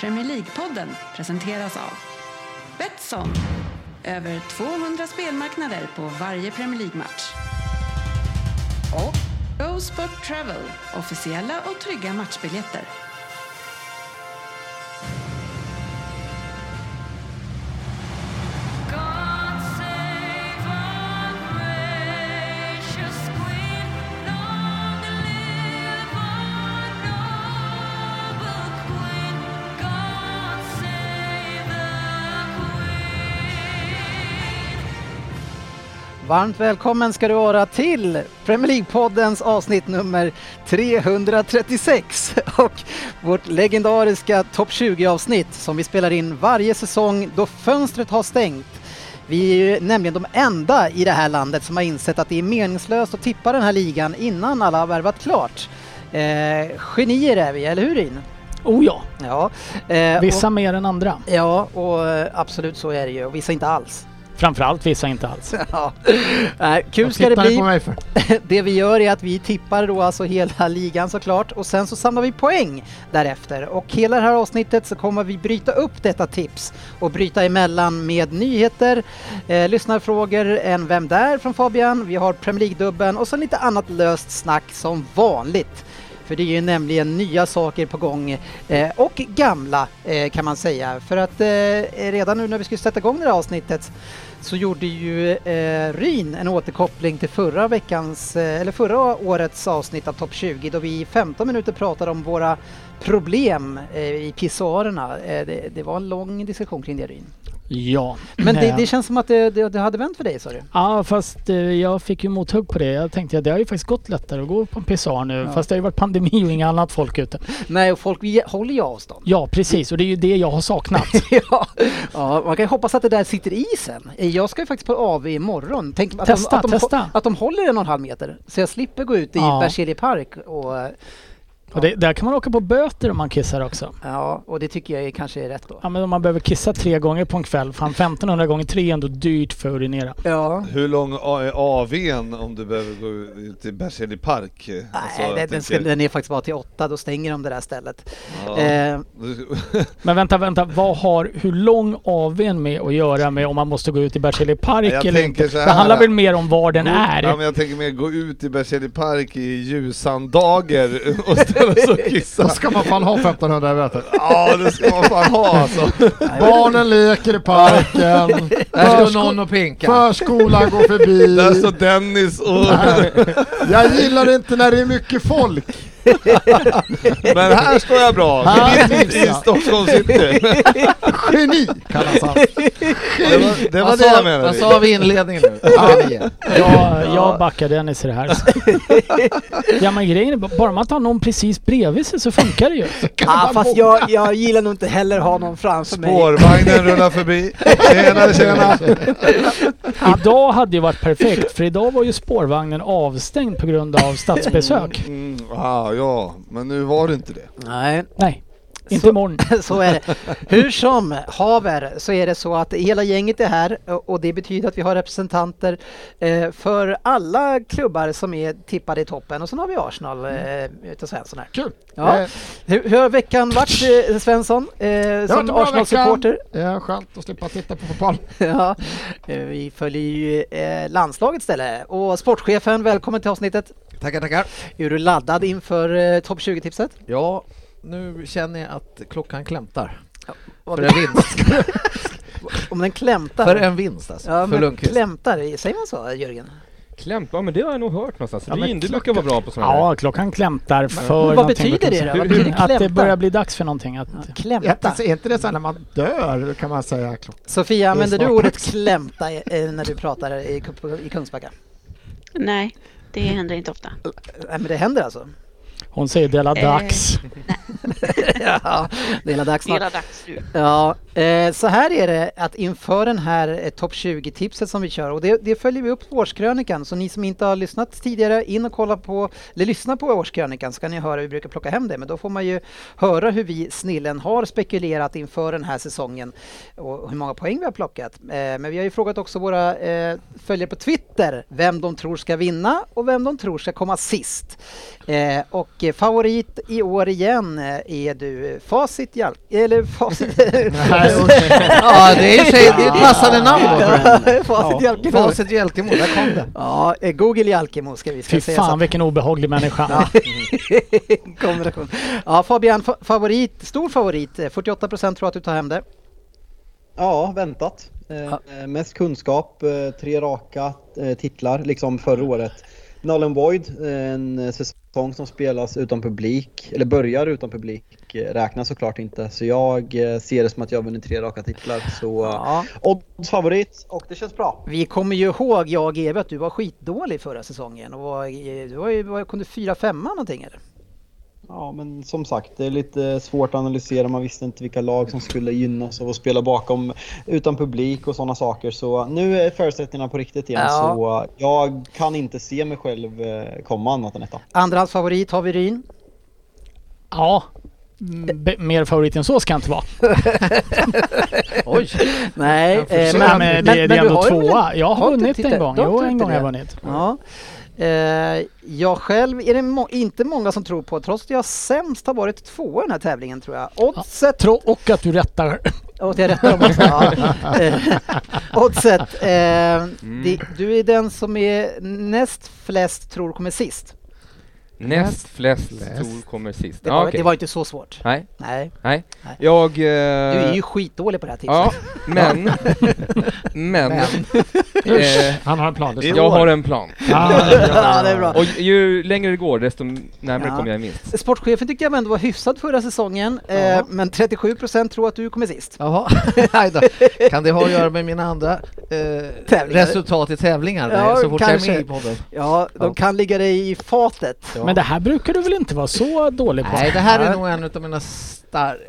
Premier League-podden presenteras av Betsson. Över 200 spelmarknader på varje Premier League-match. Och Go Sport Travel. Officiella och trygga matchbiljetter. God save our gracious Queen. Long live our noble Queen. God save the Queen. Varmt välkommen ska du vara till Premier League-poddens avsnitt nummer 336 och vårt legendariska topp 20-avsnitt som vi spelar in varje säsong då fönstret har stängt. Vi är ju nämligen de enda i det här landet som har insett att det är meningslöst att tippa den här ligan innan alla har värvat klart. Eh, genier är vi, eller hur Rin? Oh ja, Ja, eh, vissa Och, mer än andra. ja, och eh, absolut så är det ju och vissa inte alls. Framförallt vissa inte alls. Ja. Nej, kul ska det tittar ni bli. på mig för? Det vi gör är att vi tippar då alltså hela ligan såklart och sen så samlar vi poäng därefter. Och hela det här avsnittet så kommer vi bryta upp detta tips och bryta emellan med nyheter, eh, lyssnarfrågor, en Vem där från Fabian, vi har Premier League-dubben och så lite annat löst snack som vanligt. För det är ju nämligen nya saker på gång eh, och gamla eh, kan man säga. För att eh, redan nu när vi skulle sätta igång det här avsnittet så gjorde ju eh, Ryn en återkoppling till förra veckans, eh, eller förra årets avsnitt av Topp 20 då vi i 15 minuter pratade om våra problem eh, i pissoarerna. Eh, det, det var en lång diskussion kring det Ryn. Ja. Men det, Eh, det känns som att det, det, det hade vänt för dig sa du? Ja, fast eh, jag fick ju mothugg på det. Jag tänkte att det har ju faktiskt gått lättare att gå på en pissoar nu. Ja. Fast det har ju varit pandemi och inget annat folk ute. Nej, och folk vi- håller ju avstånd. Ja, precis. Och det är ju det jag har saknat. ja. ja, man kan ju hoppas att det där sitter i sen. Eh, Jag ska ju faktiskt på AV imorgon. Tänk att Testa, de, att de, testa. Att de håller en och en halv meter så jag slipper gå ut i Ja. Berzelii park och eh, Och det, där kan man åka på böter om man kissar också. Ja, och det tycker jag är, kanske är rätt då. Ja, men om man behöver kissa tre gånger på en kväll. Fan, 1500 gånger tre är ändå dyrt för att urinera. Ja. Hur lång är AVn om du behöver gå ut till Berzelii park? Alltså, Nej, Nej, den, den, ska, den är faktiskt bara till åtta, då stänger de det där stället. Ja. Eh, Men vänta, vänta. Vad har hur lång AWn med att göra med om man måste gå ut i Berzelii park Jag eller tänker inte? så här. Mm. Det handlar väl mer om var den är? Ja, men jag tänker mer gå ut i Berzelii park i ljusandager och ställa sig och Då kissa. ska man fan ha 1500 i böter. Ja, det ska man fan ha alltså. Barnen leker i parken, Där Försko- står någon och pinkar. förskolan går förbi. Där står alltså Dennis och... Jag gillar inte när det är mycket folk. Men här står jag bra! Här trivs I jag. Stockholm city. Geni kallas han. Det var det, var Vad sa- det jag Vad menade. sa vi i inledningen nu? Arg. Jag, jag backar Dennis i det här. ja men grejen är bara- bara man tar någon precis bredvid sig så funkar det ju. ah, fast jag, jag gillar nog inte heller att ha någon framför mig. Spårvagnen rullar förbi. Tjena, tjena! Idag hade ju varit perfekt för idag var ju spårvagnen avstängd på grund av statsbesök. Mm, ah, ja, men nu var det inte det. Nej, Nej, inte Så- imorgon. så är det. Hur som haver så är det så att hela gänget är här eh, och och det betyder att vi har representanter eh, för alla klubbar som är tippade i toppen och sen har vi Arsenal eh, utav Svensson här. Mm. Kul. Ja. Eh, Hur, hur har veckan varit eh, Svensson eh, det har varit som en bra Arsenal-supporter? vecka. Det är skönt att slippa titta på fotboll. Ja, eh, vi följer ju eh, landslaget istället. Och sportchefen, välkommen till avsnittet. Tackar, tackar. Är du laddad inför eh, topp 20-tipset? Ja, nu känner jag att klockan klämtar. Vad För en vinst. Om den klämtar? För en vinst alltså. ja, För men Lundqvist. klämtar, säger man så Jörgen? Klämt? Ja men det har jag nog hört någonstans. Ja, men Rin, du brukar vara bra på sådana här. Ja, klockan klämtar för Vad någonting betyder brukar det jag då? Vad säga. betyder Att det klämta? börjar bli dags för någonting. Att, Klämta? Är inte det så här när man dör kan man säga? Sofia, använder du snart ordet dags. klämta eh, när du pratar i, Kup- i Kungsbacka? Nej, det händer inte ofta. Nej men det händer alltså? hon säger dela Eh. dags. ja, det är hela dags snart. Hela dags nu. Ja, eh, så här är det att inför den här eh, topp 20-tipset som vi kör och det, det följer vi upp på årskrönikan så ni som inte har lyssnat tidigare in och kolla på eller lyssna på årskrönikan så kan ni höra hur vi brukar plocka hem det men då får man ju höra hur vi snillen har spekulerat inför den här säsongen och hur många poäng vi har plockat. Eh, men vi har ju frågat också våra eh, följare på Twitter vem de tror ska vinna och vem de tror ska komma sist. Eh, och eh, favorit i år igen eh, är du nu eh, Facit Hjalm... Eller Facit... Nej, Ja, det är i och för sig- det är ett passande namn då. för den. Facit Jalkemo. Facit Hjältemo, där kom det. Ja, eh, Google Jalkemo ska vi ska Fy säga. så fan vilken obehaglig människa. att- Kombination. Ja, Fabian, fa- favorit, stor favorit. Eh, 48% tror att du tar hem det. Ja, väntat. Eh, eh, Mest kunskap, eh, tre raka eh, titlar, liksom förra året. Null and Void, eh, en säsong som spelas utan publik, eller börjar utan publik, eh, räknas såklart inte. Så jag eh, ser det som att jag har vunnit tre raka titlar. Så eh, Ja. odds favorit och det känns bra. Vi kommer ju ihåg, jag och Eva, att du var skitdålig förra säsongen. Och var, eh, du var ju, var, kom du fyra, femma någonting eller? Ja, men som sagt, det är lite svårt att analysera. Man visste inte vilka lag som skulle gynnas av att spela bakom utan publik och sådana saker. Så nu är förutsättningarna på riktigt igen. Ja. Så jag kan inte se mig själv eh, komma annat än detta. Andrahandsfavorit har vi Ryn. Ja. Mm, be- Mer favorit än så ska jag inte vara. Oj! Nej, eh, Men, men, det, det är du ändå har ju väl tvåa. Jag har du vunnit tittat- en gång. du har Jo, inte en gång har jag det? vunnit. Ja. Eh, jag själv är det må- inte många som tror på, trots att jag sämst har varit tvåa i den här tävlingen tror jag. Oddset Tro, och att du rättar. Åt jag rättar dem också. Ja. Eh, Oddset. Eh, Mm. Mm. det, du är den som är näst flest tror kommer sist. Näst flest Flest. tror kommer sist. Det Ja, var, okej. det var inte så svårt. Nej, Nej, nej. Nej. Jag... Eh... du är ju skitdålig på det här tipset. Ja, men... men... eh, Han har en plan. det står. jag har en plan. Ah, ja, Ja, det är bra. Och ju längre det går, desto närmare Ja. kommer jag minst. Sportchefen tyckte jag ändå var hyfsad förra säsongen, eh, Ja. men 37 procent tror att du kommer sist. Jaha, aj då. Kan det ha att göra med mina andra eh, Tävlingar. resultat i tävlingar? Ja, så fort kanske. jag är med i podden. Ja, de Ja. kan ligga dig i fatet. Men det här brukar du väl inte vara så dålig på? Nej, det här är nog en av mina starka...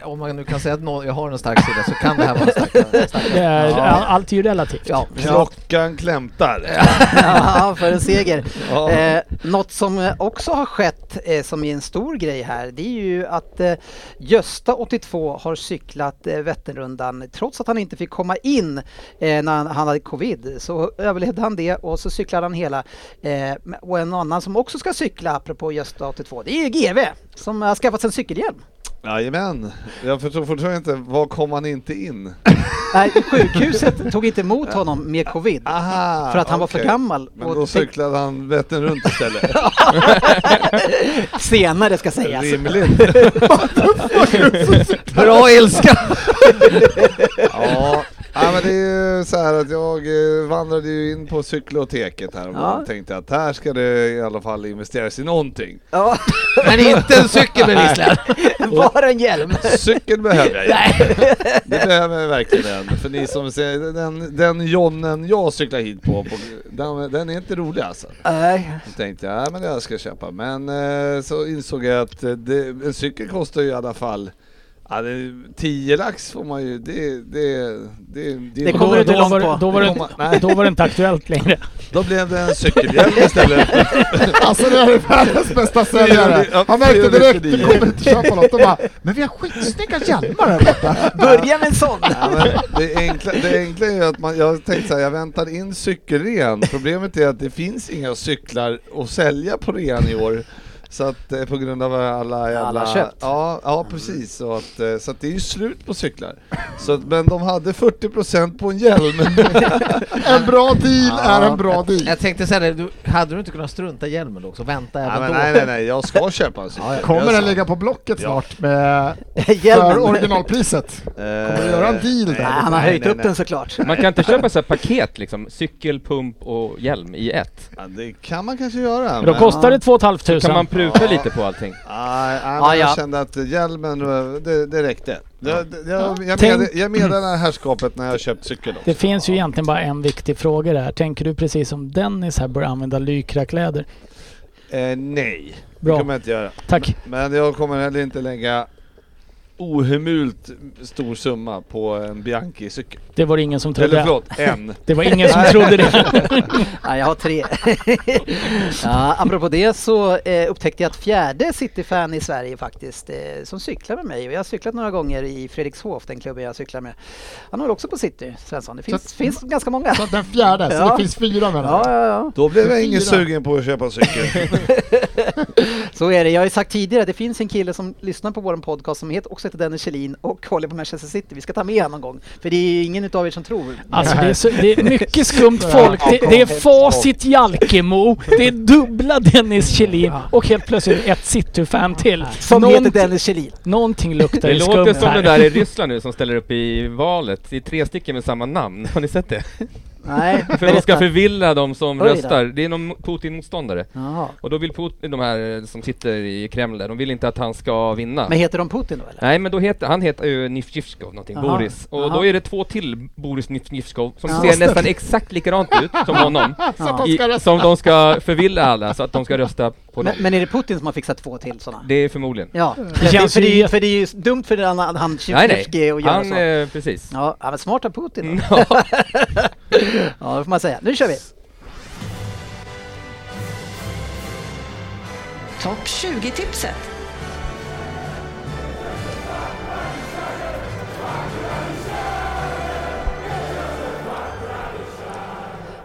Om man nu kan säga att nå- jag har en stark sida så kan det här vara en stark stark- Det är, Ja. all- Allt är ju relativt. Ja, Klockan klämtar. Ja, för en seger. Ja. Eh, något som eh, också har skett eh, som är en stor grej här det är ju att eh, Gösta 82 har cyklat eh, Vätternrundan trots att han inte fick komma in eh, när han, han hade covid så överlevde han det och så cyklade han hela. Eh, men- och en annan som också ska cykla apropå Gösta 82 det är ju GV som har skaffat sig en cykelhjälm. Jajamän. Jag förstår fortfarande inte, var kom han inte in? Nej, sjukhuset tog inte emot honom med covid Aha, för att han var för Ah, okej. gammal. Men och då fick- cyklade han Vättern runt istället. senare ska alltså. sägas. Rimligt. Bra ilska! ja. ja, men det är ju så här att jag eh, vandrade ju in på cykloteket här och Ja. tänkte att här ska det i alla fall investeras i någonting. Ja, Men inte en cykel bevisligen. bara en hjälm. Cykeln behöver jag ju. Det behöver jag verkligen. För ni som ser, den, den jonnen jag cyklar hit på, på den, den är inte rolig alltså. Nej, Så tänkte jag, ja men jag ska köpa. Men eh, så insåg jag att eh, det, en cykel kostar ju i alla fall Ja, det, 10 lax får man ju, det, det, det, Det Och kommer då, du inte då, långt var, på. då, var Komma- det, nej. då var det inte aktuellt längre. Då blev det en cykelhjälm istället. Alltså det här är världens bästa säljare. Han märkte direkt, du kommer inte köpa något. De bara, men vi har skitsnygga hjälmar här borta. börja med en sån. Ja, men det, enkla, det enkla är ju att man, jag tänkte såhär, jag väntar in cykelrean. Problemet är att det finns inga cyklar att sälja på rean i år. Så att eh, på grund av alla jävla... Alla köpt. Ja, ja precis. Så, att, eh, så att det är ju slut på cyklar. Så att, men de hade 40% på en hjälm. En bra deal är en bra deal. Jag tänkte säga det, du, hade du inte kunnat strunta i hjälmen då också? Vänta nej, även men, då? nej, nej, nej, jag ska köpa en cykel. Kommer Jag den sa- ligga på Blocket snart med för Hjälmen. originalpriset? Kommer du göra en deal Nej, där? han har Eh, Nej, höjt nej, upp nej. den såklart. Man kan inte köpa så här paket liksom, cykel, pump och hjälm i ett. Ja, det kan man kanske göra. Då kostar det 2 500. Kan man pruta Ja. lite på allting? Nej, nej, men Ah, ja. jag kände att hjälmen, det, det räckte. Jag, jag, jag, jag, Tänk- med, jag meddelar herrskapet när jag köpt cykeln också. Det finns ju egentligen bara en viktig fråga där. Tänker du precis som Dennis här börja använda lycrakläder? Eh, nej, det Bra. kommer jag inte göra. Tack. Men jag kommer heller inte lägga ohemult stor summa på en Bianchi-cykel. Det var det ingen som trodde. Eller förlåt, en. Det var ingen som trodde det. ja, jag har tre. ja, apropå det så eh, upptäckte jag ett fjärde City-fan i Sverige faktiskt eh, som cyklar med mig. Och Jag har cyklat några gånger i Fredrikshof, den klubben jag cyklar med. Han håller också på City, Svensson. Det finns, finns ganska många. Så att den fjärde, så det finns fyra med ja, ja, ja. Då blev jag ingen sugen på att köpa en cykel. Så är det. Jag har ju sagt tidigare att det finns en kille som lyssnar på vår podcast som heter, också heter Dennis Kjellin och håller på Manchester City. Vi ska ta med honom någon gång. För det är ingen utav er som tror. Alltså det är, så, det är mycket skumt folk. Det, det är Facit Jalkemo, det är dubbla Dennis Kjellin och helt plötsligt ett City-fan till. Som Någon- heter Dennis Kjellin. Någonting luktar Det ju låter skumt som här. det där i Ryssland nu som ställer upp i valet. Det är tre stycken med samma namn. Har ni sett det? Nej, För de ska berätta. förvilla de som Oj då. röstar. Det är någon Putin-motståndare. Jaha. Och då vill Putin, de här eh, som sitter i Kreml där, de vill inte att han ska vinna. Men heter de Putin då eller? Nej men då heter, han heter ju Nifjivskov någonting, Aha. Boris. Och Aha. då är det två till Boris Nifjivskov som Ja. ser nästan exakt likadant ut som honom. Så att de I, ska rösta. som de ska förvilla alla så att de ska rösta på dem. Men, men är det Putin som har fixat två till sådana? Det är förmodligen. Ja, Det för, känns för, det, är ju- ju- för det är ju dumt för den han, han Nej nej, Sjevtjevskij att göra han, så. eh, precis. Ja, ja, men smart av Putin då. Ja. Ja, det får man säga. Nu kör vi! Topp 20-tipset.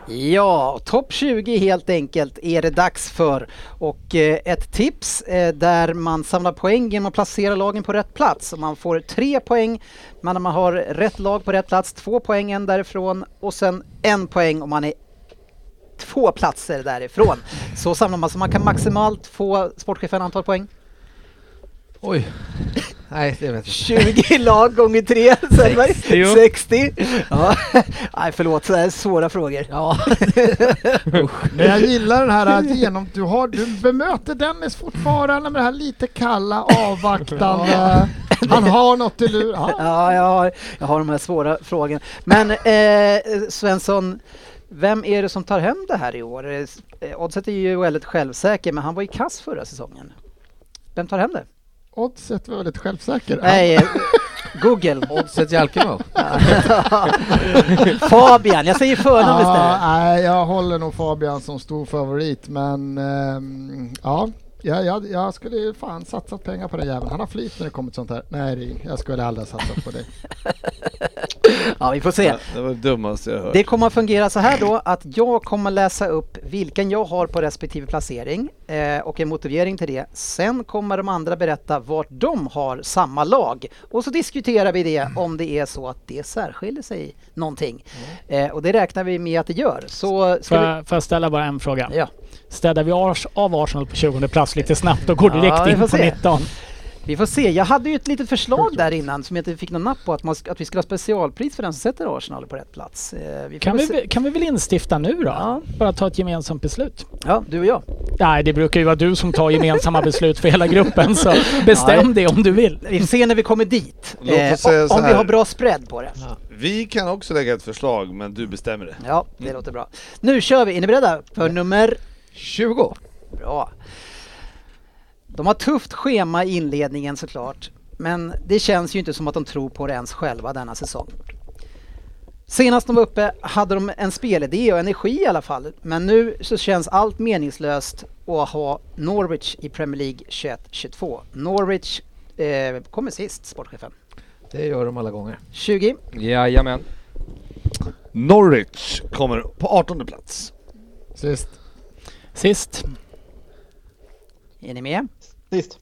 Ja, topp 20 helt enkelt är det dags för. Och eh, ett tips eh, där man samlar poäng genom att placera lagen på rätt plats. Och man får tre poäng men när man har rätt lag på rätt plats, två poäng en därifrån och sen en poäng om man är två platser därifrån. Så samlar man så man kan maximalt få sportchefen antal poäng. liksom? Oj. Nej, det vet jag inte. 20 lag gånger 3, 60. Sextio. 60. Ja. Nej, förlåt, så här är svåra frågor. Ja. Men jag gillar den här att genom, du, har, du bemöter Dennis fortfarande med det här lite kalla, avvaktande. eh, Han har något i lur. Ja. Ja, jag har, jag har de här svåra frågorna. Men eh, Svensson, vem är det som tar hem det här i år? Eh, Oddset är ju väldigt självsäker, men han var ju kass förra säsongen. Vem tar hem det? Oddset var väldigt självsäker. Nej, eh, Google. Oddset Jalkemo. Fabian, jag säger förnamn Ja, istället. nej, jag håller nog Fabian som stor favorit, men ehm, ja. Jag, jag, jag skulle ju fan satsat pengar på den jäveln. Han har flyt när det kommer till sånt här. Nej, det- jag skulle aldrig ha satsat på dig. Ja, vi får se. Det var det dummaste jag hört. Det kommer att fungera så här då att jag kommer läsa upp vilken jag har på respektive placering eh, och en motivering till det. Sen kommer de andra berätta vart de har samma lag och så diskuterar vi det om det är så att det särskiljer sig någonting. Eh, och det räknar vi med att det gör. Så Får ska jag, får jag ställa bara en fråga? vi... Ja. Städar vi ars, av Arsenal på 20 plats lite snabbt och går Ja, direkt vi får in på se. 19? Vi får se. Jag hade ju ett litet förslag där innan som jag inte fick någon napp på att, man, sk- att vi skulle ha specialpris för den som sätter Arsenal på rätt plats. Eh, vi får Kan väl se- vi, kan vi väl instifta nu då? Bara ta ett gemensamt beslut. Ja, du och jag. Nej, det brukar ju vara du som tar gemensamma beslut för hela gruppen så bestäm det om du vill. Vi får se när vi kommer dit. Låt oss Eh, säga så om vi här. har bra spread på det. Vi kan också lägga ett förslag, men du bestämmer det. Mm. Ja, det låter bra. Nu kör vi! Är ni beredda för nummer... 20. Bra! De har tufft schema i inledningen såklart, men det känns ju inte som att de tror på det ens själva denna säsong. Senast de var uppe hade de en spelidé och energi i alla fall, men nu så känns allt meningslöst att ha Norwich i Premier League 21-22. Norwich eh, kommer sist, sportchefen. Det gör de alla gånger. 20. Jajamän. Norwich kommer på 18 plats. Sist. Sist. Är ni med? Sist.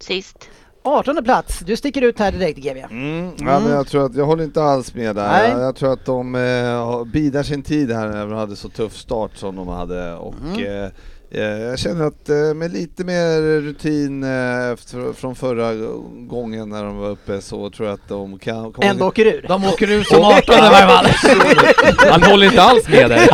Sist. 18 plats. Du sticker ut här direkt GB. Mm. Ja, men jag tror att, jag håller inte alls med där. Nej. Jag, jag tror att de eh, har- bidar sin tid här när de hade så tuff start som de hade och eh, eh, jag känner att eh, med lite mer rutin eh, efter, från förra gången när de var uppe så tror jag att de kan... kommer- Ändå åker ur. De åker ur som 18 i varje fall. Han håller inte alls med dig.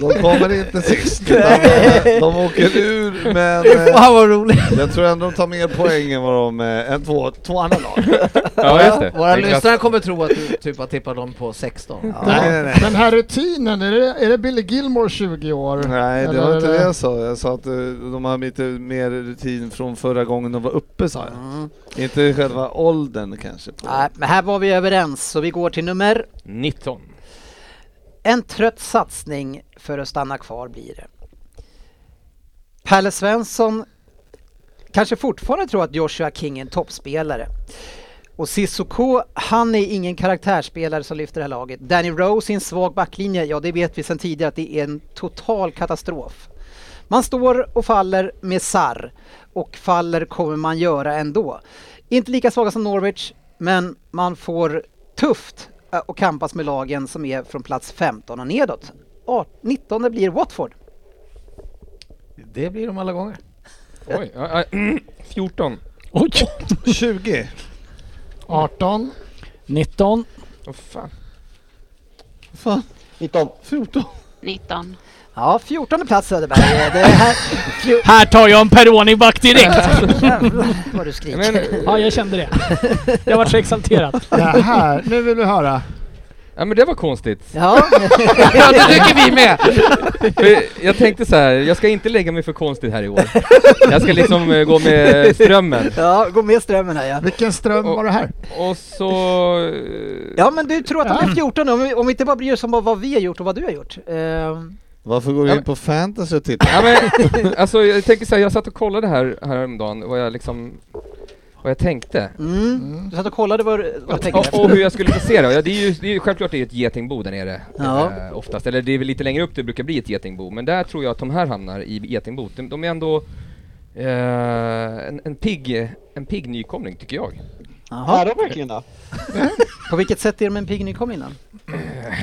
De kommer inte sist utan de, de åker ur men... eh, Fan vad roligt! Jag tror ändå de tar mer poäng än vad de... eh, än två, två andra lag. Ja, just det. Våra Det är lyssnare kommer tro att du typ har tippat dem på 16. Nej, nej, nej. Den här rutinen, är det, är det Billy Gilmore 20 år? Nej, det var Eller- inte det jag sa. Jag sa att eh, de har lite mer rutin från förra gången de var uppe sa jag. Mm. Inte själva åldern kanske. På. Nej, men här var vi överens, så vi går till nummer... 19. En trött satsning för att stanna kvar blir det. Pelle Svensson kanske fortfarande tror att Joshua King är en toppspelare. Och Sissoko, han är ingen karaktärsspelare som lyfter det här laget. Danny Rose i en svag backlinje, ja det vet vi sedan tidigare att det är en total katastrof. Man står och faller med Sarr och faller kommer man göra ändå. Inte lika svaga som Norwich, men man får tufft eh, och kampas med lagen som är från plats 15 och nedåt. 19 blir Watford. Det blir de alla gånger. Oj, ja, ja, 14. Oj! 20. 18? 19. Åh fan. Fan, 19. 14. 19. Ja, 14 plats Söderberg. Eh, Det här, Här tar jag en Peroni-back direkt! jävlar vad du skriker. Men, eh, Ja, jag kände det. Jag var så exalterad. Det här, nu vill vi höra. ja, men det var konstigt. Ja, Ja, det tycker vi med! För jag tänkte så här, jag ska inte lägga mig för konstigt här i år. Jag ska liksom eh, gå med strömmen. ja, gå med strömmen här ja. Vilken ström var det här? Och så... eh, Ja men du tror att de är 14 om vi, om vi inte bara bryr oss om vad- vad vi har gjort och vad du har gjort. Eh, Mm. Varför går Ja, du in men- på fantasy och tittar? Ja, men, alltså, jag tänker så här, jag satt och kollade här häromdagen vad jag liksom... Vad jag tänkte. mm. Du satt och kollade vad du, vad du tänkte. Och, och hur jag skulle placera. Ja, det är ju, det är ju självklart det är ett getingbo där nere. Ja. Eh, oftast. Eller det är väl lite längre upp det brukar bli ett getingbo. Men där tror jag att de här hamnar i getingbot. De, de är ändå eh, en, en, pigg, en pigg nykomling tycker jag. Jaha. Är de verkligen det? På vilket sätt är de en pigg nykomling innan?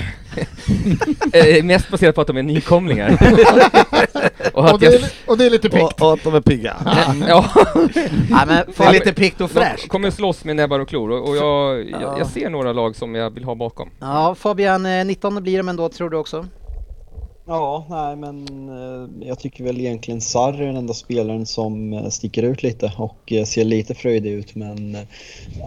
Eh, mest baserat på att de är nykomlingar. och Och att det jag... är, och det är lite piggt. Och, och att de är pigga. Ja, Nej men Det är fan, lite piggt och de fräscht. kommer slåss med näbbar och klor och, och jag, Ja. jag, jag ser några lag som jag vill ha bakom. ja, Fabian, eh, 19 blir de ändå tror du också? Ja, nej men eh, jag tycker väl egentligen Sarr är den enda spelaren som eh, sticker ut lite och eh, ser lite fröjdig ut men eh,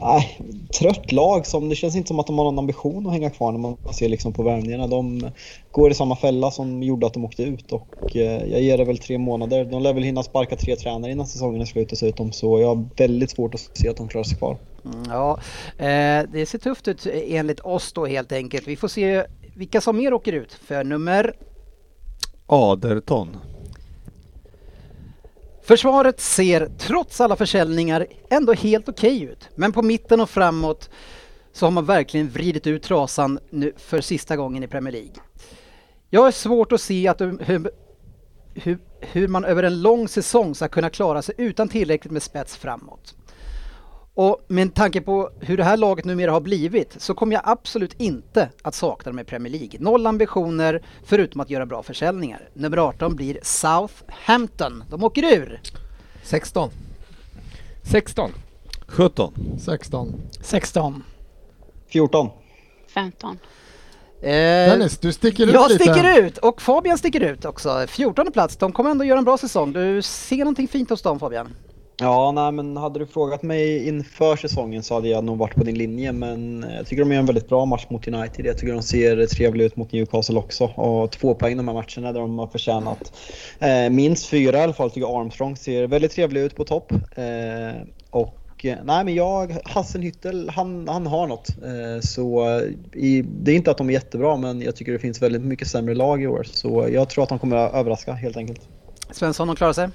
nej, trött lag som det känns inte som att de har någon ambition att hänga kvar när man ser liksom på värvningarna. De går i samma fälla som gjorde att de åkte ut och eh, jag ger det väl tre månader. De lär väl hinna sparka tre tränare innan säsongen är slut dessutom så jag har väldigt svårt att se att de klarar sig kvar. Mm, Ja, eh, det ser tufft ut eh, enligt oss då helt enkelt. Vi får se vilka som mer åker ut för nummer. Aderton. Försvaret ser trots alla försäljningar ändå helt okej ut, men på mitten och framåt så har man verkligen vridit ut trasan nu för sista gången i Premier League. Jag har svårt att se att hur, hur, hur man över en lång säsong ska kunna klara sig utan tillräckligt med spets framåt. Och med tanke på hur det här laget numera har blivit så kommer jag absolut inte att sakna dem i Premier League. Noll ambitioner förutom att göra bra försäljningar. Nummer 18 blir Southampton. De åker ur. 16. 16. 17. 16. 16. 14. 15. Eh, Dennis, du sticker ut jag lite. sticker ut och Fabian sticker ut också. 14 plats. De kommer ändå göra en bra säsong. Du ser någonting fint hos dem Fabian. Ja, nej, men hade du frågat mig inför säsongen så hade jag nog varit på din linje. Men jag tycker de gör en väldigt bra match mot United. Jag tycker de ser trevliga ut mot Newcastle också. Och två poäng de här matcherna där de har förtjänat eh, minst fyra i alla fall. Jag tycker Armstrong ser väldigt trevlig ut på topp. Eh, och eh, nej, men jag, Hassenhüttel, han, han har något. Eh, så eh, i, det är inte att de är jättebra, men jag tycker det finns väldigt mycket sämre lag i år. Så jag tror att de kommer att överraska helt enkelt. Svensson, de klarar sig.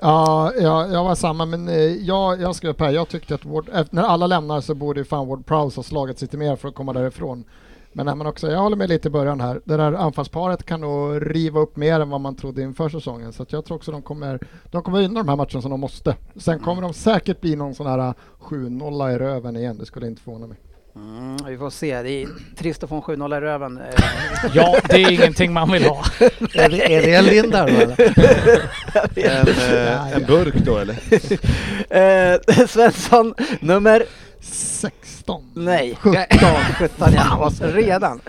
Ja, ja, jag var samma, men eh, jag, jag skrev upp här, jag tyckte att Ward, eh, när alla lämnar så borde ju fan Ward Prowse ha slagit lite mer för att komma därifrån. Men, nej, men också, jag håller med lite i början här, det där anfallsparet kan nog riva upp mer än vad man trodde inför säsongen, så att jag tror också de kommer, de kommer vinna de här matcherna som de måste. Sen kommer de säkert bli någon sån här eh, 7-0 i röven igen, det skulle inte förvåna mig. Mm, vi får se. Det är trist att få en 7-0 i röven. Eh, Ja, det är ingenting man vill ha. Är det, är det en Lindar då eller? En, eh, en burk då eller? eh, Svensson, nummer 16. Nej. 17. 17 ja. Redan.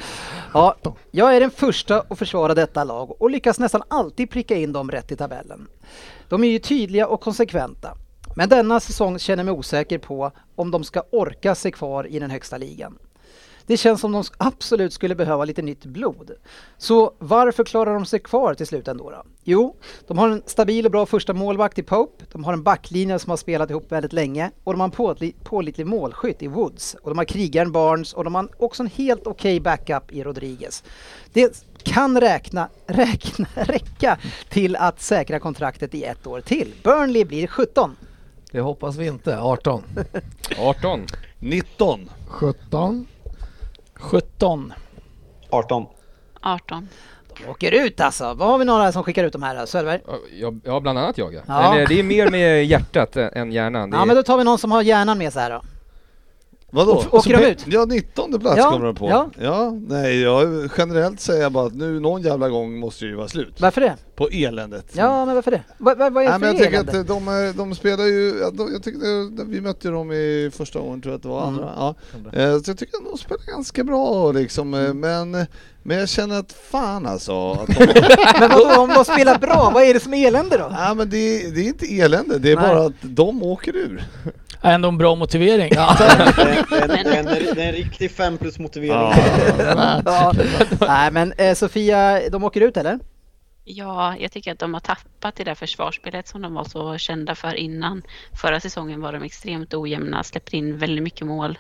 Ja, jag är den första att försvara detta lag och lyckas nästan alltid pricka in dem rätt i tabellen. De är ju tydliga och konsekventa. Men denna säsong känner jag mig osäker på om de ska orka sig kvar i den högsta ligan. Det känns som de absolut skulle behöva lite nytt blod. Så varför klarar de sig kvar till slut ändå då? Jo, de har en stabil och bra första målvakt i Pope, de har en backlinje som har spelat ihop väldigt länge och de har en påtli- pålitlig målskytt i Woods och de har krigaren Barnes och de har också en helt okej backup i Rodriguez. Det kan räkna, räkna, räcka till att säkra kontraktet i ett år till. Burnley blir 17. Det hoppas vi inte. 18. 18. 19. 17. 17. 18. 18. De åker ut alltså. Vad har vi några som skickar ut de här? då? Sölver? Ja, ja, bland annat jag ja. Ja. Men, eh, det är mer med hjärtat ä- än hjärnan. Det Ja är, men då tar vi någon som har hjärnan med sig här då. Vadå? Alltså, Och- åker de pe- ut? Ja, 19 plats Ja, kommer de på. ja. Ja. nej, jag generellt säger jag bara att nu någon jävla gång måste det ju vara slut Varför det? på eländet. Ja men varför det? Vad, vad, vad är det Nej, men jag för tycker elände? att de, är- de spelar ju, ja, de, jag tycker, eh, vi mötte ju dem i första gången tror jag att det var Mm. andra. Ja. Eh, Så jag tycker att de spelar ganska bra liksom, eh, Mm. men, men jag känner att fan alltså. Att de, Men vadå, om de spelar bra, vad är det som är elände då? nej, men det, det är inte elände, det är Nej. bara att de åker ur. Är ändå en bra motivering. Det är en- det är en- det är en riktig 5 plus motivering. Ja. Nej men eh, Sofia, de åker ut eller? Ja, jag tycker att de har tappat det där försvarsspelet som de var så kända för innan. Förra säsongen var de extremt ojämna, släppte in väldigt mycket mål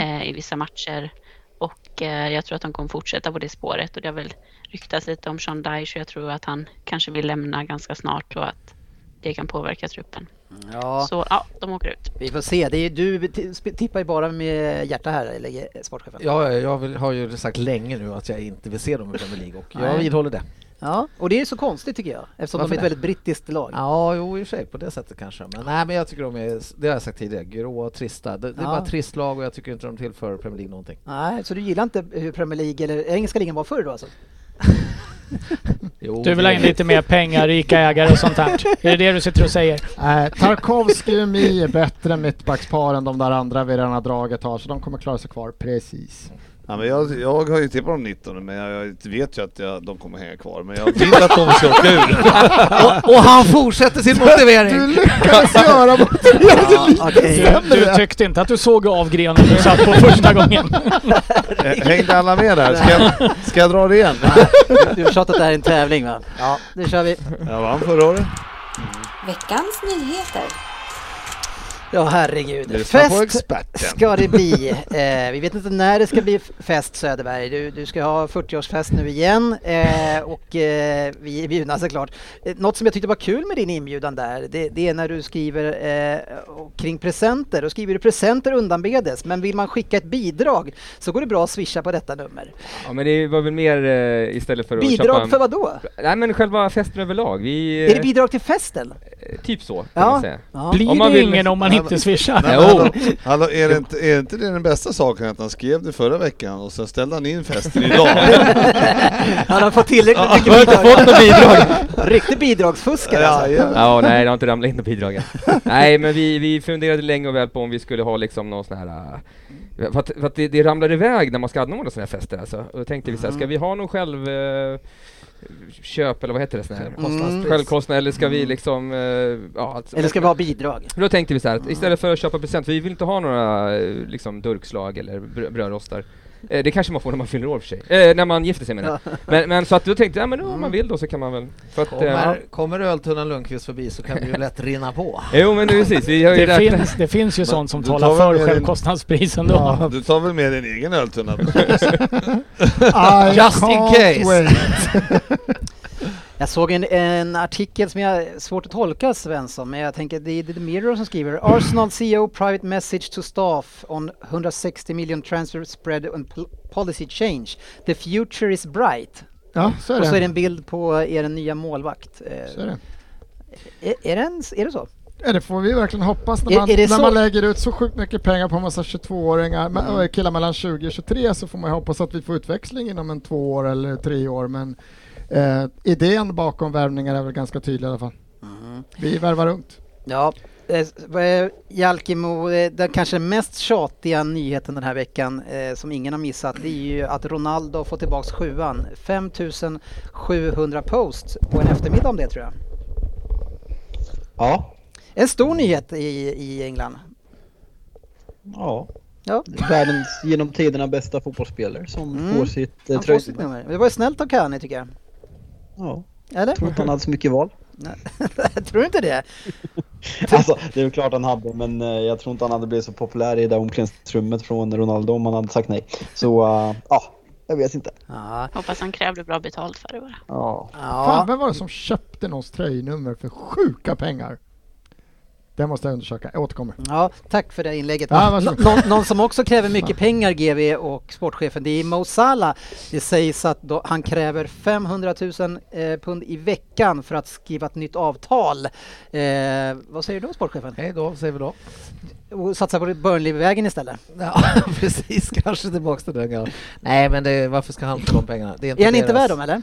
eh, i vissa matcher. Och eh, jag tror att de kommer fortsätta på det spåret och det har väl ryktats lite om Sean Dyche och jag tror att han kanske vill lämna ganska snart och att det kan påverka truppen. Ja, Så ja, de åker ut. vi får se. Det är, du t- sp- tippar ju bara med hjärta här, eller eh, sportchefen. Ja, jag vill, har ju sagt länge nu att jag inte vill se dem i Premier League och jag Nej. vidhåller det. Ja, och det är ju så konstigt tycker jag, eftersom Varför de är ett det? väldigt brittiskt lag. Ja, jo i och för sig på det sättet kanske. Men nej, men jag tycker de är, det har jag sagt tidigare, gråa och trista. Det, det är Ja. bara ett trist lag och jag tycker inte de tillför Premier League någonting. Nej, så du gillar inte hur Premier League eller engelska ligan var förr då alltså? Jo, Du vill ha in lite mer pengar, rika ägare och sånt här. Är det det du sitter och säger? Nej, Tarkovsky och Mi Eh, är bättre mittbackspar än de där andra vi redan har dragit har, så de kommer klara sig kvar precis. Ja, men jag, jag har ju tippat dem 19 men jag, jag vet ju att jag, de kommer hänga kvar. Men jag vill att de ska åka ur. och, och han fortsätter sin Du motivering! lyckades göra mot Ja, okej. Du, du tyckte inte att du såg av grenen du satt på första gången. Eh, Hängde alla med där? Ska jag, ska jag dra det igen? Du har förstått att det här är en tävling va? Ja, nu kör vi. Jag vann förra året. Veckans nyheter. Ja, herregud. Lyssna på Fest experten. ska det bli. Eh, vi vet inte när det ska bli f- fest Söderberg. Du, du ska ha 40-årsfest nu igen eh, och eh, vi är bjudna såklart. Eh, något som jag tyckte var kul med din inbjudan där, det, det är när du skriver eh, och- kring presenter. Då skriver du presenter undanbedes, men vill man skicka ett bidrag så går det bra att swisha på detta nummer. ja, men det var väl mer eh, istället för att köpa... Bidrag för vad då? Nej men själva festen överlag. Vi, Är det eh, bidrag till festen? typ så, kan Ja. man säga. Ja. Om Blir man det vill- ingen om man inte swishar? Nej, Jo. men hallå, hallå, är, det inte, är inte det den bästa saken att han skrev det förra veckan och sen ställde han in festen idag? Han har fått tillräckligt mycket Jag har inte bidrag. fått något bidrag! Riktig bidragsfuskare ja, alltså. ja. Ja, nej det har inte ramlat in något bidrag än. Nej men vi, vi funderade länge och väl på om vi skulle ha liksom någon sån här äh, För att, för att det, det ramlar iväg när man ska anordna såna här fester alltså. Och då tänkte vi såhär, Mm. ska vi ha någon själv eh, köp eller vad heter det? Sån här? Mm. Självkostnadspris. Självkostnad eller ska Mm. vi liksom... eh, ja, alltså- Eller ska vi ha bidrag? Då tänkte vi så här, att istället för att köpa present, för vi vill inte ha några eh, liksom, durkslag eller br- brödrostar. Eh, det kanske man får när man fyller år för sig. Eh, när man gifter sig menar jag. men, men så att då tänkte jag, ja, men då, om Mm. man vill då så kan man väl. För att, eh, Kommer, kommer öltunnan Lundqvist förbi så kan det ju lätt rinna på. jo men nu precis, vi har ju Det räknat- finns, det finns ju sånt som du talar tar för väl med din- självkostnadspris ändå. Du tar väl med din egen öltunna? I Just in can't case. wait. Jag såg en, en artikel som jag är svårt att tolka Svensson, men jag tänker det är The Mirror som skriver Arsenal CEO private message to staff on 160 million transfer spread and pol- policy change. The future is bright. Ja, så är Och så är det det. en bild på er nya målvakt. Eh, Så är det. Är, är, det en, är det så? Ja, det får vi verkligen hoppas när Är- man, är det när så- Mm. man lägger ut så sjukt mycket pengar på en massa 22-åringar, men- och killar mellan 20 och 23, så får man ju hoppas att vi får utväxling inom en två år eller tre år. Men Mm. eh, idén bakom värvningar är väl ganska tydlig i alla fall. Vi Mm. värvar ungt. Ja. Eh, vad är Jalkemo, eh, den kanske mest tjatiga nyheten den här veckan eh, som ingen har missat, det är ju att Ronaldo har fått tillbaks sjuan. 5700 posts på en eftermiddag om det tror jag. Ja. En stor nyhet i, i England. Ja. Ja. Världens genom tiderna bästa fotbollsspelare som Mm. får sitt eh, Han får sitt tröjnummer. nummer. Det var ju snällt av Cani tycker jag. Ja. Eller? Tror inte han hade så mycket val. Tror du inte det? Alltså, det är väl klart han hade, men eh, jag tror inte han hade blivit så populär i det där omklädningsrummet från Ronaldo om han hade sagt nej. Så, eh, ja, jag vet inte. Hoppas han krävde bra betalt för det bara. Ja. Fan, vem var det som köpte någons tröjnummer för sjuka pengar? Det måste jag undersöka. Jag återkommer. Ja, tack för det inlägget. Ja, Nå- varsågod. någon, någon som också kräver mycket pengar, GV och sportchefen, det är Mo Salah. Det sägs att då, han kräver 500 000 eh, pund i veckan för att skriva ett nytt avtal. Eh, vad säger du då, sportchefen? Hej då, säger vi då. Och satsa på Burnley-vägen istället? Ja, precis. Kanske tillbaka till den gamla. Nej, men det, varför ska han få de pengarna? Det Är han inte deras- värd dem, eller?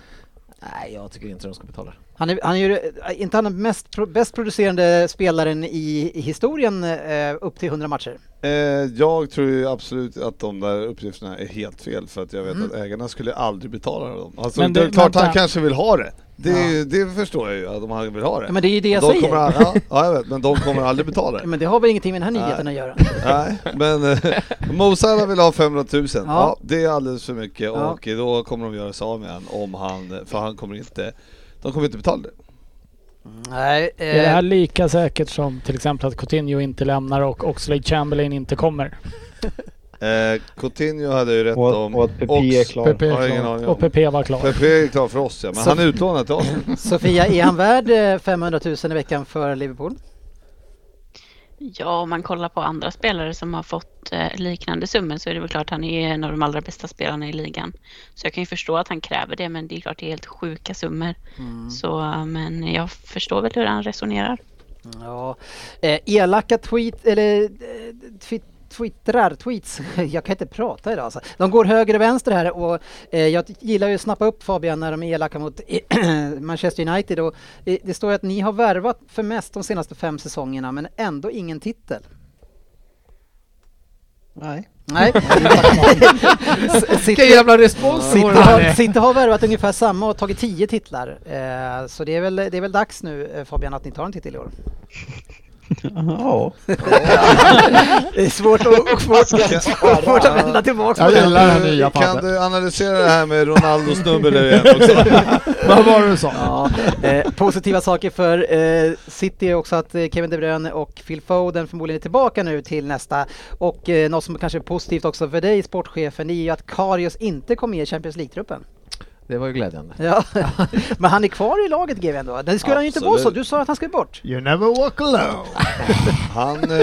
Nej, jag tycker inte de ska betala. Han är, han är ju, eh, inte han den mest, pro, bäst producerande spelaren i, i historien eh, upp till 100 matcher? Eh, jag tror ju absolut att de där uppgifterna är helt fel för att jag vet Mm. att ägarna skulle aldrig betala dem. Alltså, Men det är du, klart han vänta. kanske vill ha det. Det, är ju- det förstår jag ju att de vill ha det. Ja, men det är ju det jag de säger. Kommer, ja, ja, jag vet, men de kommer aldrig betala det. Men det har väl ingenting med den här nyheten Nej. att göra? Nej, men eh, Mo Salah vill ha 500 000. Ja. Ja. det är alldeles för mycket Ja. och då kommer de göra sig av med honom om han, för han kommer inte, de kommer inte betala det. Nej, eh, Är det här lika säkert som till exempel att Coutinho inte lämnar och Oxlade-Chamberlain inte kommer? Eh, Coutinho hade ju rätt om... och att Pepe är klar. Pepe Pepe är har ingen klar. aning om. Och Pepe var klar. Pepe är klar för oss ja, men Så- han är utlånad till oss. Sofia, är han värd eh, 500 000 i veckan för Liverpool? Ja, om man kollar på andra spelare som har fått eh, liknande summor så är det väl klart han är en av de allra bästa spelarna i ligan. Så jag kan ju förstå att han kräver det, men det är klart det är helt sjuka summor. Så, eh, men jag förstår väl hur han resonerar. Ja, eh, elaka tweet, eller eh, twi- twittrar, tweets, jag kan inte prata idag alltså. De går höger och vänster här och eh, jag gillar ju att snappa upp Fabian när de är elaka mot Manchester United och eh, det står ju att ni har värvat för mest de senaste fem säsongerna men ändå ingen titel. Nej. Nej. S- Vilken jävla respons City får har, han. City har värvat ungefär samma och tagit tio titlar. Eh, så det är, väl, det är väl dags nu eh, Fabian att ni tar en titel i år. Ja. Det är svårt att, och svårt, svårt att vända tillbaka på Jag det. gillar den nya Kan padden. du analysera det här med Ronaldos nummer nu igen också? Vad var det du sa? Ja, eh, positiva saker för eh, City är också att eh, Kevin De Bruyne och Phil Foden förmodligen är tillbaka nu till nästa. Och eh, något som kanske är positivt också för dig sportchefen, det är ju att Karius inte kom med i Champions League-truppen. Det var ju glädjande. Ja. Men han är kvar i laget GW ändå. Det skulle han ju inte vara så, Absolut. du sa att han skulle bort. You never walk alone. Han, eh,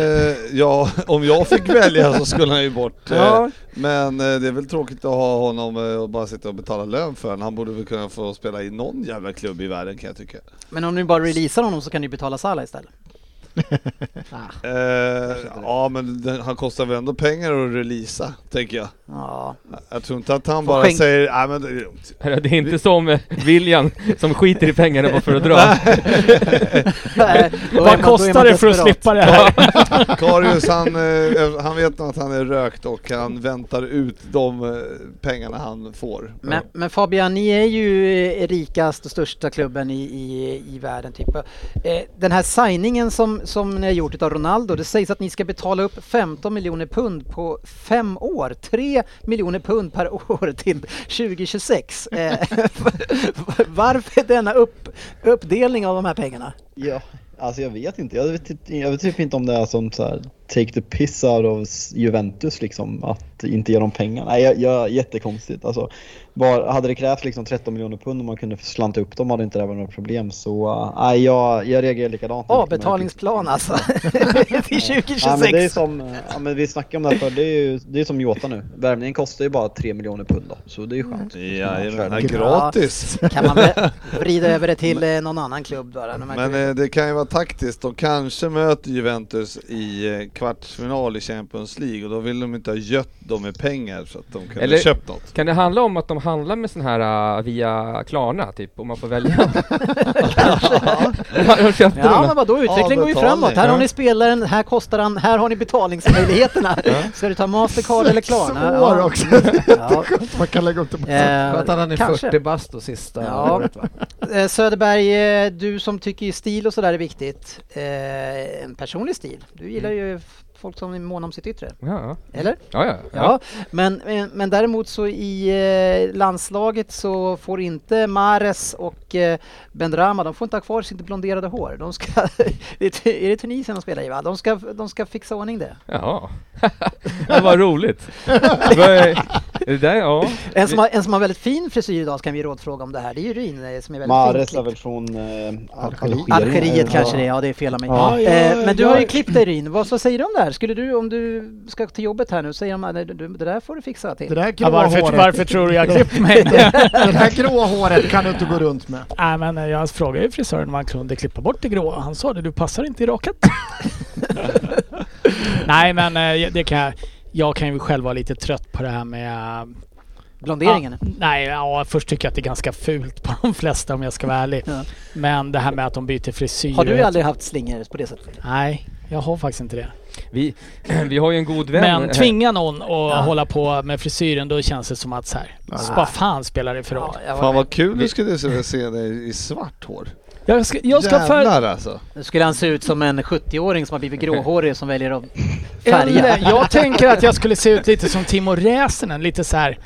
ja, om jag fick välja så skulle han ju bort. Eh, Ja. Men eh, det är väl tråkigt att ha honom eh, och bara sitta och betala lön för honom. Han borde väl kunna få spela i någon jävla klubb i världen kan jag tycka. Men om ni bara releasar honom så kan ni betala Salah istället. Eh, ja men den, han kostar väl ändå pengar att releasa, tänker jag. Ja, Jag tror inte att han Får bara skänk- säger nej men det är lugnt. Det är inte som eh, William som skiter i pengarna bara för att dra. Nej, då är man- då är Vad man kostar det för att desperat. slippa det här? Karius han, eh, han vet nog att han är rökt och han väntar ut de eh, pengarna han får. Men, men Fabian, ni är ju eh, rikast och största klubben i, i, i världen. Typ. Eh, Den här signingen som, som ni har gjort av Ronaldo, det sägs att ni ska betala upp 15 miljoner pund på fem år. 3 miljoner pund per år till 2026. Eh, Varför denna upp, uppdelning av de här pengarna? Ja, alltså jag vet inte. Jag vet, typ- jag vet typ inte om det är som så här, take the piss out of Juventus liksom, att inte ge dem pengar. Nej, jag, jag, jättekonstigt. Alltså, bara, hade det krävts liksom 13 miljoner pund om man kunde slanta upp dem hade inte det varit något problem. Så uh, nej, jag, jag reagerar likadant. Avbetalningsplan alltså, till Ja, men det är 2026. som, eh, ja, men vi snackade om det här förr, det är ju det är som Jota nu. Värmningen kostar ju bara 3 miljoner pund då, så det är ju skönt. Jajamän, Mm. Ja, gratis! Kan man väl vrida över det till eh, någon annan klubb bara, när man Men inte eh, det kan ju vara taktiskt. De kanske möter Juventus i eh, kvartsfinal i Champions League och då vill de inte ha gött dem med pengar så att de kunde Eller köpt något. kan det handla om att de handlar med sån här uh, via Klarna typ, om man får välja? Kanske. de köpte Ja de men vadå, utvecklingen går ju framåt. Här har ni spelaren, här kostar han, här har ni betalningsmöjligheterna. Ska du ta Mastercard eller Klarna? Sex år också. Man kan lägga upp det på Eh, att han hade kanske. 40 bast och sista Ja. året va? Eh, Söderberg, eh, du som tycker ju stil och sådär är viktigt. Eh, en personlig stil. Du gillar Mm. ju f- folk som är måna om sitt yttre. Ja. Eller? Ja, ja, ja. ja. Men, eh, men däremot så i eh, landslaget så får inte Mares och eh, Bendrama, de får inte ha kvar sitt blonderade hår. De ska, det är Tu- är det Tunisien de spelar i va? De ska, de ska fixa ordning det. Jaha. ja, vad roligt. Vad är- det där, ja. En som, har, en som har väldigt fin frisyr idag så kan vi rådfråga om det här. Det är ju Ruin eh, som är väldigt fin. Mares är klippt. väl från eh, Algeriet, Algeriet? kanske det är, ja det är fel av mig. Ja. Ja, eh, ja, men du ja. har ju klippt dig Rin, vad så säger du om det här? Skulle du, om du ska till jobbet här nu, säger de att det där får du fixa till? Det där gråa Ja, varför, håret. varför tror du jag klippt mig? Det där grå håret kan du inte gå runt med. Nej men eh, jag frågade ju frisören om han kunde klippa bort det gråa. Han sa det, du passar inte i rakat. Nej men eh, det kan jag. Jag kan ju själv vara lite trött på det här med... eh, Blonderingen? Ja, nej, ja, först tycker jag att det är ganska fult på de flesta om jag ska vara ärlig. Ja. Men det här med att de byter frisyr. Har du aldrig haft slingor på det sättet? Nej, jag har faktiskt inte det. Vi, vi har ju en god vän. Men tvinga någon att hålla på med frisyren, då känns det som att så här, Ja. vad fan spelar det för roll? Fan vad kul du skulle se- se dig i svart hår. Jag ska, jag ska för... Jävlar alltså. Nu skulle han se ut som en 70-åring som har blivit gråhårig som väljer att färga. Eller, jag tänker att jag skulle se ut lite som Timo Räsänen, lite så här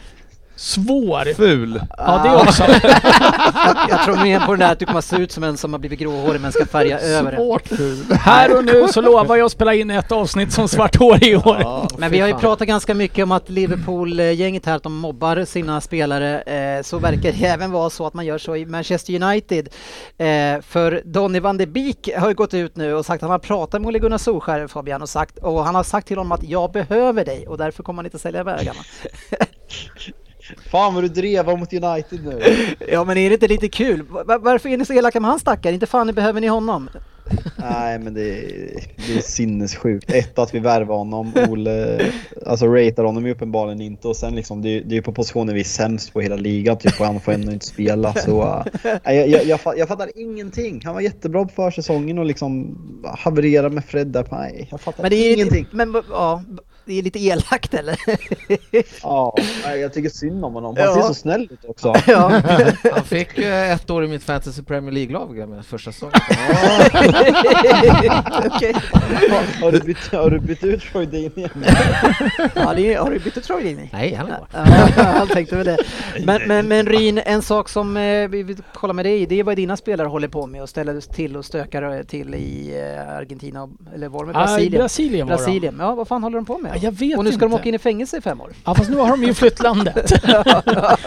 svår. Ful. Ja, det också. jag, jag tror mer på den där att du kommer se ut som en som har blivit gråhårig men ska färga över det. Svårt ful. Här och nu så lovar jag att spela in ett avsnitt som svarthårig i år. Men vi har ju fan. pratat ganska mycket om att Liverpool-gänget här, att de mobbar sina spelare. Eh, så verkar det även vara så att man gör så i Manchester United. Eh, för Donny van de Beek har ju gått ut nu och sagt att han har pratat med Ole Gunnar Solskjaer, Fabian, och, sagt, och han har sagt till honom att jag behöver dig och därför kommer han inte sälja iväg honom. Fan vad du drevar mot United nu. Ja men är det inte lite kul? Va- varför är ni så elaka med han stackaren? Inte fan ni behöver ni honom. Nej men det är, det är sinnessjukt. Ett att vi värvar honom. Ole, alltså ratear honom ju uppenbarligen inte. Och sen liksom det, är- det är ju på positioner vi är sämst på i hela ligan. Typ och han får ändå inte spela. Så, äh, nej, jag, jag, jag, fa- jag fattar ingenting. Han var jättebra på försäsongen och liksom havererade med Fred där. Nej, jag fattar Men det är, ingenting. Men, ja, det är lite elakt eller? Ja, nej, jag tycker synd om honom. Han Ja. ser så snäll ut också. ja. Han fick ju ett år i mitt fantasy Premier League-lag grabbar, med första säsongen. Okej. Har, har, du bytt, har du bytt ut Troy Dean igen? ja, det är, har du bytt ut Troy Deeney? Nej, han är kvar. Ja, han tänkte väl det. Men, men, men Ryn, en sak som eh, vi vill kolla med dig i, det är vad dina spelare håller på med och ställer till och stökar eh, till i eh, Argentina, och- eller var de i Ja, i Brasilien? Brasilien var de. Brasilien. Ja, vad fan håller de på med? Ja, jag vet och nu ska de inte. åka in i fängelse i fem år. Ja, fast nu har de ju flytt landet.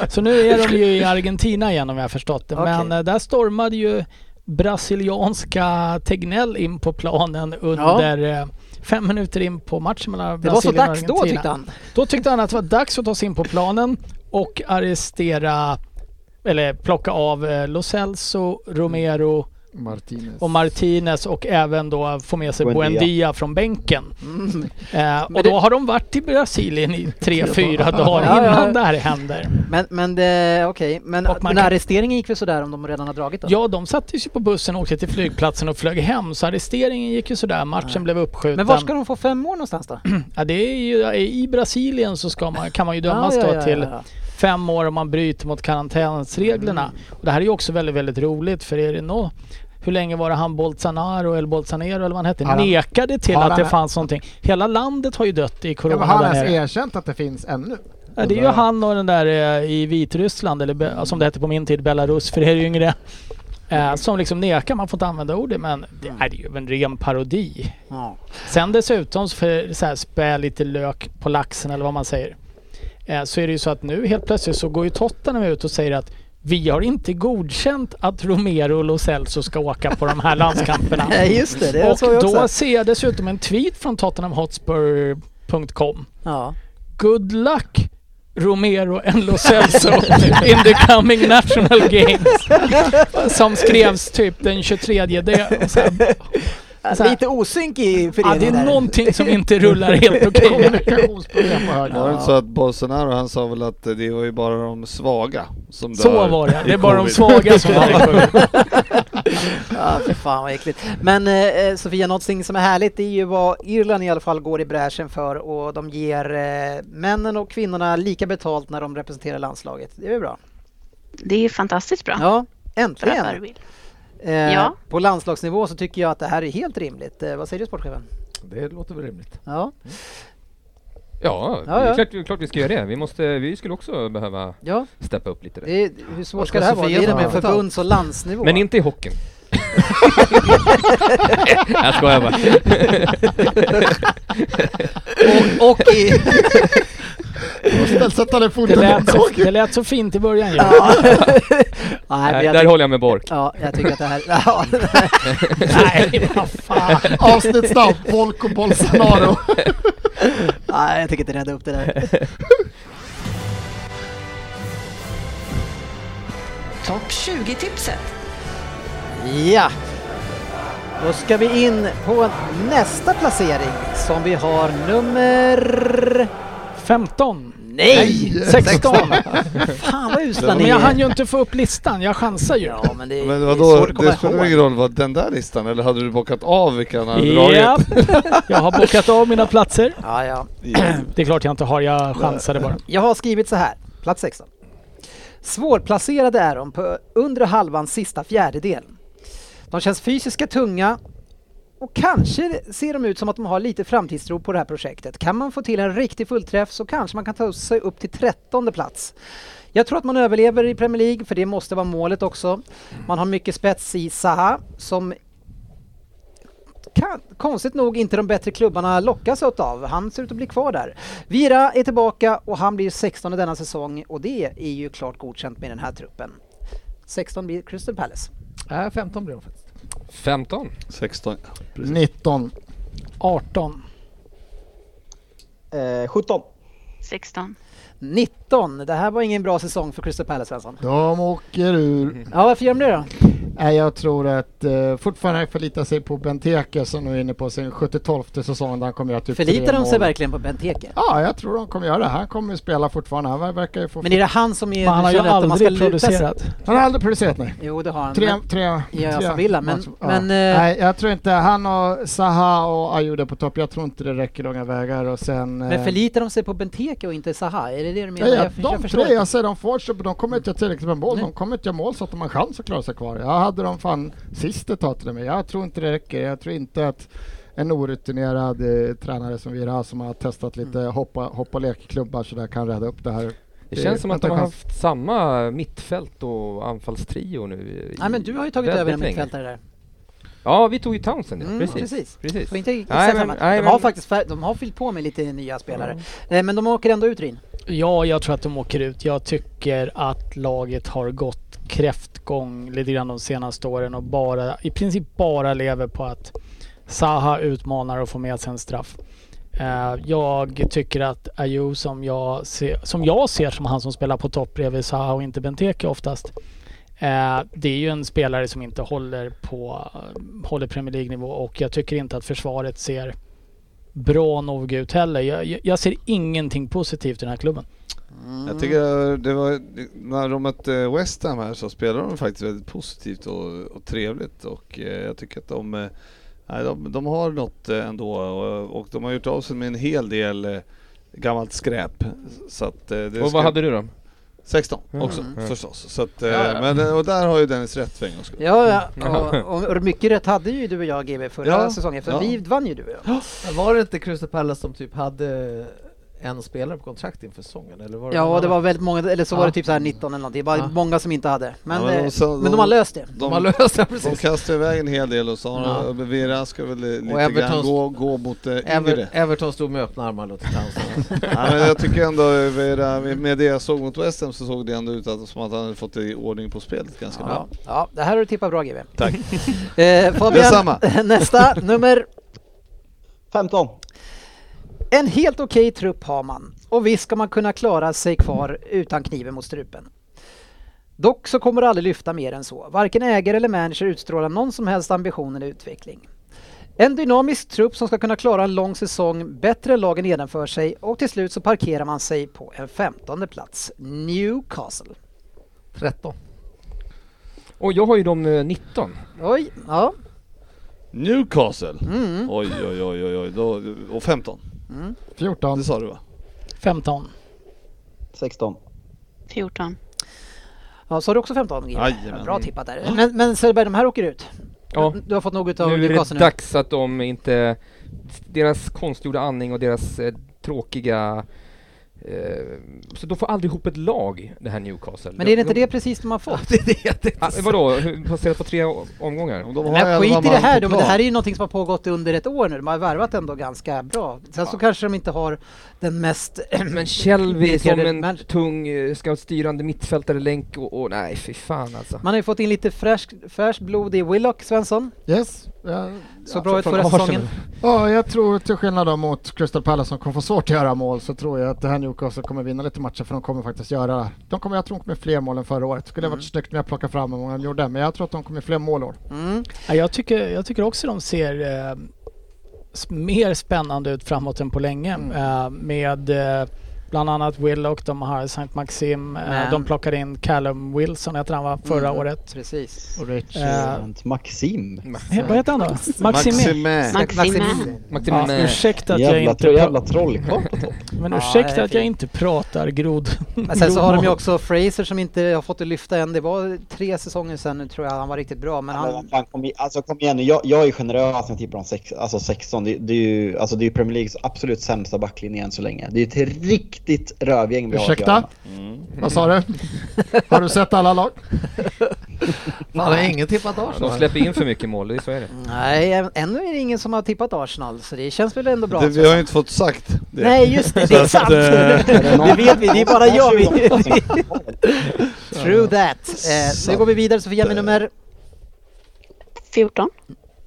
Så nu är de ju i Argentina igen om jag har förstått det. Men Okej. eh, där stormade ju brasilianska Tegnell in på planen under eh, fem minuter in på matchen mellan Det var så Brasilien och dags då Argentina. tyckte han. Då tyckte han att det var dags att ta sig in på planen och arrestera eller plocka av eh, Lo Celso, Romero Martinez. Mm. och Martinez och även då få med sig Buendia. Buendia från bänken. Mm. Eh, och Men då det- har de varit i Brasilien i tre, fyra dagar Ja, ja. innan det här händer. Men, men det- okej, men Och man den kan- arresteringen gick väl sådär om de redan har dragit den? Ja, de sattes ju på bussen och åkte till flygplatsen och flög hem så arresteringen gick ju sådär. Matchen blev uppskjuten. Men var ska de få fem år någonstans då? ja, det är ju, I Brasilien så ska man, kan man ju dömas Ja, ja, då ja, ja, till ja. Mm. fem år om man bryter mot karantänsreglerna. Och det här är ju också väldigt, väldigt roligt för är det nå, hur länge var det han Bolsonaro eller Bolsonaro eller vad han hette Har han- nekade till har att det han- fanns någonting. Hela landet har ju dött i Ja, corona men har där han ens nere. erkänt att det finns ännu? Ja, det är ju han och den där eh, i Vitryssland, eller Be- som det hette på min tid, Belarus för er yngre. eh, Som liksom nekar, man får inte använda ordet men det är ju en ren parodi. Ja. Sen dessutom, så för så här, spä lite lök på laxen eller vad man säger. eh, Så är det ju så att nu helt plötsligt så går ju Tottenham ut och säger att vi har inte godkänt att Romero och Lo Celso ska åka på de här landskamperna. Nej, just det, det såg och jag då också. ser jag dessutom en tweet från tottenhamhotspur.com Ja. Good luck Romero and Lo Celso in the coming national games. Som skrevs typ den 23. Det, och så här, Ja, Så här- Lite osynk i Alltså, ja, det föreningen. är där. någonting som inte rullar helt okej. Var det inte så att Bolsonaro han sa väl att det var ju bara de svaga som Så dör var det. i Det är bara de covid. svaga som dör i covid. Ja, för fan vad äckligt. Men eh, Sofia, någonting som är härligt är ju vad Irland i alla fall går i bräschen för och de ger eh, männen och kvinnorna lika betalt när de representerar landslaget. Det är ju bra. Det är fantastiskt bra. Ja, Bra äntligen. förebild. Eh, Ja. På landslagsnivå så tycker jag att det här är helt rimligt. Eh, vad säger du sportchefen? Det låter väl rimligt. Ja. Ja, Ja, det ja. är klart, det är klart vi ska göra det. Vi, måste, vi skulle också behöva Ja. steppa upp lite där. Det är, hur svårt Vad ska ska det här vara? Det Sofia är det ta med betalt? förbunds och landsnivå. Men inte i hockeyn. jag skojar bara. och, och i... Sätta ner Det foten lät, bakom. så, det lät så fint i början ju. Ja. Nej, men Nej, jag där tyck- håller jag med Bork. Ja, jag tycker att det här... Ja, Nej, vad fan. Avsnittsnamn, Volko Bolsonaro. nej, jag tänker inte rädda upp det där. Topp 20-tipset. Ja. Då ska vi in på nästa placering som vi har nummer... 15. Nej! 16. Fan vad usla ni Men jag hann är. ju inte få upp listan. Jag chansar ju. Ja, men det är, Men det är vadå, svårt att det spelar komma väl ihåg. ingen roll vad den där listan eller hade du bockat av vilka han hade Ja. dragit? Jag har bokat av mina platser. Ja, ja. Det är klart jag inte har. Jag chansade bara. Jag har skrivit så här, plats 16. Svårplacerade är de på undre halvans sista fjärdedel. De känns fysiska tunga och kanske ser de ut som att de har lite framtidstro på det här projektet. Kan man få till en riktig fullträff så kanske man kan ta sig upp till trettonde plats. Jag tror att man överlever i Premier League, för det måste vara målet också. Man har mycket spets i Zaha, som kan, konstigt nog inte de bättre klubbarna lockas av. Han ser ut att bli kvar där. Vira är tillbaka och han blir 16 denna säsong och det är ju klart godkänt med den här truppen. 16 blir Crystal Palace. Nej, äh, 15 blir de faktiskt. 15. 16. 19. 18. Eh, 17. 16. 19. Det här var ingen bra säsong för Crystal Palace, Svensson. De åker ur. Ja, varför gör de det då? Nej, jag tror att eh, fortfarande förlitar sig på Benteke som nu är inne på sin 72 säsong där han kommer göra typ Förlitar tre de sig mål. verkligen på Benteke? Ja, jag tror de kommer göra det. Han kommer ju spela fortfarande. Han verkar ju få... Men är det han som är... Men han har ju känner att man ska aldrig luta sig? producerat. Han har aldrig producerat, nej. Jo, det har han. Tre, Men, tre, Ja, jag tre får vilja, men- matcher. men, eh, Nej, jag tror inte han och Zaha och Ayuda på topp. Jag tror inte det räcker långa vägar och sen... men eh, förlitar de sig på Benteke och inte Zaha? Är det det du menar? Nej, Jag- jag, jag de förstår tre, jag inte. säger de fortsätter, men de kommer inte göra tillräckligt med mål. Nej. De kommer inte göra mål så att de har en chans att klara sig kvar. Jag hade dem fan sist ett tag till och med. Jag tror inte det räcker. Jag tror inte att en orutinerad eh, tränare som Vira som har testat lite Mm. hoppa, hoppa och lekklubbar så där kan rädda upp det här. Det känns som att de har Vänta, haft samma mittfält och anfallstrio nu. i- Nej, men du har ju tagit väldigt över en länge. mittfältare där. Ja, vi tog ju Townsend, ja. Mm, precis. precis. precis. Får inte exakt Nej, men- samma. nej, de har men- faktiskt fär- de har fyllt på med lite nya spelare. Eh, Men de åker ändå ut Rin. Ja, jag tror att de åker ut. Jag tycker att laget har gått kräftgång lite grann de senaste åren och bara, i princip bara lever på att Zaha utmanar och får med sig en straff. Eh, Jag tycker att Ayew som jag, ser, som jag ser som han som spelar på topp bredvid Zaha och inte Benteke oftast. eh, Det är ju en spelare som inte håller på eh, håller Premier League-nivå och jag tycker inte att försvaret ser bra nog ut heller. Jag, jag, jag ser ingenting positivt i den här klubben. Mm. Jag tycker det var, när de mötte West Ham här så spelade de faktiskt väldigt positivt och, och trevligt och eh, jag tycker att de, eh, nej, de, de har något eh, ändå och, och de har gjort av sig med en hel del eh, gammalt skräp. Så att, eh, det Och ska- vad hade du då? 16 också förstås. Så att, eh, Men, och där har ju Dennis rätt för en gångs skull. Ja, ja. Och, och mycket rätt hade ju du och jag GB förra Ja, säsongen för ja. vi vann ju du och jag. Men Var det inte Crystal Palace som typ hade en spelare på kontrakt inför säsongen? Eller var det någon Ja, det annan? var väldigt många, eller så var det Ja. typ så här 19 eller någonting. Det var Ja. många som inte hade. Men, Ja, men de eh, sa- men de de- har löst det. De De, har löst det de precis. kastar iväg en hel del och så har Ja. Vera ska väl eh, lite Everton- grann gå, gå mot eh, yngre. Ever, Everton stod med öppna armar och låter dansa. Ja, men jag tycker ändå eh, Vera, med det jag såg mot West Ham så såg det ändå ut att, som att han hade fått i ordning på spelet ganska bra. Ja. ja, det här har du tippat bra GB. Tack. Eh, Fabian, Detsamma. nästa nummer 15. En helt okej trupp har man och visst ska man kunna klara sig kvar utan kniven mot strupen. Dock så kommer det aldrig lyfta mer än så. Varken ägare eller manager utstrålar någon som helst ambition eller utveckling. En dynamisk trupp som ska kunna klara en lång säsong bättre än lagen nedanför sig och till slut så parkerar man sig på en femtonde plats. Newcastle. 13. Och jag har ju de eh, 19. Oj, ja. Newcastle. Mm. Oj, oj, oj, oj, oj. Då, och 15. Mm. 14. Det sa du va? 15. 16. 14. Ja, så har du också 15 Gille? Jajamän. Bra tippat där. Men, men Söderberg, de här åker ut. Ja. Du har fått något av Nu är Newcastle det nu. dags att de inte... Deras konstgjorda andning och deras eh, tråkiga... Eh, så de får aldrig ihop ett lag, det här Newcastle. Men är det De- inte de- det precis de har fått? Alltså. Ah, vadå, Hur- baserat på tre o- omgångar? Om de har Men elva skit i det man här på då, men det plan. här är ju någonting som har pågått under ett år nu. De har värvat ändå ganska bra. Sen så kanske de inte har den mest... Men Shelby som irriterade en manager. tung, eh, ska ha styrande mittfältare, länk och, och nej fy fan alltså. Man har ju fått in lite fräscht fräsch blod i Willock, Svensson. Yes. Ja, alltså, Så bra ut från förra Arsenal. säsongen. ja, jag tror till skillnad då mot Crystal Palace som kommer få svårt att göra mål så tror jag att det här Newcastle kommer vinna lite matcher för de kommer faktiskt göra, de kommer, jag tror de kommer fler mål än förra året. Skulle Mm. ha varit snyggt när jag plockar fram hur många de gjorde, men jag tror att de kommer fler mål i år. Mm. Ja, jag, tycker, jag tycker också de ser eh, s- mer spännande ut framåt än på länge Mm. eh, med eh, bland annat Willock, de har St. Maxim, eh, Men- de plockade in Callum Wilson, heter han var förra Mm. året. Precis. Och Rich, Eh, Maxim. he- vad heter han då? Maximin? Maximä. Maxime. Maxime, Ja, ursäkta att jag Jävla, inte, tro, jävla pra- trollkarl. men Ja, det ursäkta är att jag fint. inte pratar grod. Men sen så har de ju också Fraser som inte har fått det lyfta än. Det var tre säsonger sedan nu tror jag han var riktigt bra. Men Men han, vad fan, kom, i- alltså, kom igen nu, jag, jag är generös när jag tippar om sex, alltså 16. Det, det, är ju, alltså, det är ju Premier Leagues absolut sämsta backlinje än så länge. Det är ett riktigt rövgäng vi har att göra Ursäkta? med. Mm. Vad sa du? Har du sett alla lag? Fan, har ingen tippat de Arsenal? släpper in för mycket mål, det är så är det. nej, ä- ännu är det ingen som har tippat Arsenal så det känns väl ändå bra. Det, vi har ju inte fått sagt det. Nej, just det, det är Så att, sant! eh, Det vet vi, det är bara jag. vi- vi... True that! Eh, nu går vi vidare så får Jenny nummer 14.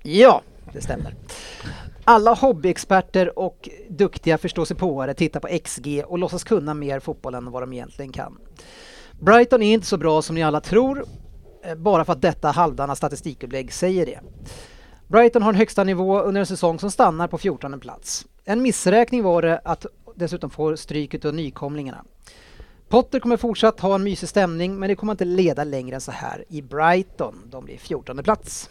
Ja, det stämmer. Alla hobbyexperter och duktiga förståsigpåare tittar på XG och låtsas kunna mer fotboll än vad de egentligen kan. Brighton är inte så bra som ni alla tror, eh, bara för att detta halvdana statistikupplägg säger det. Brighton har en högsta nivå under en säsong som stannar på 14 plats. En missräkning var det att dessutom få stryk av nykomlingarna. Potter kommer fortsatt ha en mysig stämning men det kommer inte leda längre än så här i Brighton. De blir 14 plats.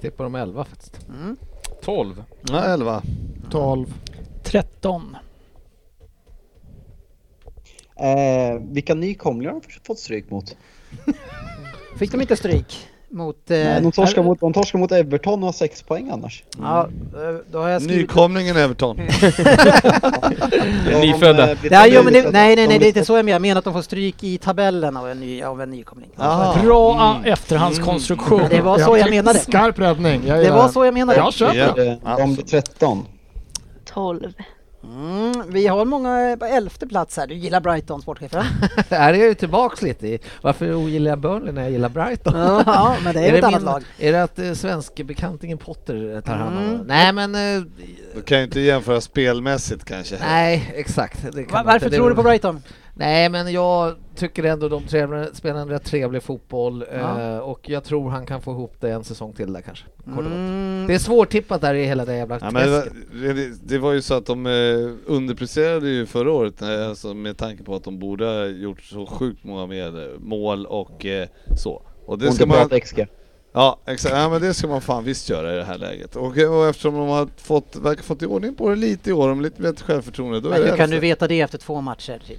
Tippar de 11 faktiskt. Mm. 12. Nej, 11. 12. 13. eh, vilka nykomlingar har de fått stryk mot? Fick de inte stryk mot... Eh, Nej, de, torskar mot de torskar mot Everton och har sex poäng annars. Ja, eh, då har jag skrivit... Nykomlingen Everton. Ja, de, nyfödda. eh, blir- Ja, jo, men det, de- nej, nej, nej, det är de- inte så jag menar. Jag menar att de får stryk i tabellen av en, ny, av en nykomling. Aha. Bra a- Mm. efterhandskonstruktion. Det var så Mm. jag menade. Skarp räddning. Jag Det gillar var den. så jag menade. Jag köper Ja. den. eh, De blir 13. 12. Mm, vi har många på elfte plats här. Du gillar Brighton, sportchefen? här är jag ju tillbaks lite i. Varför ogillar jag Burnley när jag gillar Brighton? ja, men det är, ju ett det annat min- lag. Är det att eh, svenske bekantingen Potter eh, tar hand om Mm. det? Nej men, eh, Du kan ju inte jämföra spelmässigt kanske. nej exakt. Det kan Va- man varför inte. Det tror är- du på Brighton? Nej men jag tycker ändå de trevliga, spelar en rätt trevlig fotboll Ja. eh, och jag tror han kan få ihop det en säsong till där kanske. Kort och gott. Mm, Det är svårtippat där i hela det jävla Ja, träsket. men det, var, det- det var ju så att de eh, underpresterade ju förra året eh, alltså med tanke på att de borde ha gjort så sjukt många mer mål och eh, så. Och det Och ska inte man, bra XG. ja, exakt, ja men det ska man fan visst göra i det här läget. Och, eh, och eftersom de har fått, verkar fått i ordning på det lite i år, de har lite bättre självförtroende. Då är men det hur kan elfte. du veta det efter två matcher? Typ?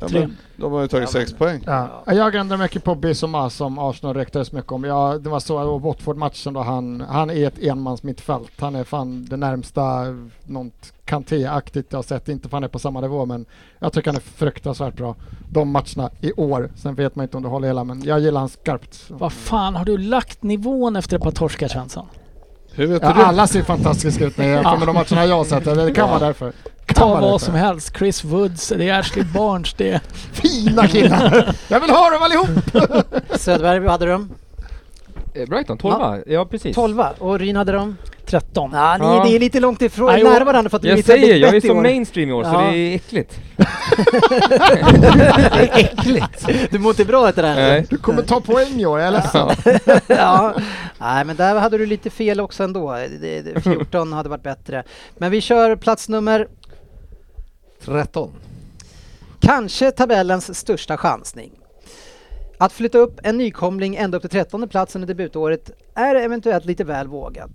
ja, Tre. men, De har ju tagit sex poäng. Ja. Jag ändrar mycket på Bissoma som Arsenal ryktades mycket om. Ja, det var så, och Watford-matchen då, han, han är ett enmans mittfält. Han är fan det närmsta något Kanté-aktigt jag har sett. Inte fan är på samma nivå, men jag tycker han är fruktansvärt bra. De matcherna i år. Sen vet man inte om det håller hela, men jag gillar han skarpt. Vad fan, har du lagt nivån efter ett par torskar Svensson? Hur vet Ja, du det? alla ser fantastiska ut när jag jämför med de matcherna jag har sett. Det kan vara därför. Kan Ta vara vad därför. som helst, Chris Woods, det är Ashley Barnes, det är... Fina killar! Jag vill ha dem allihop! Söderberg hade de Eh, Brighton, 12 ja. ja precis. 12 och Ryn hade de 13. Ja, ni, det är lite långt ifrån, Ja, jo. nära varandra för att Jag ni tar säger, lite jag är bett i så år. mainstream i år så Ja. det är äckligt. det är äckligt. Du mår inte bra efter det här. Nej. Du kommer ta poäng i år, jag är ledsen. ja. Nej, men där hade du lite fel också ändå. Det- det- 14 hade varit bättre. Men vi kör plats nummer, 13. kanske tabellens största chansning. Att flytta upp en nykomling ända upp till 13 platsen i debutåret är eventuellt lite väl vågat.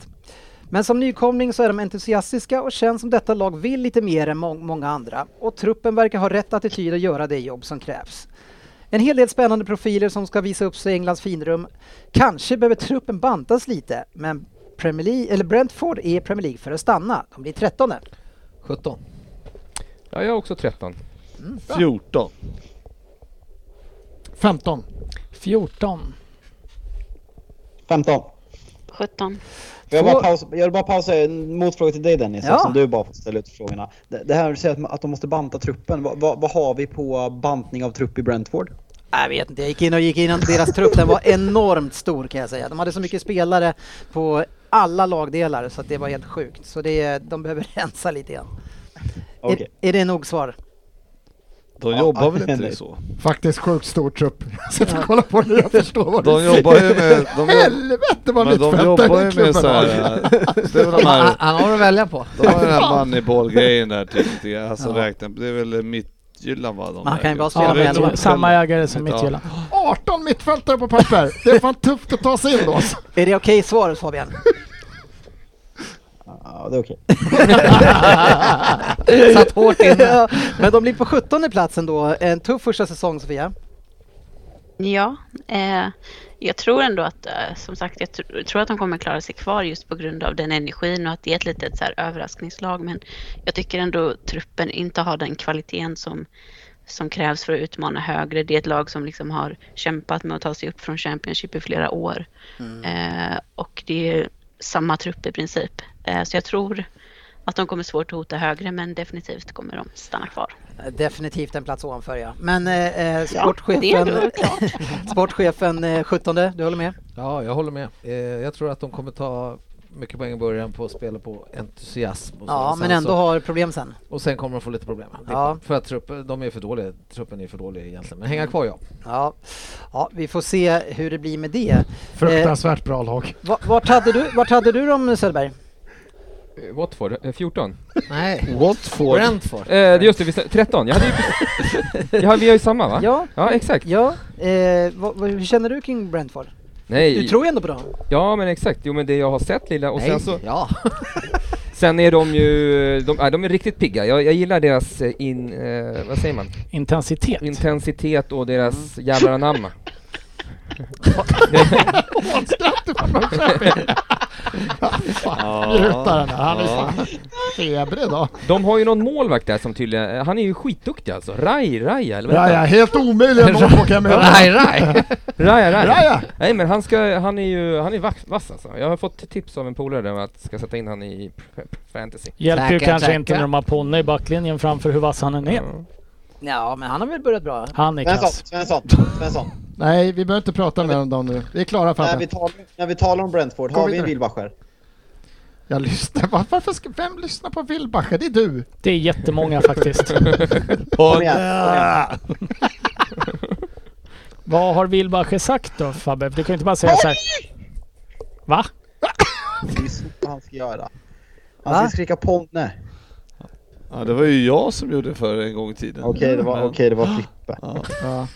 Men som nykomling så är de entusiastiska och känns som detta lag vill lite mer än må- många andra och truppen verkar ha rätt attityd att göra det jobb som krävs. En hel del spännande profiler som ska visa upp sig i Englands finrum. Kanske behöver truppen bantas lite, men Premier League, eller Brentford är i Premier League för att stanna. De blir 13. 17. Ja, jag är också 13. Mm, 14. 15. 14. 15. 17. Jag vill bara pausa, jag vill bara pausa en motfråga till dig Dennis, Ja. eftersom du bara får ställa ut frågorna. Det, det här du säger att, att de måste banta truppen. Vad, vad, vad har vi på bantning av trupp i Brentford? Jag vet inte, jag gick in och gick in och deras trupp, den var enormt stor kan jag säga. De hade så mycket spelare på alla lagdelar så att det var helt sjukt. Så det, är- de behöver rensa lite igen. Okej. Är, är det nog svar? De Ja, jobbar väl nej. inte det så? Faktiskt sjukt stor trupp. Jag sitter och kollar på det, jag förstår vad De du jobbar ju med... De, jobb- Helvete vad men de jobbar ju mittfältare med klubben så har. här... Det är väl de Han, här... han har att välja på. De har den här Moneyball-grejen där till lite grann. Alltså räkna... Det är väl Midtjylland va? De Man där kan ju bara gubbarna. spela med Ja, det är elva. de- samma ägare som Ja. Midtjylland. 18 mittfältare på papper. Det är fan tufft att ta sig in då. Är det okej svar Fabian? Ja, det är okej. Satt hårt inne. Ja, Men de blir på 17 platsen då. En tuff första säsong Sofia. Ja, eh, jag tror ändå att, eh, som sagt, jag tr- tror att de kommer klara sig kvar just på grund av den energin och att det är ett litet så här, överraskningslag. Men jag tycker ändå truppen inte har den kvaliteten som, som krävs för att utmana högre. Det är ett lag som liksom har kämpat med att ta sig upp från Championship i flera år. Mm. Eh, och det är samma trupp i princip. Eh, så jag tror att de kommer svårt att hota högre, men definitivt kommer de stanna kvar. Definitivt en plats ovanför ja. Men eh, eh, Ja, sportchefen, det är väl klart. sportchefen eh, 17, du håller med? Ja, jag håller med. Eh, jag tror att de kommer ta mycket poäng i början på att spela på entusiasm. Och så. Ja, Och sen men ändå så, har problem sen. Och sen kommer de få lite problem. Det är Ja. klart. För att truppen, de är för dåliga. Truppen är för dålig egentligen. Men hänga kvar ja. Mm. Ja. ja, vi får se hur det blir med det. Eh, Fruktansvärt bra lag. Va- Vart hade du, vart hade du dem Söderberg? Eh, Watford? Eh, 14? Nej. Watford. Brentford. Eh, det är just det, vi sa- 13. Jag hade ju... jag har, vi har ju samma va? Ja, Ja, exakt. ja. Eh, vad- vad- hur känner du kring Brentford? Nej. Du tror ju ändå på dem. Ja men exakt, jo men det jag har sett lilla och sen Nej. så Ja. Sen är de ju, de, äh, de är riktigt pigga. Jag, jag gillar deras eh, in, eh, vad säger man? Intensitet. Intensitet och deras jävlar anamma. Ja. Lutar den här. Han är fan febrig idag. De har ju någon målvakt där som tydligen, eh, han är ju skitduktig alltså. Rai, Raja eller vad Ja, heter ja, han? helt omöjlig att nå på Kamerun. Raj, raj. Raja, Raja. Raja. Nej men han ska, han är ju, han är vass, vass alltså. Jag har fått tips av en polare där om att ska sätta in han i prep fantasy. Hjälper ju Tacka, kanske inte tacka. när de har Ponne i backlinjen framför hur vass han än är. Ja, men han har väl börjat bra? Han är Svensson, kass. Svensson, Svensson. Nej, vi behöver inte prata mer om dem nu. Vi är När klara vi, Fabbe. talar, när vi talar om Brentford, Gå har vi en vidare. Wilbacher? Jag lyssnar. Var- Varför ska, vem lyssnar på Wilbacher? Det är du. Det är jättemånga faktiskt. Kom igen, kom igen. Vad har Wilbacher sagt då Fabbe? Du kan ju inte bara säga så här. Va? Det är så han ska göra. Va? Han ska skrika ponne. Ja, det var ju jag som gjorde det för en gång i tiden. Okej, det var, Men- okej, det var Frippe. Ja.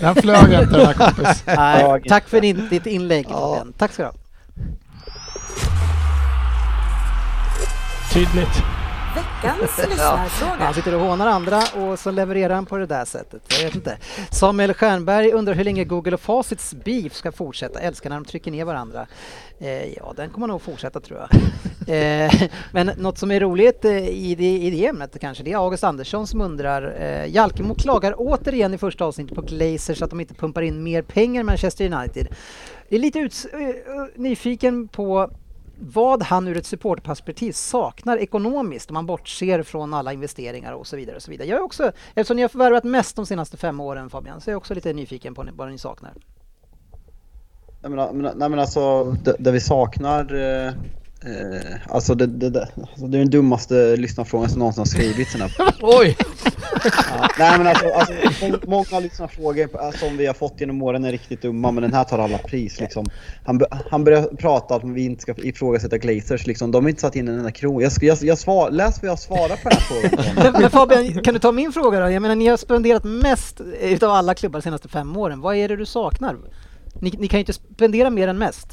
Den flög inte den här kompis. Nej, Jag- tack för din, ditt inlägg Fabian. Tack ska du ha. Tydligt. Veckans Han lyssnarfråga. sitter och hånar andra och så levererar han på det där sättet. Jag vet inte. Samuel Stjernberg undrar hur länge Google och Facits beef ska fortsätta. Älskar när de trycker ner varandra. Eh, ja, den kommer nog fortsätta tror jag. eh, men något som är roligt eh, i det, i det ämnet kanske, det är August Andersson som undrar. Eh, Jalkemo klagar återigen i första avsnittet på Glazers att de inte pumpar in mer pengar i Manchester United. Jag är lite uts- eh, eh, nyfiken på vad han ur ett supportperspektiv saknar ekonomiskt om man bortser från alla investeringar och så vidare. Och så vidare. Jag är också, eftersom ni har förvärvat mest de senaste fem åren Fabian, så är jag också lite nyfiken på ni- vad ni saknar. Nej men, nej, men alltså, det, det vi saknar... eh, Eh, alltså det, det, det, alltså det är den dummaste lyssnarfrågan som någonsin har skrivits. i den här- Oj! Ja, nej men alltså, alltså må- många lyssnarfrågor eh, som vi har fått genom åren är riktigt dumma men den här tar alla pris liksom. Han, bör- han börjar prata om att vi inte ska ifrågasätta glazers liksom. De har inte satt in en enda krona. Jag, ska- jag, jag svar, läs vad jag svarar på den här frågan. Men, men Fabian, kan du ta min fråga då? Jag menar, ni har spenderat mest eh, utav alla klubbar de senaste fem åren. Vad är det du saknar? Ni, ni kan ju inte spendera mer än mest.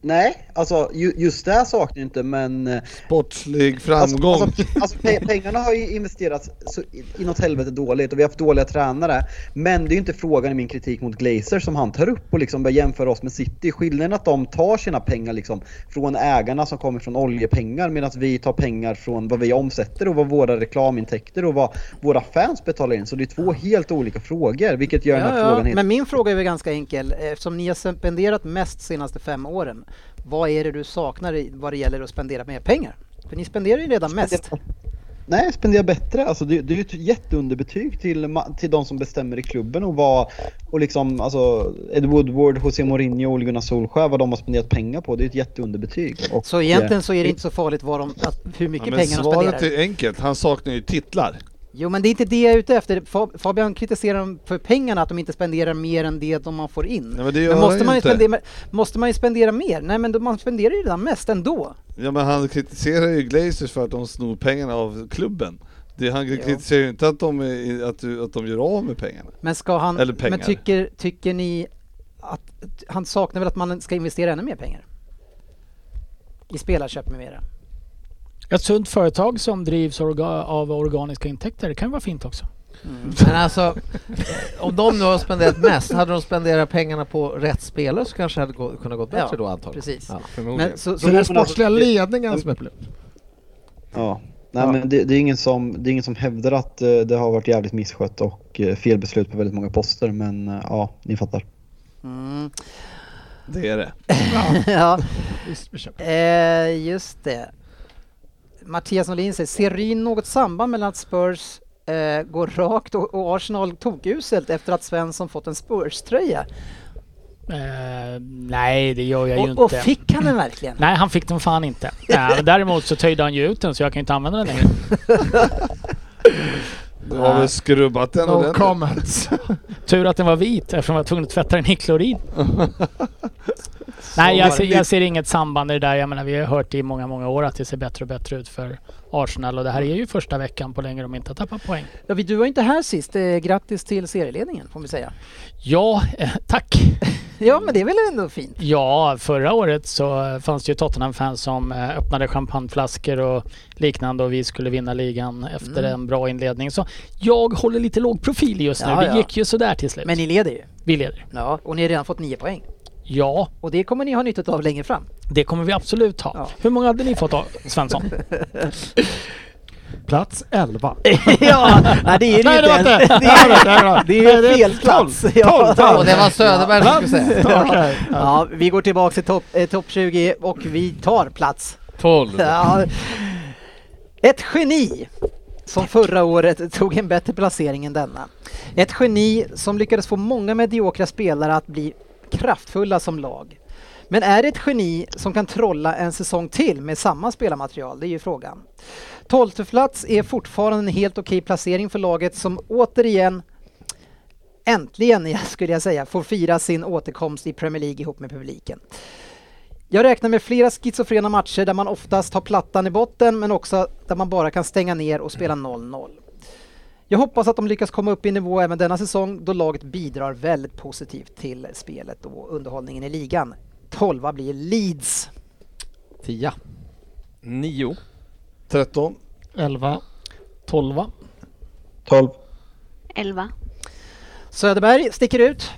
Nej, alltså ju, just det här saknar jag inte men... eh, Sportslig framgång. Alltså, alltså, alltså, pe- pengarna har ju investerats så i- inåt helvete dåligt och vi har haft dåliga tränare. Men det är ju inte frågan i min kritik mot Glazer som han tar upp och liksom börjar jämföra oss med City. Skillnaden är att de tar sina pengar liksom från ägarna som kommer från oljepengar medan vi tar pengar från vad vi omsätter och vad våra reklamintäkter och vad våra fans betalar in. Så det är två helt olika frågor vilket gör den här Ja, frågan ja. helt... Men min fråga är väl ganska enkel. Eftersom ni har spenderat mest senaste fem åren, vad är det du saknar i- vad det gäller att spendera mer pengar? För ni spenderar ju redan mest. Nej, spendera bättre. Alltså, det, det är ju ett jätteunderbetyg till, ma- till de som bestämmer i klubben och vad, och liksom, alltså, Ed Woodward, José Mourinho och Ole Gunnar Solskjaer, vad de har spenderat pengar på. Det är ett jätteunderbetyg. Och, eh, Så egentligen så är det inte så farligt vad de, att, hur mycket pengar de svaret spenderar. är enkelt, han saknar ju titlar. Jo, men det är inte det jag är ute efter. Fa- Fabian kritiserar dem för pengarna, att de inte spenderar mer än det de man får in. Nej, men det gör måste, han man ju inte. spendera, måste man ju spendera mer? Nej, men då- man spenderar ju redan mest ändå. Ja men han kritiserar ju Glazers för att de snor pengarna av klubben. Det, han kritiserar ju inte att de, är- att, du- att de gör av med pengarna. Men ska han... Eller pengar. Men tycker, tycker ni att... Han saknar väl att man ska investera ännu mer pengar? I spelarköp med mera. Ett sunt företag som drivs orga- av organiska intäkter, det kan ju vara fint också. Men alltså, om de nu har spenderat mest, hade de spenderat pengarna på rätt spelare så kanske det hade gå, kunnat gått bättre Ja, då antagligen. precis. Ja. Förmodligen. Men, så, Så så, det är den men alltså- sportsliga ledningen som är problemet. ja. Nej, men det, det, är ingen som, det är ingen som hävdar att eh, det har varit jävligt misskött och eh, fel beslut på väldigt många poster, men eh, ja, ni fattar. mm, Det är det. ja, Visst, vi köper. eh, just det. Mattias Norlin säger, ser Ryn något samband mellan att Spurs eh, går rakt och, och Arsenal tokuselt efter att Svensson fått en Spurs-tröja? Eh, nej, det gör jag ju Och, inte. och fick han den verkligen? Nej, han fick den fan inte. Nej, men däremot så töjde han ju ut den så jag kan ju inte använda den längre. Du har väl skrubbat den No ordentligt? comments. Tur att den var vit eftersom jag var tvungen att tvätta den i klorin. Nej, jag ser, jag ser inget samband i det där. Jag menar, vi har hört i många, många år att det ser bättre och bättre ut för Arsenal och det här är ju första veckan på länge de inte har tappat poäng. Ja, vi- du var inte här sist. Eh, grattis till serieledningen får vi säga. Ja, eh, tack. Ja, men det är väl ändå fint? Ja, förra året så eh, fanns det ju Tottenham-fans som eh, öppnade champagneflaskor och liknande och vi skulle vinna ligan efter en bra inledning. Så jag håller lite låg profil just nu. Ja, ja. Det gick ju sådär till slut. Men ni leder ju. Vi leder. Ja, och ni har redan fått nio poäng. Ja, Och det kommer ni ha nytta av längre fram. det kommer vi absolut ha. Ja. Hur många hade ni fått av Svensson? Plats 11. ja, nej det är det Nej, ju det var inte. inte! ens. Det är, Det är ju fel plats. Ja. Och det var Söderberg som skulle säga. ja, vi går tillbaka till topp eh, top 20 och vi tar plats. 12. Ja. Ett geni som förra året tog en bättre placering än denna. Ett geni som lyckades få många mediokra spelare att bli kraftfulla som lag. Men är det ett geni som kan trolla en säsong till med samma spelarmaterial? Det är ju frågan. Tolfteplats är fortfarande en helt okej placering för laget som återigen Äntligen, skulle jag säga, får fira sin återkomst i Premier League ihop med publiken. Jag räknar med flera schizofrena matcher där man oftast har plattan i botten men också där man bara kan stänga ner och spela 0-0. Jag hoppas att de lyckas komma upp i nivå även denna säsong då laget bidrar väldigt positivt till spelet och underhållningen i ligan. 12 blir Leeds. Tia. 9. 13. 11. 12 12. 11. Söderberg sticker ut.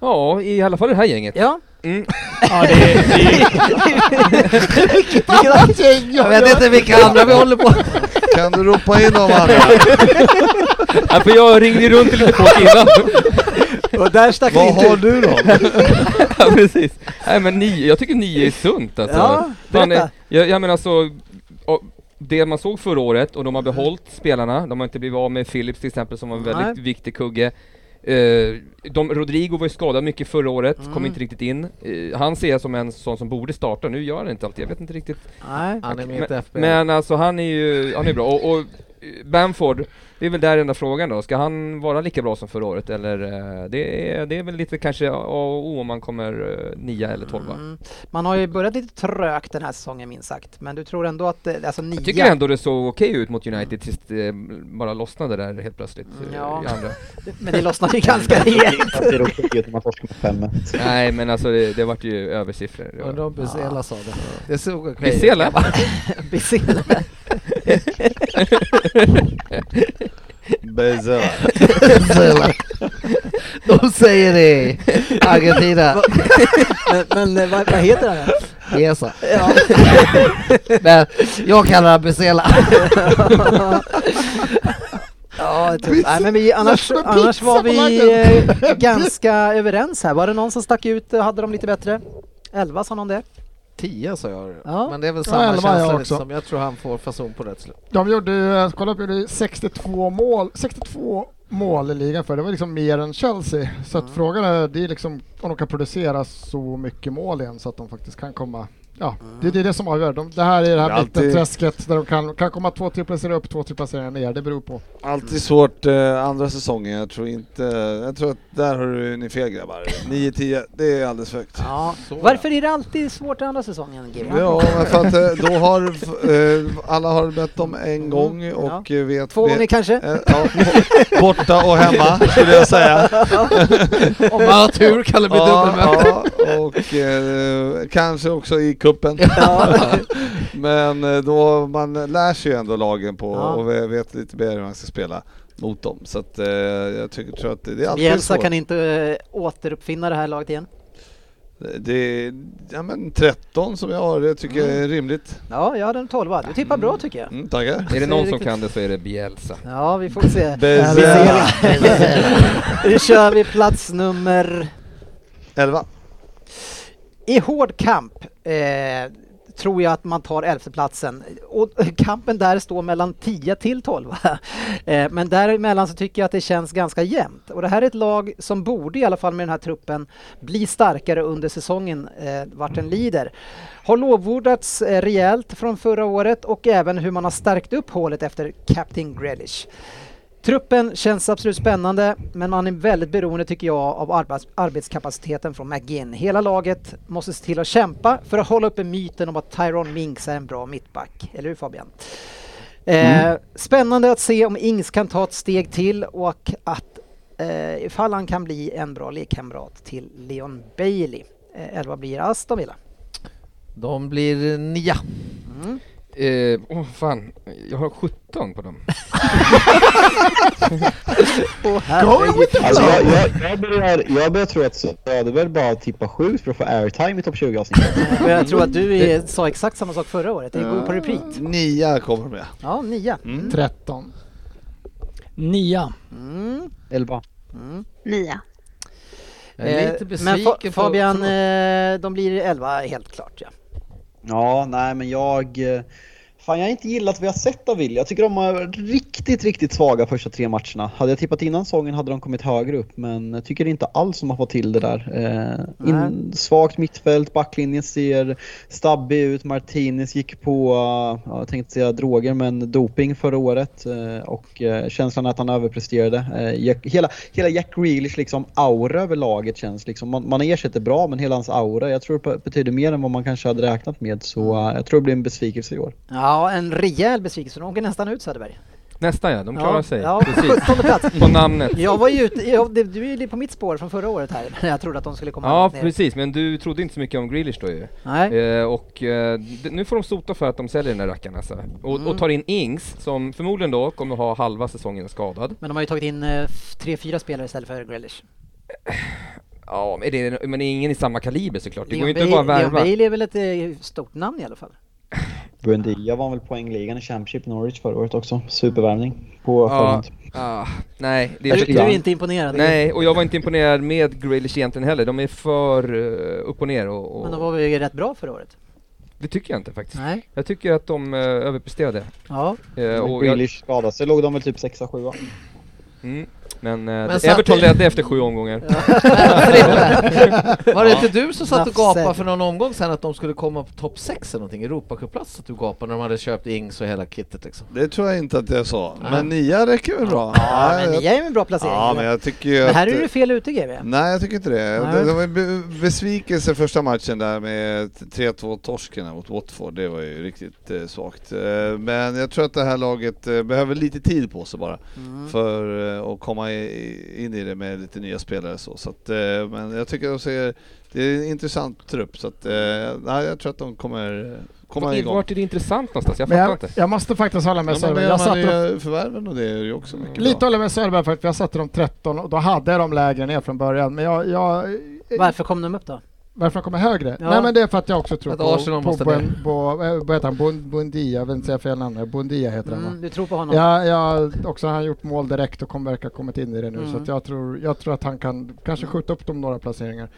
Ja, i alla fall det här gänget. Ja. Mm. Ja, det är, det är, Jag vet inte vilka andra vi håller på Kan du ropa in de andra? Ja, för jag ringde runt till lite folk innan. Och där stack Vad har du då? ja, precis. Nej, men nio, jag tycker nio är sunt alltså. Ja, Fan, berätta. eh, jag, jag menar så, och det man såg förra året och de har behållit spelarna, de har inte blivit av med Philips till exempel som var en Mm. Nej. väldigt viktig kugge. Eh, de, Rodrigo var ju skadad mycket förra året, Mm. kom inte riktigt in. Eh, han ser jag som en sån som borde starta, nu gör han inte alltid, jag vet inte riktigt. Nej. Han är med i ett men, FBL. men alltså han är ju han är bra, och, och eh, Bamford, det är väl där enda frågan då, ska han vara lika bra som förra året eller? eh, Det är, det är väl lite kanske A och O om man kommer eh, nia eller tolva. Man har ju börjat lite trögt den här säsongen minst sagt, men du tror ändå att eh, alltså nia... Jag tycker ändå det såg okej ut mot United tills det eh, bara lossnade där helt plötsligt. eh, Ja. i andra. Men det lossnade ju ganska rejält. Jag ser upp till att man torskar med 5 Nej men alltså det, det vart ju översiffror. Det var- Undrar om Bizela sa det. Det såg okej ut. Bisela? Bizela. Bezela. De säger det i Argentina. men men eh, vad, vad heter han? Esa. Ja. Men jag kallar honom Bizela. ja, det tror jag. Nej, men vi, annars, annars var vi eh, ganska överens här. Var det någon som stack ut och hade de lite bättre? 11 sa någon det? 10 sa jag. Ja. Men det är väl Ja, samma elva jag känsla också. liksom. Jag tror han får fason på rätt slut. De gjorde, ju- eh, kolla upp, gjorde 62 mål, 62 mål i ligan för det var liksom mer än Chelsea. Så att frågan är, det är liksom om de kan producera så mycket mål igen så att de faktiskt kan komma Ja, det, det är det som avgör. De, det här är det här Det är alltid- mittenträsket där de kan, kan komma två, tre placeringar upp, två, tre placeringar ner. Det beror på. Alltid svårt eh, andra säsongen, jag tror inte... Jag tror att där har du, ni fel grabbar. 9-10, det är alldeles för högt. Ja. Varför är det alltid svårt andra säsongen, Gibran? Ja, men för att eh, då har f- eh, alla har bett om en gång och eh, vet... Mm. Två gånger vet- kanske? eh, ja, bo- Borta och hemma skulle jag säga. Om man har tur kan det bli dubbelmöte. Ja, ja, och eh, kanske också i kuppen. Men eh, då man lär sig ju ändå lagen på Ja. och ve- vet lite mer hur man ska spela mot dem. Så att, eh, jag tycker, tror att det, det är alltid Bielsa svårt. kan inte eh, återuppfinna det här laget igen. Det är ja, men 13 som jag har, det tycker Mm. jag är rimligt. Ja, jag hade en 12 Du tippar bra tycker jag. Mm, tackar. Är det någon som riktigt- kan det så är det Bielsa. Ja, vi får se. Bezela. Nu kör vi plats nummer 11. I hård kamp eh, tror jag att man tar elfteplatsen. Och kampen där står mellan 10 till 12. eh, men däremellan så tycker jag att det känns ganska jämnt. Och det här är ett lag som borde, i alla fall med den här truppen, bli starkare under säsongen eh, vart den lider. Har lovordats eh, rejält från förra året och även hur man har stärkt upp hålet efter Captain Grealish. Truppen känns absolut spännande, men man är väldigt beroende tycker jag av arbets- arbetskapaciteten från McGinn. Hela laget måste se till att kämpa för att hålla uppe myten om att Tyrone Mings är en bra mittback. Eller hur Fabian? Eh, spännande att se om Ings kan ta ett steg till och att eh, ifall han kan bli en bra lekkamrat till Leon Bailey. Eh, Elva blir Aston Villa. De blir nia. Mm. Åh oh, fan, jag har 17 på dem. Alltså, jag, jag, jag, börjar, jag börjar tro att Söderberg bara tippar 7 för att få airtime i topp 20-avsnittet. Och jag tror att du är, sa exakt samma sak förra året. Det är Eh, god på repeat. 9 kommer med. Ja, nia. Mm. 13. Nia. Mm. 11. Nia. Jag är Eh, lite men besviken Fa- på... Fabian, förlåt. eh, de blir 11 helt klart ja. Ja, nej men jag... eh, Fan, jag har inte gillat vad jag sett av Villa. Jag tycker de är riktigt, riktigt svaga första tre matcherna. Hade jag tippat innan säsongen hade de kommit högre upp, men jag tycker inte alls de har fått till det där. Eh, in, svagt mittfält, backlinjen ser stabbig ut. Martinez gick på, eh, ja, jag tänkte säga droger, men doping förra året. Eh, och eh, känslan att han överpresterade. Eh, Jack, hela, hela Jack Grealish liksom aura över laget känns liksom. Man, man ersätter bra, men hela hans aura, jag tror det betyder mer än vad man kanske hade räknat med. Så eh, jag tror det blir en besvikelse i år. Ja, en rejäl besvikelse. De åker nästan ut Söderberg. Nästan ja, de klarar ja, sig. Ja, Precis. 17 plats. På namnet. Jag var ju ute, jag, det- du är ju på mitt spår från förra året här, när jag trodde att de skulle komma Ja ner. precis, men du trodde inte så mycket om Grealish då ju. Nej. Eh, och eh, d- nu får de sota för att de säljer den där rackaren alltså. Och, och tar in Ings, som förmodligen då kommer ha halva säsongen skadad. Men de har ju tagit in eh, f- tre, fyra spelare istället för Grealish. Ja, men det, är- men det är ingen i samma kaliber såklart. Det går ju inte Leon att bara Bailey- Leon värva. Bailey Eh, är väl ett eh, stort namn i alla fall? Buendia vann väl poängligan i Championship Norwich förra året också. Supervärvning på Ja, förhand. ah, nej, det är Du, för du är inte imponerad? Nej, och jag var inte imponerad med Grealish egentligen heller. De är för eh, upp och ner och, och Men de var väl rätt bra förra året? det tycker jag inte faktiskt. Nej. Jag tycker att de eh, överpresterade. Ja. Eh, Ja, och jag, Grealish skadade sig, låg de väl typ sexa sjua. mm, Men, eh, Men Everton samtidigt- ledde efter sju omgångar. Frippe, Var det inte du som satt och Nafsen. gapade för någon omgång sen att de skulle komma på topp 6 eller någonting, Europacupplats, att du gapade när de hade köpt Ings och hela kittet liksom? Det tror jag inte att jag sa. Men nia räcker väl bra? Ja, men jag- nia är ju en bra placering. Ja, men jag tycker ju Men här att- är du fel ute GB. Nej, jag tycker inte det. Nej. Det, det var en be- besvikelse första matchen där med 3-2 torsken här mot Watford. Det var ju riktigt eh, svagt. Eh, men jag tror att det här laget eh, behöver lite tid på sig bara Mm. för eh, att komma i, in i det med lite nya spelare. Så, så att, eh, men jag tycker de ser, det är en intressant trupp. Så att, eh, nej, jag tror att de kommer komma igång. Vart är det intressant någonstans? Jag Men fattar jag, inte. jag måste faktiskt hålla med Ja, men Söderberg. Jag jag satte dem, hade ju eh, förvärven och det är ju också mycket lite bra. håller med Söderberg faktiskt, för jag satte dem 13 och då hade jag dem lägre ner från början. Men jag, jag, eh, Varför kom de upp då? varför de kommer högre? Ja. Nej men det är för att jag också tror Att på, Arsenal på, måste på, ner. på, eh, vad heter han, Bun- Bundia, jag vill inte säga fel namn, här. Bundia heter han va? Mm, du tror på honom? Ja, ja, också han har gjort mål direkt och kommer verka ha kommit in i det nu Mm. så att jag, tror, jag tror att han kan kanske skjuta upp dem några placeringar.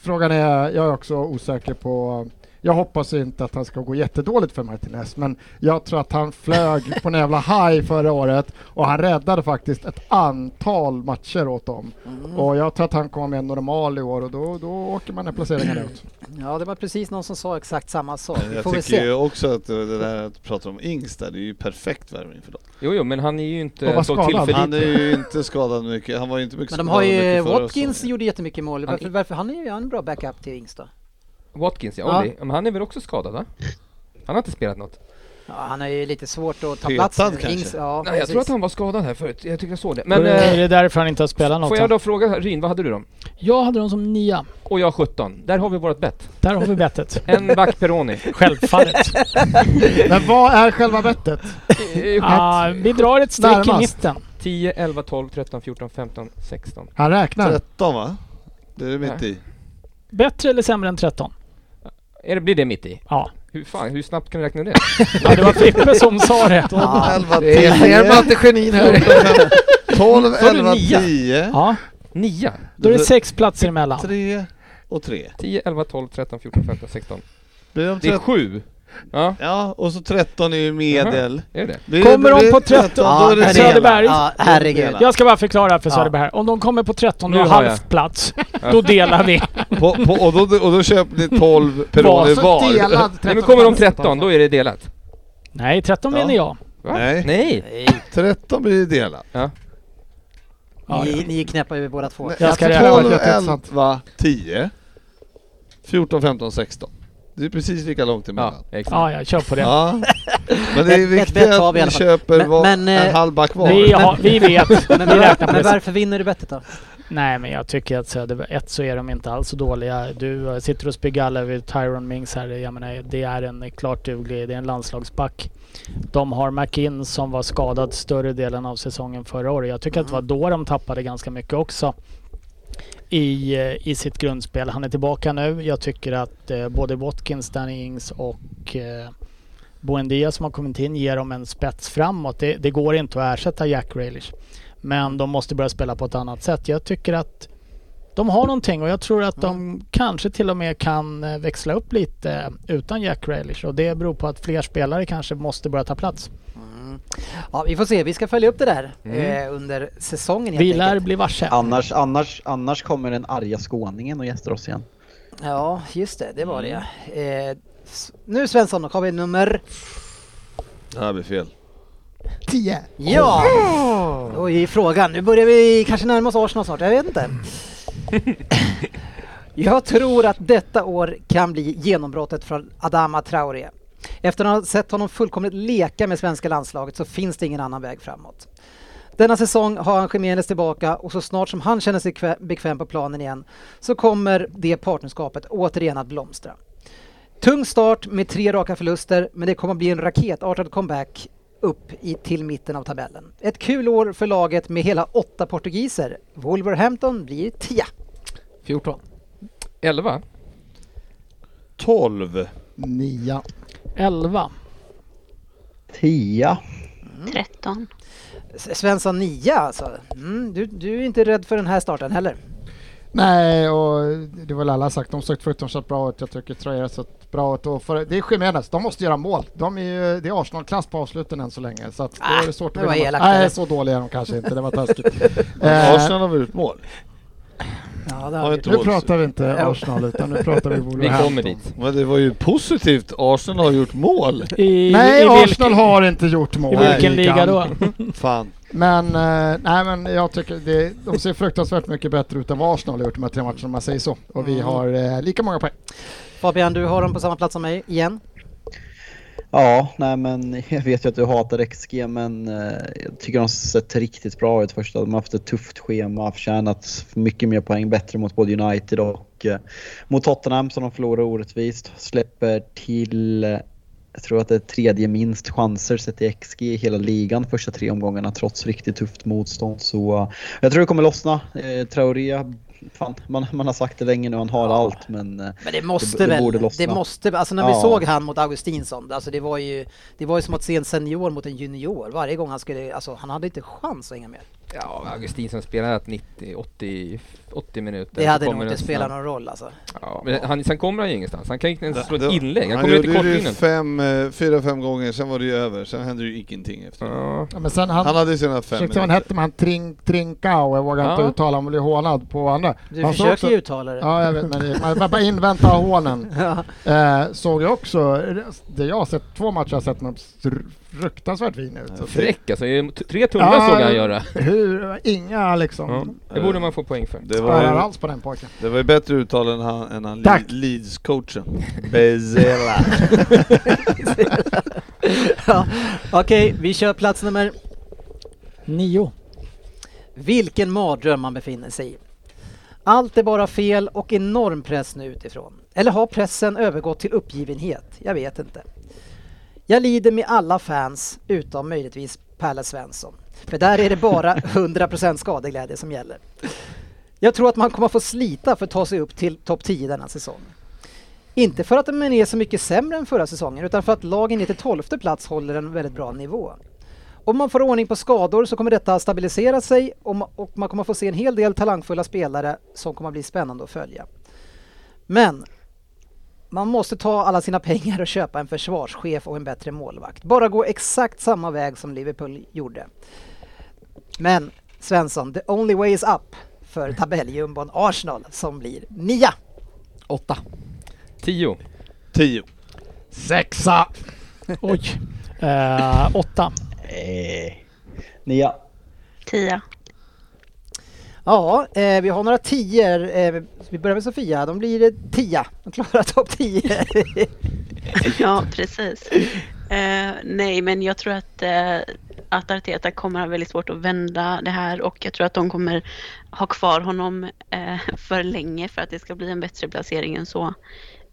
Frågan är, jag är också osäker på jag hoppas ju inte att han ska gå jättedåligt för Martinez men jag tror att han flög på en jävla high förra året och han räddade faktiskt ett antal matcher åt dem. Och jag tror att han kommer med en normal i år och då, då åker man en placering ut. Ja, det var precis någon som sa exakt samma sak. Vi Jag får väl tycker ju se. också att det där att prata om Ings där, det är ju perfekt värvning för dem. Jo, jo, men han är ju Och inte vad så skadad. tillförlitlig. Han är ju inte skadad mycket, han var ju inte mycket Men de har skadad ju mycket förra Watkins säsongen. gjorde jättemycket mål. Varför, varför han är ju han är en bra backup till Ings då? Watkins, ja. Ja. Oli. Men han är väl också skadad, va? Han har inte spelat något. Ja, han har ju lite svårt att ta Petad plats kanske? Ings, ja, Nej, jag precis. tror att han var skadad här förut. Jag tycker jag såg det. Men, Men... är Eh, det därför han inte har spelat något? Får jag Jag, då fråga, Ryn, vad hade du då? jag hade dem som nia. Och jag 17. Där har vi vårt bett. Där har vi bettet. En back Peroni. Självfallet. Men vad är själva bettet? Eh, ah, vi drar ett streck i Närmast. mitten. 10, 11, 12, 13, 14, 15, 16. Han räknar. 13 va? Det är det mitt i. Bättre eller sämre än 13? Är det, blir det mitt i? Ja. Hur, fan, hur snabbt kan vi räkna det? ja, det var Frippe som sa det. 12, 11, Det 10, är ser man inte genin här! 12, Sa du 11, nia? 10, Ja, Nia. då är det sex platser emellan. 3 och 3. 10, 11, 12, 13, 14, 15, 16. Blir de Det är 13? 7. Ja, Ja, och så 13 är ju medel. är det det? Blir Kommer det- de blir på det 13, Ja, då är det herregud. Söderberg. Ja, herregud. Delar. Jag ska bara förklara för Ja. Söderberg här. Om de kommer på 13 Nu och har jag. halv plats, då delar vi. På, på, och, då, och då köper ni 12 Var Peroni så var. Nej men kommer de 13, då är det delat. Nej, 13 Ja. menar jag. Va? Nej. Nej. Nej, 13 blir det delat. Ja, ni, ni är knäppa över båda två. Jag ska räkna. 12, Det är helt 11, 10, 14, 15, 16. Det är precis lika långt emellan. Ja, exakt. Ja, jag kör på det. Ja. Men det är Ett- ett viktigt bett har att vi i vi alla fall. köper Men- var, men, eh, en halv back var. Vi, har, vi vet. Men, Vi räknar på men det. varför vinner du bettet då? Nej, men jag tycker att Söderberg, ett så är de inte alls så dåliga. Du eh, sitter och spyr galla över Tyron Mings här. Jag menar, det är en klart duglig, det är en landslagsback. De har McInn som var skadad större delen av säsongen förra året. Jag tycker att det var då de tappade ganska mycket också. I, eh, I sitt grundspel. Han är tillbaka nu. Jag tycker att eh, både Watkins, Danny Ings och eh, Buendia som har kommit in ger dem en spets framåt. Det, det går inte att ersätta Jack Grealish. Men de måste börja spela på ett annat sätt. Jag tycker att de har någonting och jag tror att Mm. de kanske till och med kan eh, växla upp lite utan Jack Grealish och det beror på att fler spelare kanske måste börja ta plats. Mm. Ja, vi får se. Vi ska följa upp det där Mm. eh, under säsongen helt Vi lär enkelt. bli varse. Annars, annars, annars kommer den arga skåningen och gästar oss igen. Ja, just det. Det var det ja. Mm. eh, s- Nu Svensson, då har vi nummer... Det här blir fel. 10. Ja! Då är frågan. Nu börjar vi kanske närma oss Arsenal snart. Jag vet inte. Jag tror att detta år kan bli genombrottet från Adama Traoré. Efter att ha sett honom fullkomligt leka med svenska landslaget så finns det ingen annan väg framåt. Denna säsong har han Khemenez tillbaka och så snart som han känner sig kvä- bekväm på planen igen så kommer det partnerskapet återigen att blomstra. Tung start med tre raka förluster men det kommer bli en raketartad comeback upp i, till mitten av tabellen. Ett kul år för laget med hela åtta portugiser. Wolverhampton blir tia. 14. 11. 12. 9. 11. Tia. 13. Mm. S- Svensson nia alltså. Mm, du, du är inte rädd för den här starten heller. Nej, och det var väl alla sagt. De har sökt förutom sett bra ut. Jag tycker Traoré har sett Braut och för, det är Jiménez, de måste göra mål. De är ju, det är Arsenal-klass på avsluten än så länge, så att då är det svårt att Ah, det var vinna elakt, match. eller? Nej, så dåliga är de kanske inte, det var taskigt. Eh, Arsenal har väl gjort mål? Ja, det Har har inte vi. Nu Wolves. pratar vi inte Ja. Arsenal, utan nu pratar vi Vi Wolverhampton. kommer dit. Men det var ju positivt, Arsenal har gjort mål. I, Nej, i Arsenal har inte gjort mål. I vilken i liga då? Fan. Men, eh, nej, men jag tycker det, de ser fruktansvärt mycket bättre ut än vad Arsenal har gjort de här tre matcherna om man säger så. Och Mm. vi har eh, lika många poäng. Fabian, du har dem på samma plats som mig igen. Ja, nej men jag vet ju att du hatar XG men eh, jag tycker de har sett riktigt bra ut första. De har haft ett tufft schema, har förtjänat mycket mer poäng, bättre mot både United och eh, mot Tottenham som de förlorar orättvist. Släpper till, eh, jag tror att det är tredje minst chanser sett i XG i hela ligan första tre omgångarna trots riktigt tufft motstånd. Så eh, jag tror det kommer lossna. Eh, Traoré, fan, man, man har sagt det länge nu, han har allt men eh, Men det måste det väl, borde lossna. det måste, alltså när vi Ja. såg han mot Augustinsson, alltså det var ju, det var ju som att se en senior mot en junior varje gång han skulle, alltså han hade inte chans att hänga med. Ja, Augustinsson spelar 90, 80, 80 minuter. Det så hade kommer nog inte en spelat snabb- någon roll alltså. Ja, men han, sen kommer han ju ingenstans. Han kan inte ens slå ett Det- inlägg. Han Han kommer inte gjorde kort det ju in fem, eh, fyra, fem gånger, sen var det ju över. Sen hände ju ingenting efter det. Ja. Ja, men sen han, Han hade sina fem försökte vad han minuter. hette, men han Trink, Trinkau, jag vågar Ja. inte uttala, han blev hånad på andra. Du han såg försöker också- ju uttala det. Ja, jag vet, men det, man bara invänta hånen. Eh, såg jag också, det jag har sett, två matcher har jag sett honom str- fruktansvärt fin ut. Så det- Fräck alltså. ju t- Tre tunnlar såg han göra. Hur, inga liksom, Ja. Det borde man få poäng för. Det var, spärrar ju, alls på den pojken. det var ju bättre uttal än han, än han Tack. Le- Leeds-coachen. Bezela. ja. Okej, vi kör plats nummer Nio. Vilken mardröm man befinner sig i. Allt är bara fel och enorm press nu utifrån. Eller har pressen övergått till uppgivenhet? Jag vet inte. Jag lider med alla fans utom möjligtvis Pelle Svensson. För där är det bara 100% skadeglädje som gäller. Jag tror att man kommer få slita för att ta sig upp till topp 10 denna säsong. Inte för att man är så mycket sämre än förra säsongen utan för att lagen ner till 12 plats håller en väldigt bra nivå. Om man får ordning på skador så kommer detta stabilisera sig och ma- och man kommer få se en hel del talangfulla spelare som kommer bli spännande att följa. Men man måste ta alla sina pengar och köpa en försvarschef och en bättre målvakt. Bara gå exakt samma väg som Liverpool gjorde. Men Svensson, the only way is up för tabelljumbon Arsenal som blir nia. Åtta. Tio. Tio. Sexa! Oj. Eh, åtta. Eh, nej. Nia. Tia. Ja, eh, vi har några tior. Eh, vi börjar med Sofia, de blir eh, tia. De klarar topp 10. Ja, precis. Eh, nej, men jag tror att, eh, att Arteta kommer ha väldigt svårt att vända det här och jag tror att de kommer ha kvar honom eh, för länge för att det ska bli en bättre placering än så.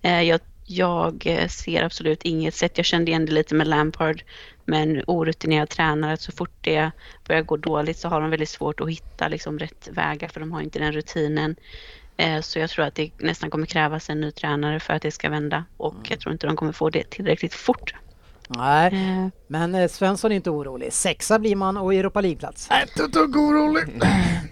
Eh, jag, jag eh, ser absolut inget sätt. Jag kände igen det lite med Lampard, men orutinerad tränare, att så fort det börjar gå dåligt så har de väldigt svårt att hitta liksom, rätt vägar för de har inte den rutinen. Eh, Så jag tror att det nästan kommer krävas en ny tränare för att det ska vända och jag tror inte de kommer få det tillräckligt fort. Nej, Eh, men eh, Svensson är inte orolig. Sexa blir man och Europa League-plats. Inte ett dugg orolig!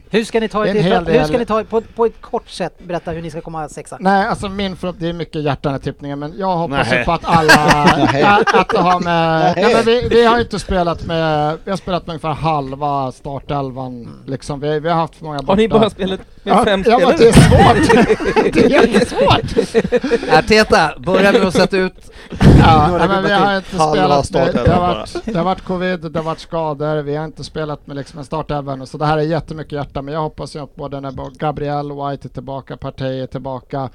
Hur ska ni ta Det er är en till, hel hur ska del. ni ta er, på, på ett kort sätt berätta hur ni ska komma sexa? Nej, alltså min förhopp- det är mycket hjärtan i tippningen, men jag hoppas Nej. ju på att alla, att, att det har med, nej, men vi, vi har ju inte spelat med, vi har spelat med ungefär halva startelvan liksom, vi, vi har haft för många borta. Har ni bara spelat med Ja, fem ja, spelare? men det är svårt! det är jättesvårt! Arteta, börja med att sätta ut... Ja, Några nej, men vi gubbar har till. inte Halva spelat med, det, startelvan har bara. varit, det har varit covid, det har varit skador, vi har inte spelat med liksom en startelvan så det här är jättemycket hjärta men jag hoppas ju att både när Gabriel och White är tillbaka, Partey är tillbaka.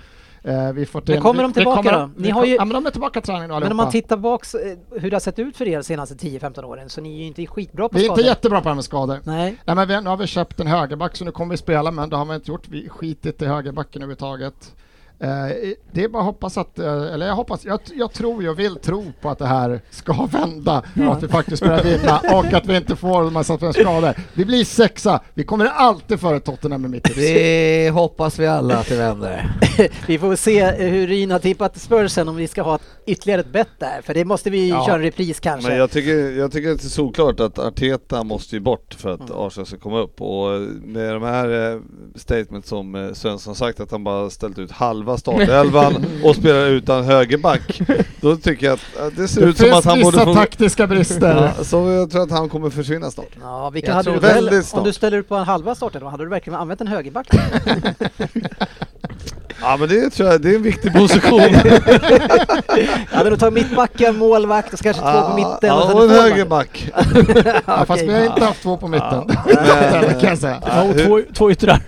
Eh, vi får till, Men kommer vi, de tillbaka vi kommer, då? Ni vi har kom- ju- ja, men de är tillbaka i träning nu allihopa. Men om man tittar bak eh, hur det har sett ut för er de senaste 10-15 åren så ni är ju inte skitbra på Vi är inte skador. jättebra på det här med skador. Nej, Nej, men vi, nu har vi köpt en högerback så nu kommer vi spela men det har vi inte gjort. Vi skitit i högerbacken överhuvudtaget. Eh, det är bara att hoppas att, eh, eller jag hoppas, jag, jag tror, jag vill tro på att det här ska vända och att vi faktiskt börjar vinna och att vi inte får en massa skador. Vi blir sexa, vi kommer alltid före Tottenham med mitt tips. Det hoppas vi alla att det vänder. vi får se eh, hur Ryn har tippat Spursen om vi ska ha ett, ytterligare ett bett där, för det måste vi Ja. köra en repris kanske. Men jag tycker, jag tycker att det är solklart att Arteta måste ju bort för att Mm. Arsenal ska komma upp och eh, med de här eh, statement som eh, Svensson sagt att han bara ställt ut halv halva startelvan och spelar utan högerback. Då tycker jag att eh, det ser Det ut som finns att han vissa borde få... taktiska brister. Ja, så jag tror att han kommer försvinna snart. Ja, vilka Jag hade tror du väldigt väl, om snart. du ställer ut på en halva startelva, hade du verkligen använt en högerback? Ja men det tror jag, det är en viktig position. jag hade nog tagit mittbacken, målvakt och så kanske två på mitten. Ah, Ja, sen och en forward. högerback. Ja, fast vi har inte haft två på mitten. Men, Det kan jag säga. Ja, och två, två yttrar.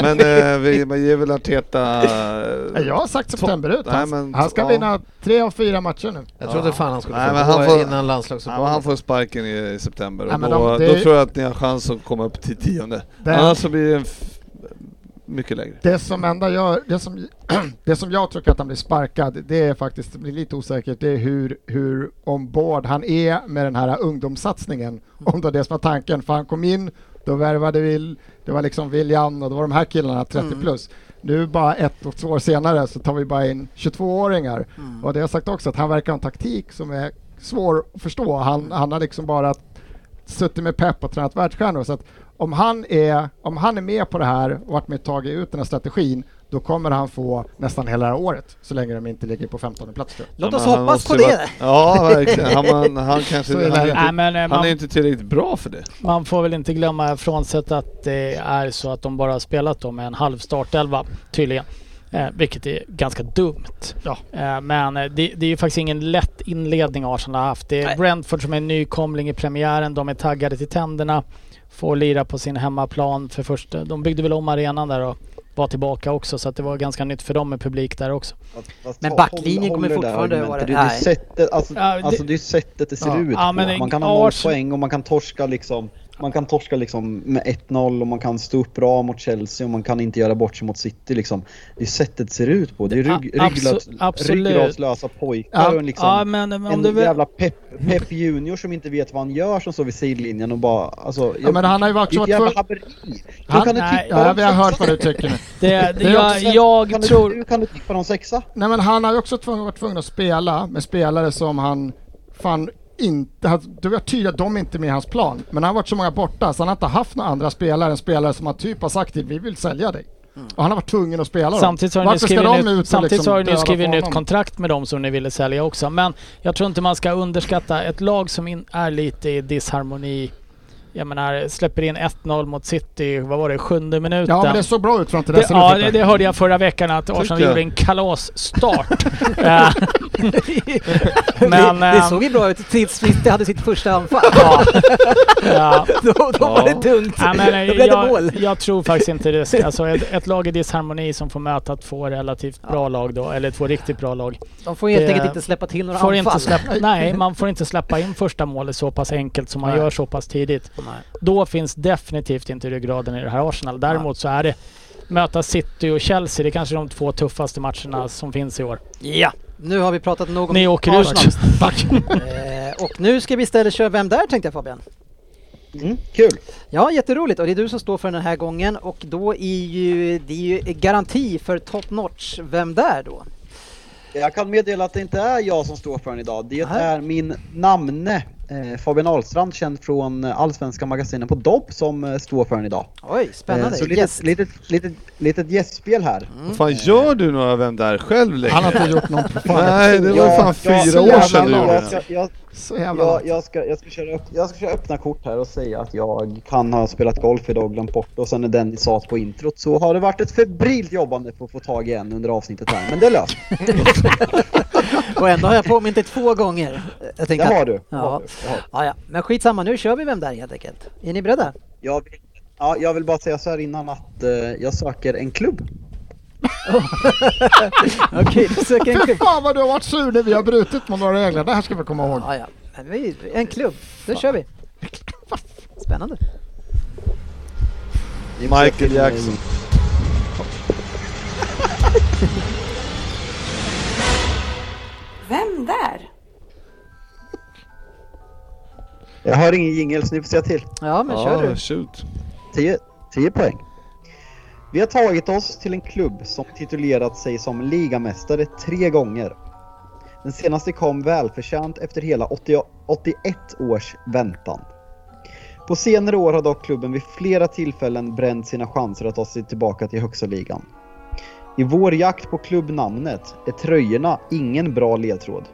men eh, vi man ger väl Arteta... eh, Jag har sagt september ut. Nej, Han, men- han ska ja. vinna tre av fyra matcher nu. Jag trodde fan han skulle Nej, få men gå han innan får- Ja, men han landslagsuppehållet. får sparken i, i september Ja, och men då, de- det- då tror jag att ni har chans att komma upp till tionde. Det- Annars så blir det f- mycket lägre. Det som, enda gör, det, som, det som jag tror att han blir sparkad, det är faktiskt det blir lite osäkert, det är hur, hur ombord han är med den här ungdomssatsningen. Om det var det som var tanken, för han kom in, då värvade vi, det var liksom William och det var de här killarna 30 plus. Nu bara ett och två år senare så tar vi bara in 22-åringar. Mm. Och det har jag sagt också, att han verkar ha en taktik som är svår att förstå. Han, han har liksom bara suttit med Pep och tränat världsstjärnor. Så att om han, är, om han är med på det här och varit med ett tag i ut den här strategin, då kommer han få nästan hela det här året, så länge de inte ligger på 15 plats. tror Låt jag. Ja, oss men han hoppas måste på ju det! vara- Ja, verkligen. Han, han, han kanske... Så är det. Han, Nej, han, men, eh, han man, är inte tillräckligt bra för det. man får väl inte glömma frånsett att det är så att de bara har spelat då med en halv startelva tydligen. Eh, vilket är ganska dumt. Ja. Eh, men eh, det, det är ju faktiskt ingen lätt inledning Arsenal har haft. Det är Nej. Brentford som är en nykomling i premiären. De är taggade till tänderna. Får lira på sin hemmaplan för första... De byggde väl om arenan där och var tillbaka också så att det var ganska nytt för dem med publik där också. Fast- fast Men håll- backlinjen håller kommer det där fortfarande argumentet. Det är vara- ju nej. sättet, alltså, Ja, det- alltså det är ju sättet det ser Ja. ut Ja, på. men Man kan ha noll Ars- poäng och man kan torska liksom. Man kan torska liksom med 1-0 och man kan stå upp bra mot Chelsea och man kan inte göra bort sig mot City liksom. Det är sättet det ser ut på. Det är A- rygg, abso- rygglös, absolut. ryggraslösa pojkar Ja, och en liksom ja men men om en du vill... jävla Pep, Pep Junior som inte vet vad han gör som står vid sidlinjen och bara alltså... Ja, men han har ju varit så Vilket jävla tvungen- haveri! Hur Han- kan du nej, tippa Ja, dem vi har hört sexa? vad du tycker nu. Det, det, är jag också så här, jag Kan du- tror... Hur kan du tippa någon sexa? Nej, men han har ju också tvungen, varit tvungen att spela med spelare som han fan inte... han- Det var tydligt att de inte är med i hans plan, men han har varit så många borta så han har inte haft några andra spelare än spelare som han typ har sagt till vi vill sälja dig. Mm. Och han har varit tvungen att spela dem. Samtidigt har ni Varför ska skrivit, de ut nytt, och samtidigt liksom har ni döda skrivit på nytt honom? kontrakt med dem som ni ville sälja också. Men jag tror inte man ska underskatta ett lag som in, är lite i disharmoni. Jag menar, släpper in 1-0 mot City, vad var det, sjunde minuten? Ja, men det såg bra ut fram till Det- dess. ja, det, det hörde jag förra veckan att Arsenal jag. gjorde en kalasstart. Eh, men... det, det eh, såg ju bra ut tills City hade sitt första anfall. ja. ja. då då var det tungt. Nej, men, eh, då blev det mål. jag, jag tror faktiskt inte det. ska- Alltså, ett, ett lag i disharmoni som får möta två relativt bra lag då, eller två riktigt bra lag. De får helt det- enkelt inte släppa till några Får anfall. inte släppa, nej, man får inte släppa in första målet så pass enkelt som man Nej. gör så pass tidigt. Nej. Då finns definitivt inte ryggraden i det här Arsenal. Däremot så är det möta City och Chelsea, det är kanske de två tuffaste matcherna som finns i år. Ja, nu har vi pratat nog om Ni åker ut. Arsenal. Eh, och nu ska vi istället köra Vem där? tänkte jag Fabian. Mm, kul! Ja, jätteroligt och det är du som står för den här gången och då är ju det är ju garanti för top notch Vem där då? Jag kan meddela att det inte är jag som står för den idag. Det Nej. är min namne eh, Fabian Ahlstrand, känd från eh, Allsvenska magasinen på Dobb, som eh, står för den idag. Oj, spännande. Eh, Så Yes. litet, litet, litet, litet gästspel här. Vad Mm. fan gör du några Vem Där själv längre? Han har inte gjort någon på fan. Nej, det var Jag- fan jag- fyra år jag- sedan du jag- gjorde jag det. ska- jag- Så jävla jag- Jag ska jag ska köra upp- jag ska köra öppna kort här och säga att jag kan ha spelat golf idag och glömt bort och sen när Dennis sa på introt så har det varit ett febrilt jobbande för att få tag i en under avsnittet här. Men det är löst. Och ändå har jag påmint dig två gånger. Jag Det tänkte har att- du. Det har Ja. du. Det har du. Ja, ja. Men skitsamma, nu kör vi Vem där helt enkelt. Är ni beredda? Jag vill, ja, jag vill bara säga så här innan att eh, jag söker en klubb. Okej, du söker en Fy klubb. fan vad du har varit sur när vi har brutit mot några regler. Det här ska vi komma ihåg. Ja, ja. Men vi, en klubb, då kör vi. Spännande. Michael Jackson. Vem där? Jag har ingen jingel så ni får säga till. Ja, men kör du. Ja, shoot. 10, 10 poäng. Vi har tagit oss till en klubb som titulerat sig som ligamästare tre gånger. Den senaste kom välförtjänt efter hela 80, 81 års väntan. På senare år har dock klubben vid flera tillfällen bränt sina chanser att ta sig tillbaka till högsta ligan. I vår jakt på klubbnamnet är tröjorna ingen bra ledtråd.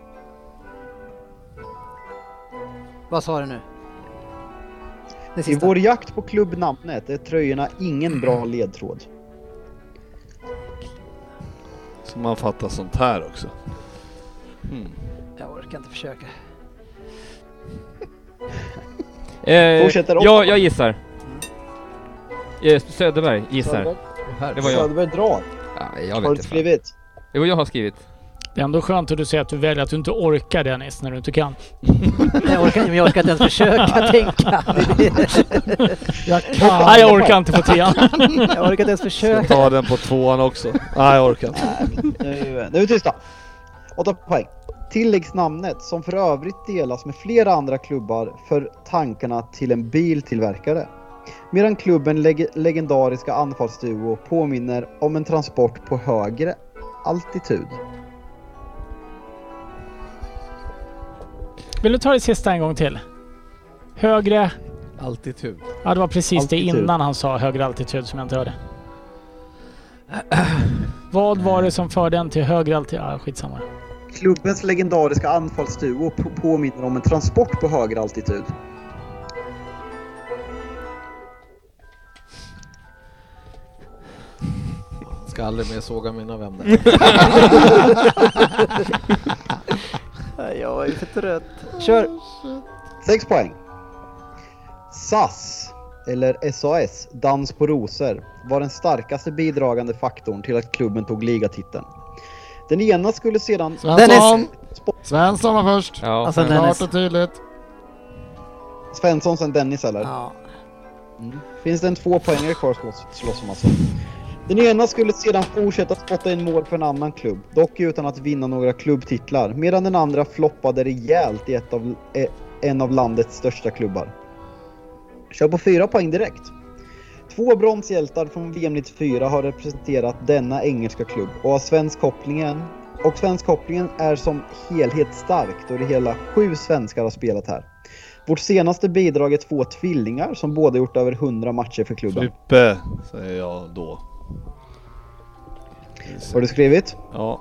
Vad sa du nu? Det I sista. vår jakt på klubbnamnet är tröjorna ingen bra ledtråd. Så man fattar sånt här också. Hmm. Jag orkar inte försöka. Eh, Fortsätter om. jag, jag gissar. Eh, Söderberg gissar. Det var jag. Söderberg drar. Ja, jag Har vet du inte. fan. skrivit? Jo, jag har skrivit. Det är ändå skönt att du säger att du väljer att du inte orkar Dennis när du inte kan. Nej, Jag orkar inte, men jag orkar inte ens försöka tänka. Jag Nej, kan. jag orkar inte på tian. Jag orkar inte ens försöka. Ska ta den på tvåan också. Nej, jag orkar inte. Nu, nu är vi tysta. Åtta poäng. Tilläggsnamnet, som för övrigt delas med flera andra klubbar, för tankarna till en biltillverkare. Medan klubben leg- legendariska anfallsduo påminner om en transport på högre altitud. Vill du ta det sista en gång till? Högre... Altitud. Ja, det var precis det Altitud. innan han sa högre altitud som jag inte hörde. Vad var det som förde en till högre altitud? Ja, skitsamma. Klubbens legendariska anfallsduo på- påminner om en transport på högre altitud. Ska aldrig mer såga mina vänner. Jag är för trött. Kör! Sex poäng. SAS, eller SAS, Dans på rosor, var den starkaste bidragande faktorn till att klubben tog ligatiteln. Den ena skulle sedan... Svensson! Svensson var först. Ja. Alltså Klart Dennis. och tydligt. Svensson sen Dennis eller? Mm. Ja. Finns det en två poängare kvar att slåss, slåss om alltså? Den ena skulle sedan fortsätta spotta in mål för en annan klubb, dock utan att vinna några klubbtitlar, medan den andra floppade rejält i ett av, eh, en av landets största klubbar. Kör på fyra poäng direkt. Två bronshjältar från VM 94 har representerat denna engelska klubb och har svensk kopplingen och svenskkopplingen är som helhet stark då det hela sju svenskar har spelat här. Vårt senaste bidrag är två tvillingar som båda gjort över 100 matcher för klubben. Frippe, säger jag då. Har du skrivit? Ja.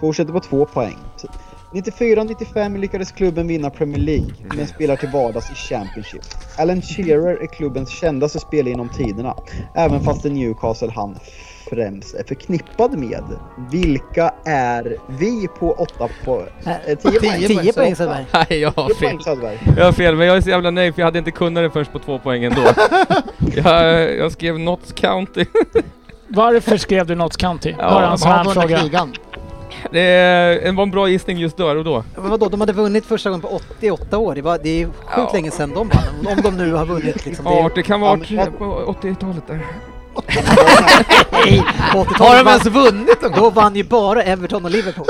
Fortsätter på två poäng. 94-95 lyckades klubben vinna Premier League, Mm. men spelar till vardags i Championship. Alan Shearer är klubbens kändaste spelare genom tiderna, även fast det Newcastle han främst är förknippad med. Vilka är vi på åtta på... eh, tio poäng? Tio poäng Åtta. Söderberg. Nej, jag har Tio poäng fel. Söderberg. Jag har fel, men jag är så jävla nöjd för jag hade inte kunnat det först på två poäng ändå. jag, jag skrev Notts County. Varför skrev du Notts County? Ja, Bara de en De sån har här vunnit fråga. ligan. det eh, var en bra gissning just där och då. Men vadå, de hade vunnit första gången på 88 år. Det, var, det är sjukt Ja. länge sedan de vann. Om de nu har vunnit liksom. Det Ja, är, det kan vara Ja, men- på 80-talet där. nej, på 80-talet Har de vann- ens vunnit någon gång? Då vann ju bara Everton och Liverpool.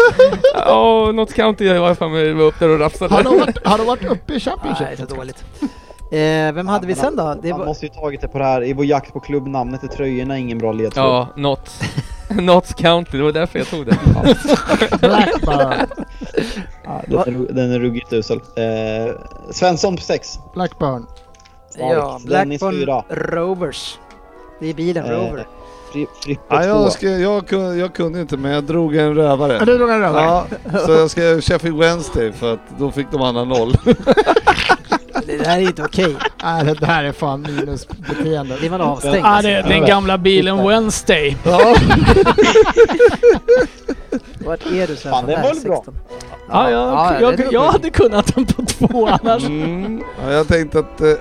Ja, Notts County var jag fan med var upp där och Har rafsade. de varit, har de varit uppe i Championship? Nej, så dåligt. Eh, vem hade vi sen då? Det Han var, måste ju tagit det på det här, i vår jakt på klubbnamnet är tröjorna ingen bra ledtråd. Ja, Notts. Notts County, det var därför jag tog det. Blackburn. Ja, den, är, ru- den är ruggigt usel. Eh, Svensson på 6. Blackburn. ja, Dennis fyra. Blackburn Rovers. Det är bilen, Eh, Rover. Fri- Frippe Nej, 2. jag, ska, jag, kunde, jag kunde inte, men jag drog en rövare. Är du drog en rövare? Ja, så jag skrev Sheffield Wednesday för att då fick de andra noll. Det där är inte okej. Nej, det där är fan minusbeteende. Blir man avstängd? alltså. Ah, det, den gamla bilen Wednesday. Ja. Vart är du Svensson? Fan, det Där, var väl bra. 16. Ja, jag, ja, det är jag, jag hade kunnat den på två annars. Mm. ja, jag tänkte att eh,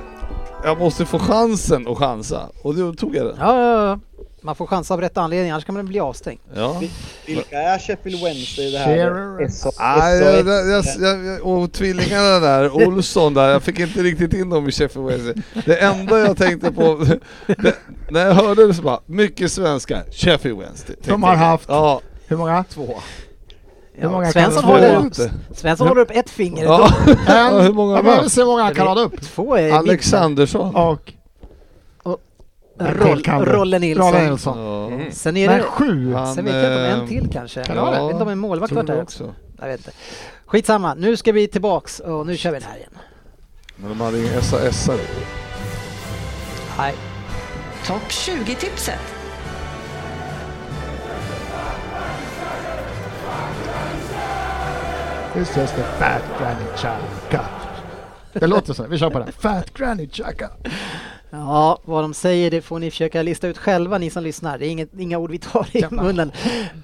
jag måste få chansen att chansa. Och då tog jag den. Ja, ja, ja. Man får chansa av rätt anledning, annars kan man bli avstängd. Ja. Vilka är Sheffield Wednesday i det Shearer. här? SOS? Nej, Ah, jag, jag, jag, jag, och tvillingarna där, Olsson där, jag fick inte riktigt in dem i Sheffield Wednesday. Det enda jag tänkte på, det, när jag hörde det så bara, mycket svenskar, Sheffield Wednesday. De har haft, Ja, hur många? två. Hur många kan Svensson, det håller vara? upp, Svensson håller upp ett finger. Ja. En, Ja, hur många jag var? behöver se hur många han kan rada upp. Två är Alexandersson. Och mitt. Roll, Till kan du. Rolle Nilsson. Mm. Rolle Nilsson. Ja. Sen är Men det... sju. Han, Sen vet jag inte om en eh, till kanske. kan det jag vara vet det? inte om en målvakt var tror där det också. också. Jag vet inte. Skitsamma, nu ska vi tillbaks och nu kör vi den här igen. Men de hade ingen SAS-are. Nej. Topp 20-tipset. It's just a fat granny chaka. Det låter så. Vi kör på det. Fat granny chaka. Ja, vad de säger det får ni försöka lista ut själva ni som lyssnar. Det är inget, inga ord vi tar i munnen.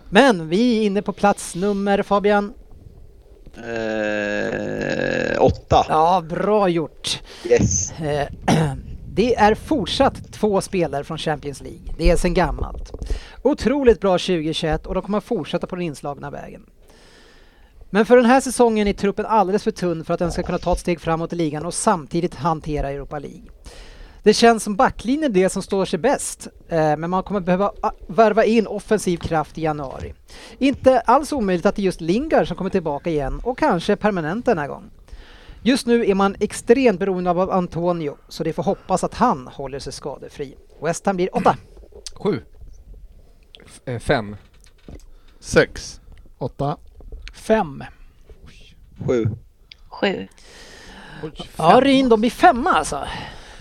Men vi är inne på plats nummer Fabian. Eh, åtta. Ja, bra gjort. Yes. Eh, Det är fortsatt två spelare från Champions League. Det är sedan gammalt. Otroligt bra 2021 och de kommer fortsätta på den inslagna vägen. Men för den här säsongen är truppen alldeles för tunn för att den ska kunna ta ett steg framåt i ligan och samtidigt hantera Europa League. Det känns som backlinjen är det som står sig bäst, eh, men man kommer behöva a- värva in offensiv kraft i januari. Inte alls omöjligt att det är just Lingard som kommer tillbaka igen och kanske permanent denna gång. Just nu är man extremt beroende av Antonio, så det får hoppas att han håller sig skadefri. West Ham blir åtta. Sju. Eh, Fem. Sex. Åtta. Fem. Sju. Sju. Ja, Ryn, de blir femma alltså.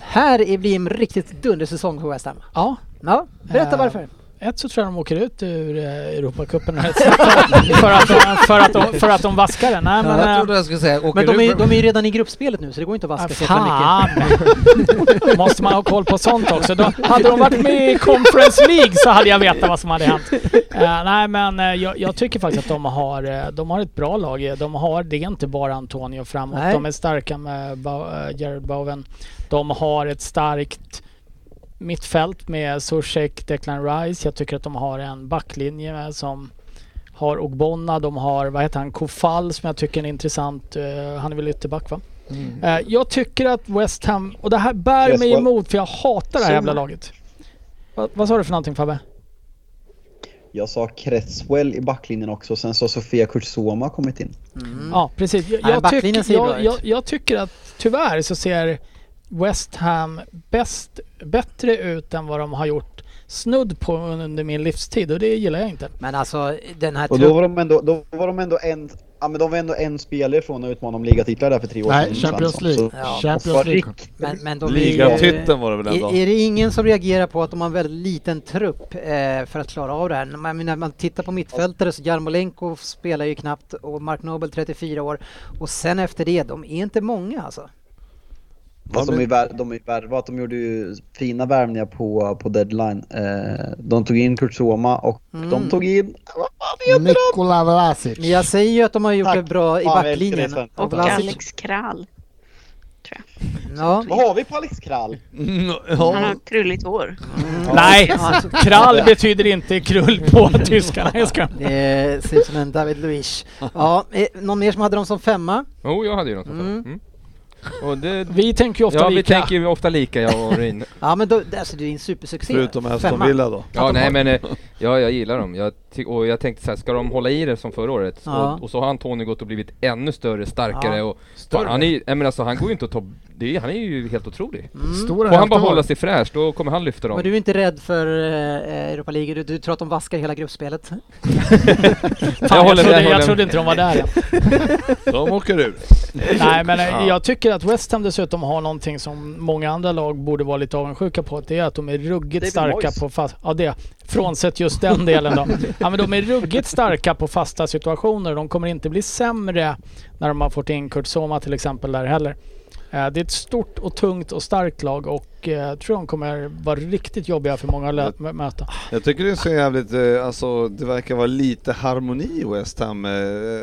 Här är- blir en riktigt dundersäsong för West Ham. Ja. Ja, berätta Eh, varför. Ett så tror jag de åker ut ur eh, Europacupen här snart. för, att, för, att de, för att de vaskar den. Nej, men, jag eh, trodde jag skulle säga, åker Men de är, du ju- på- de är ju redan i gruppspelet nu så det går inte att vaska sig för mycket. Fan! Måste man ha koll på sånt också? Då, hade de varit med i Conference League så hade jag vetat vad som hade hänt. Eh, nej men eh, jag, jag tycker faktiskt att de har, eh, de har ett bra lag. Eh, De har, det är inte bara Antonio framåt. Nej. De är starka med ba- eh, Jared Bowen. De har ett starkt mittfält med Zuzek, Declan Rice. Jag tycker att de har en backlinje med som har Ogbonna, de har, vad heter han, Kofall som jag tycker är en intressant, eh, han är väl ytterback va? Mm. Eh, jag tycker att West Ham, och det här bär mig Cresswell. emot för jag hatar det här jävla laget. Va, vad sa du för någonting Fabbe? Jag sa Cresswell i backlinjen också, sen så har Sofia Kurzoma kommit in. Ja precis. Jag, Nej, jag, backlinjen tycker, ser bra jag, ut. jag, jag tycker att tyvärr så ser West Ham bäst, bättre ut än vad de har gjort snudd på under min livstid och det gillar jag inte. Men alltså den här Och då var truppen... de ändå, då var de ändå en... Ja men de var ändå en spelare från att utmana om ligatitlar där för tre år sedan. Nej, Champions Svensson. League. Så- Ja, och var Champions League. rikt- Men, men de är ju- Ligatiteln var det väl ändå? Är, är det ingen som reagerar på att de har en väldigt liten trupp eh, för att klara av det här? När man, när man tittar på mittfältare så Jarmolenko spelar ju knappt och Mark Noble 34 år och sen efter det, de är inte många alltså. Fast de är vär- de är värvat, de gjorde ju fina värvningar på, på deadline. Eh, de tog in Kurzoma och de tog in... Vad fan heter han? Nikola Vlasic. Mm. Men jag säger ju att de har gjort Tack. det bra i Fan, jag älskar dig, backlinjen. Sven. Och Vlasic- Alex Kral. Ja. Vad har vi på Alex Krall? Mm, Han ja. har krulligt hår. Mm. Nej! Ja, alltså, Krall betyder inte krull på tyskarna. Jag ska. det ser ut som en David Luiz. Ja, eh, någon mer som hade dem som femma? Jo, jag hade ju något sånt. Mm. Mm. Och det, Vi tänker ju ofta ja, lika. vi tänker ju ofta lika jag och Ryn. Ja men då, alltså, det är en supersuccé. Förutom Aston Femma. Villa då. Ja, nej men eh, ja, jag gillar dem. Jag ty- och jag tänkte så här, ska de hålla i det som förra året? Ja. Och, och så har Antonio gått och blivit ännu större, starkare Ja. och... Han är, ju- nej, men alltså, han går ju inte att ta... Det är, han är ju helt otrolig. Mm. Stora Får han bara häften var hålla det. sig fräsch, då kommer han lyfta Men dem. du är inte rädd för eh, Europa League? Du, du tror att de vaskar hela gruppspelet? Fan, jag, håller med, jag trodde, jag håller trodde med. inte de var där. De åker ur. Nej men eh, jag tycker att West Ham dessutom har någonting som många andra lag borde vara lite avundsjuka på. Det är att de är ruggigt David starka Moyes. på fast... Ja det. Frånsett just den delen då. Ja men de är ruggigt starka på fasta situationer. De kommer inte bli sämre när de har fått in Kurt Soma till exempel där heller. Eh, Det är ett stort och tungt och starkt lag och eh, jag tror de kommer vara riktigt jobbiga för många att lö- mö- möta. Jag tycker det är så jävligt, eh, alltså det verkar vara lite harmoni i West Ham, eh,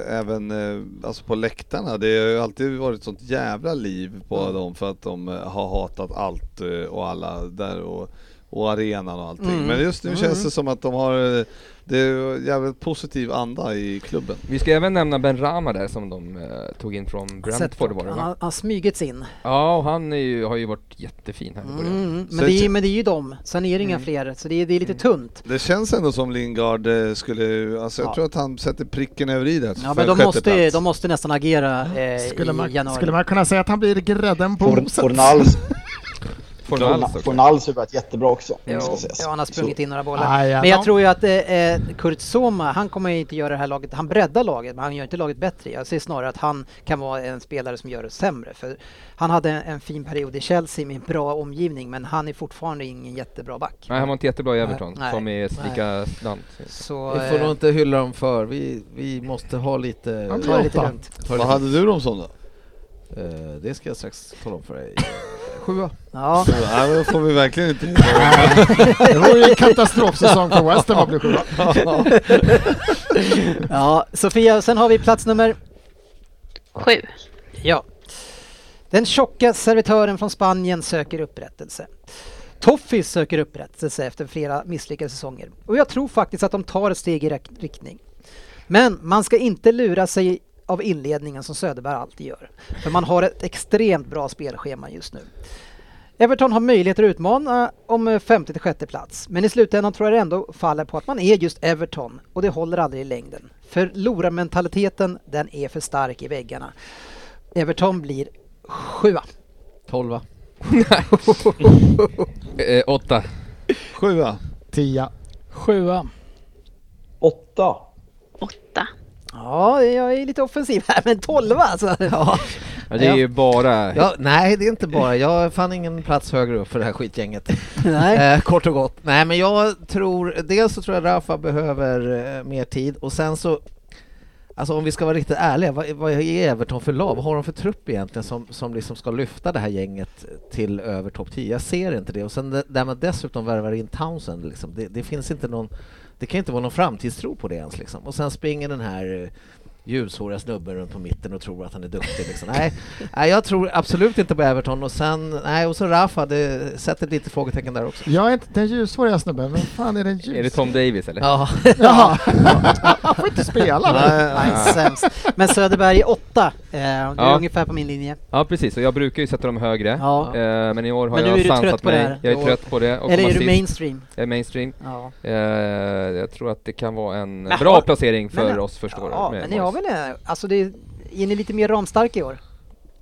även eh, alltså på läktarna. Det har ju alltid varit sånt jävla liv på Mm. dem för att de eh, har hatat allt eh, och alla där och, och arenan och allting. Mm. Men just nu känns det som att de har, eh, det är ju jävligt positiv anda i klubben. Vi ska även nämna Ben Rama där som de eh, tog in från Brentford var det han, va? har, han har smugits in. Ja, och han är ju, har ju varit jättefin här i början. Mm, Så men, det är, att- men det är ju dem. Sen är det Mm. inga fler, så det är, det är Mm. lite tunt. Det känns ändå som Lingard eh, skulle, alltså jag Ja. tror att han sätter pricken över i där. Ja, för men de, sjätte måste, plats. de måste nästan agera eh, Skulle i januari. man, skulle man kunna säga att han blir grädden på Fornals. Fornals också. Fornals har börjat jättebra också. om det ska Jo, sägas. ja, han har sprungit Så- in några bollar. Ah, ja. Men jag Ja. tror ju att eh, eh, Kurt Soma, han kommer ju inte göra det här laget, han breddar laget, men han gör inte laget bättre. Jag ser snarare att han kan vara en spelare som gör det sämre. För han hade en, en fin period i Chelsea med en bra omgivning, men han är fortfarande ingen jättebra back. Nej, han var inte jättebra i Everton, Nej. som Nej. är likadant. Så, Vi får eh, nog inte hylla dem för. Vi, vi måste ha lite... Ja, ta det lite lugnt. Ta det Vad hade du dem som då? Eh, det ska jag strax tala om för dig. Sjua. Ja. Så, nej, men då får vi verkligen inte... Det vore ju en katastrofsäsong för West Ham att bli sjua. ja, Sofia, sen har vi plats nummer... Sju. Ja. Den tjocka servitören från Spanien söker upprättelse. Toffis söker upprättelse efter flera misslyckade säsonger. Och jag tror faktiskt att de tar ett steg i rätt riktning. Men man ska inte lura sig av inledningen som Söderberg alltid gör. För man har ett extremt bra spelschema just nu. Everton har möjligheter att utmana om femte till sjätte plats. Men i slutändan tror jag det ändå faller på att man är just Everton och det håller aldrig i längden. Förlorarmentaliteten, den är för stark i väggarna. Everton blir sjua. Tolva. Eh, åtta. Sjua. Tia. Sjua. Åtta. Ja, jag är lite offensiv här, men tolva alltså. Ja. Ja, det är ju bara... Ja, nej, det är inte bara. Jag fann ingen plats högre upp för det här skitgänget. Nej. Eh, kort och gott. Nej, men jag tror... Dels så tror jag Rafa behöver eh, mer tid och sen så... Alltså om vi ska vara riktigt ärliga, vad, vad är Everton för lag? Vad har de för trupp egentligen som, som liksom ska lyfta det här gänget till över topp 10? Jag ser inte det. Och sen det- där man dessutom värvar in Townsend, liksom, det, det finns inte någon... Det kan inte vara någon framtidstro på det ens liksom. Och sen springer den här eh, ljushåriga snubben runt på mitten och tror att han är duktig. Liksom. Nej, nej, jag tror absolut inte på Everton och sen, nej, och så Rafa, det sätter lite frågetecken där också. Jag är inte den ljushåriga snubben, vem fan är den ljus? Är det Tom Davis eller? Ja. Jaha, han får inte spela. Nej, Nej. nej, nej. Nej, sämst. Men Söderberg är åtta. Eh, det är Ja. ungefär på min linje. Ja precis, och jag brukar ju sätta dem högre. Ja. Eh, men i år har Men nu jag är du sansat trött på det mig. här. jag är Då- trött på det. Och Eller komma är du sist. mainstream? Jag är mainstream. Ja. Eh, jag tror att det kan vara en Men bra har- placering för Äh, men- oss första året Ja, med men ni har Moyes. väl det? Alltså det, är ni lite mer ramstarka i år?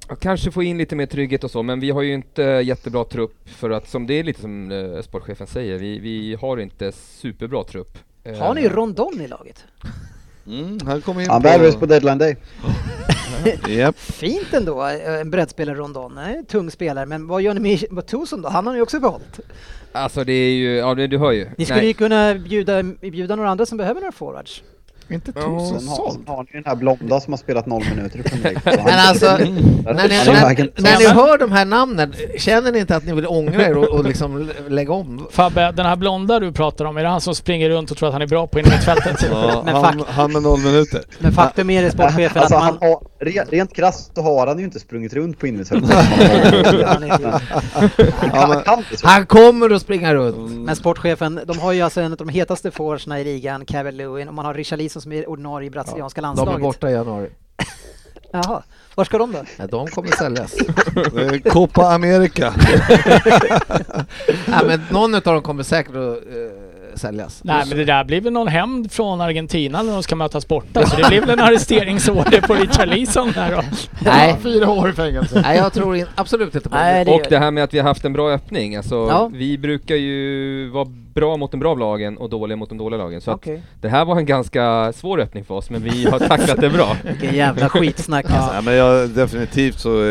Och Kanske få in lite mer trygghet och så, men vi har ju inte jättebra trupp för att, som det är lite som eh, sportchefen säger, vi, vi har inte superbra trupp. Eh, Har ni ju Rondon i laget? Mm, han kom in Han värvades på deadline day. Japp. Fint ändå, eh, en breddspelare Rondon. Nej, tung spelare, men vad gör ni med Matuson då? Han har ni också behållit. Alltså det är ju, ja det, du hör ju. Ni skulle Nej. ju kunna bjuda, bjuda några andra som behöver några forwards. Inte tusen Sen har, sen såld. har ni den här blonda som har spelat noll minuter i Premier League. Så han- Men alltså, när Mm. ni, Han är när, verkligen- när ni hör de här namnen, känner ni inte att ni vill ångra er och, och liksom lä- lägga om? Fabbe, den här blonda du pratar om, är det han som springer runt och tror att han är bra på innermittfältet? Ja, Men han, fakt- han med noll minuter. Men faktum är det sportchefen Alltså, att han man... har, re- rent krasst så har han ju inte sprungit runt på innermittfältet. Han är- Han kan inte så. Han kommer att springa runt. Mm. Men sportchefen, de har ju alltså en av de hetaste forwardsarna i ligan, Kevin Lewin, och man har Richarlison som är ordinarie i brasilianska De landslaget. är borta i januari. Jaha, var ska de då? Nej, de kommer säljas. Det är Copa America. Nej, men någon av dem kommer säkert att eh, säljas. Nej men det där blir väl någon hämnd från Argentina när de ska mötas borta, så Alltså, det blir väl en arresteringsorder på Richarlison här då. Nej. Fyra år i fängelse. Nej, jag tror in, absolut inte på Nej, det. det Och gör det här med att vi har haft en bra öppning, alltså Ja. vi brukar ju vara bra mot de bra lagen och dåliga mot de dåliga lagen. Så Okej. att det här var en ganska svår öppning för oss, men vi har tacklat det bra. Vilken jävla skitsnack alltså. Nej, men jag, definitivt så eh,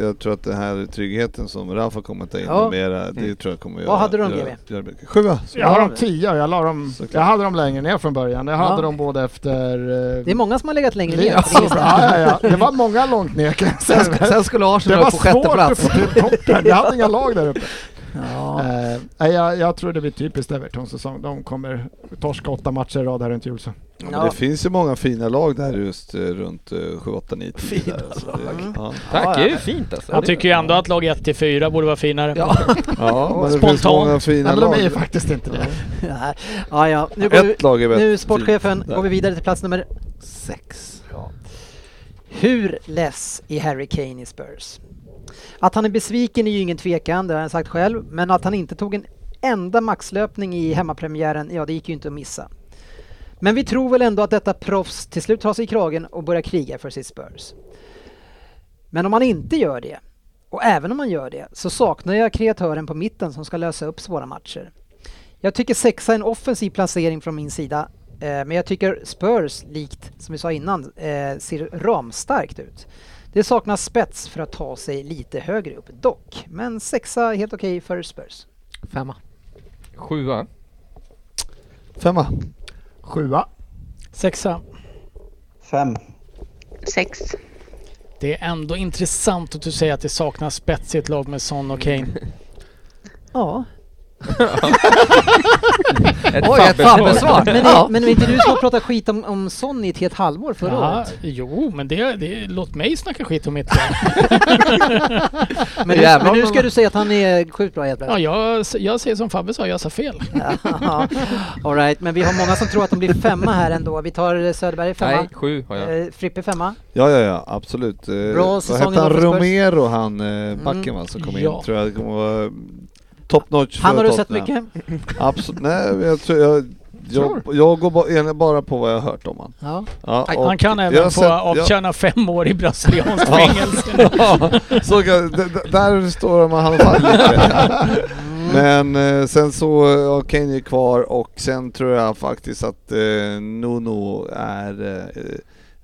jag tror att den här tryggheten som Rafa kommer att ta in Ja. Mm. mera, det tror jag kommer att göra. Vad hade du om göra- GB? göra mycket. alltså. Sjua. Jag har dem tio, jag, la dem, jag hade dem längre ner från början. Jag hade Ja. dem både efter... eh, Det är många som har legat längre ner. Ja, ja, ja. Det var många långt ner kan jag säga. Sen, sk- sen skulle Det Arsenal var upp på sjätte svårt att plats. få till toppen. Jag hade inga lag där uppe. Ja. Eh, nej, jag, jag tror det blir typiskt Evertons säsong. De kommer torska åtta matcher i rad här runt jul. Så. Ja, men Ja. det finns ju många fina lag där just eh, runt eh, 7, 8, 9, 10. Fina där, Alltså, så det- lag. alltså. Mm. Ja, Tack, Ja, det är ju ja. fint alltså. Jag tycker ju ändå att lag 1 till 4 borde vara finare. Ja. ja men det finns Spontant. många fina Nej, men de är ju lag. faktiskt inte det. Nej. ja, ja. Nu, går vi, Ett lag är bättre. nu sportchefen, går vi vidare till plats nummer... Sex. Hur less är Harry Kane i Spurs? Att han är besviken är ju ingen tvekan, det har han sagt själv, men att han inte tog en enda maxlöpning i hemmapremiären, ja det gick ju inte att missa. Men vi tror väl ändå att detta proffs till slut tar sig i kragen och börjar kriga för sitt Spurs. Men om han inte gör det, Och även om man gör det så saknar jag kreatören på mitten som ska lösa upp svåra matcher. Jag tycker sexa är en offensiv placering från min sida, eh, men jag tycker Spurs, likt som vi sa innan, eh, ser ramstarkt ut. Det saknas spets för att ta sig lite högre upp dock, men sexa är helt okej för Spurs. Femma. Sjua. Femma. Sjua. Sexa. Fem. Sex. Det är ändå intressant att du säger att det saknas spets i ett lag med Son och Kane. Ja. Ett Oj, papperssvar. ett papperssvar. Men, det, Ja. men var inte du som har pratat skit om, om Son i ett helt halvår förra Ja, året? jo, men det, det, låt mig snacka skit om mitt lag. Men, nu- Jävlar men nu vad- ska du säga att han är sjukt bra helt plötsligt. Ja, jag, jag säger som Fabbe sa, jag sa fel. Ja, All right, men vi har många som tror att de blir femma här ändå. Vi tar eh, Söderberg femma, Nej, sju har jag. eh, Frippe femma. Ja, ja, ja, absolut. Eh, Bra Vad säsongen hette han? då för Spurs. Romero, han Mm. eh, backen va, som kom Ja. in. Tror jag kommer vara eh, top notch Han för har du sett Tottenham. mycket? Absolut. Nej, jag, tror, jag, jag, jag går ba, enligt- bara på vad jag har hört om han. Ja. Ja, och Han kan jag även har få sett- avtjäna fem år i brasilianskt Ja. fängelse. Ja, så kan, d- d- där står de med handfall lite. Mm. Men eh, sen så, eh, ja, Kane är kvar och sen tror jag faktiskt att eh, Nuno är, eh,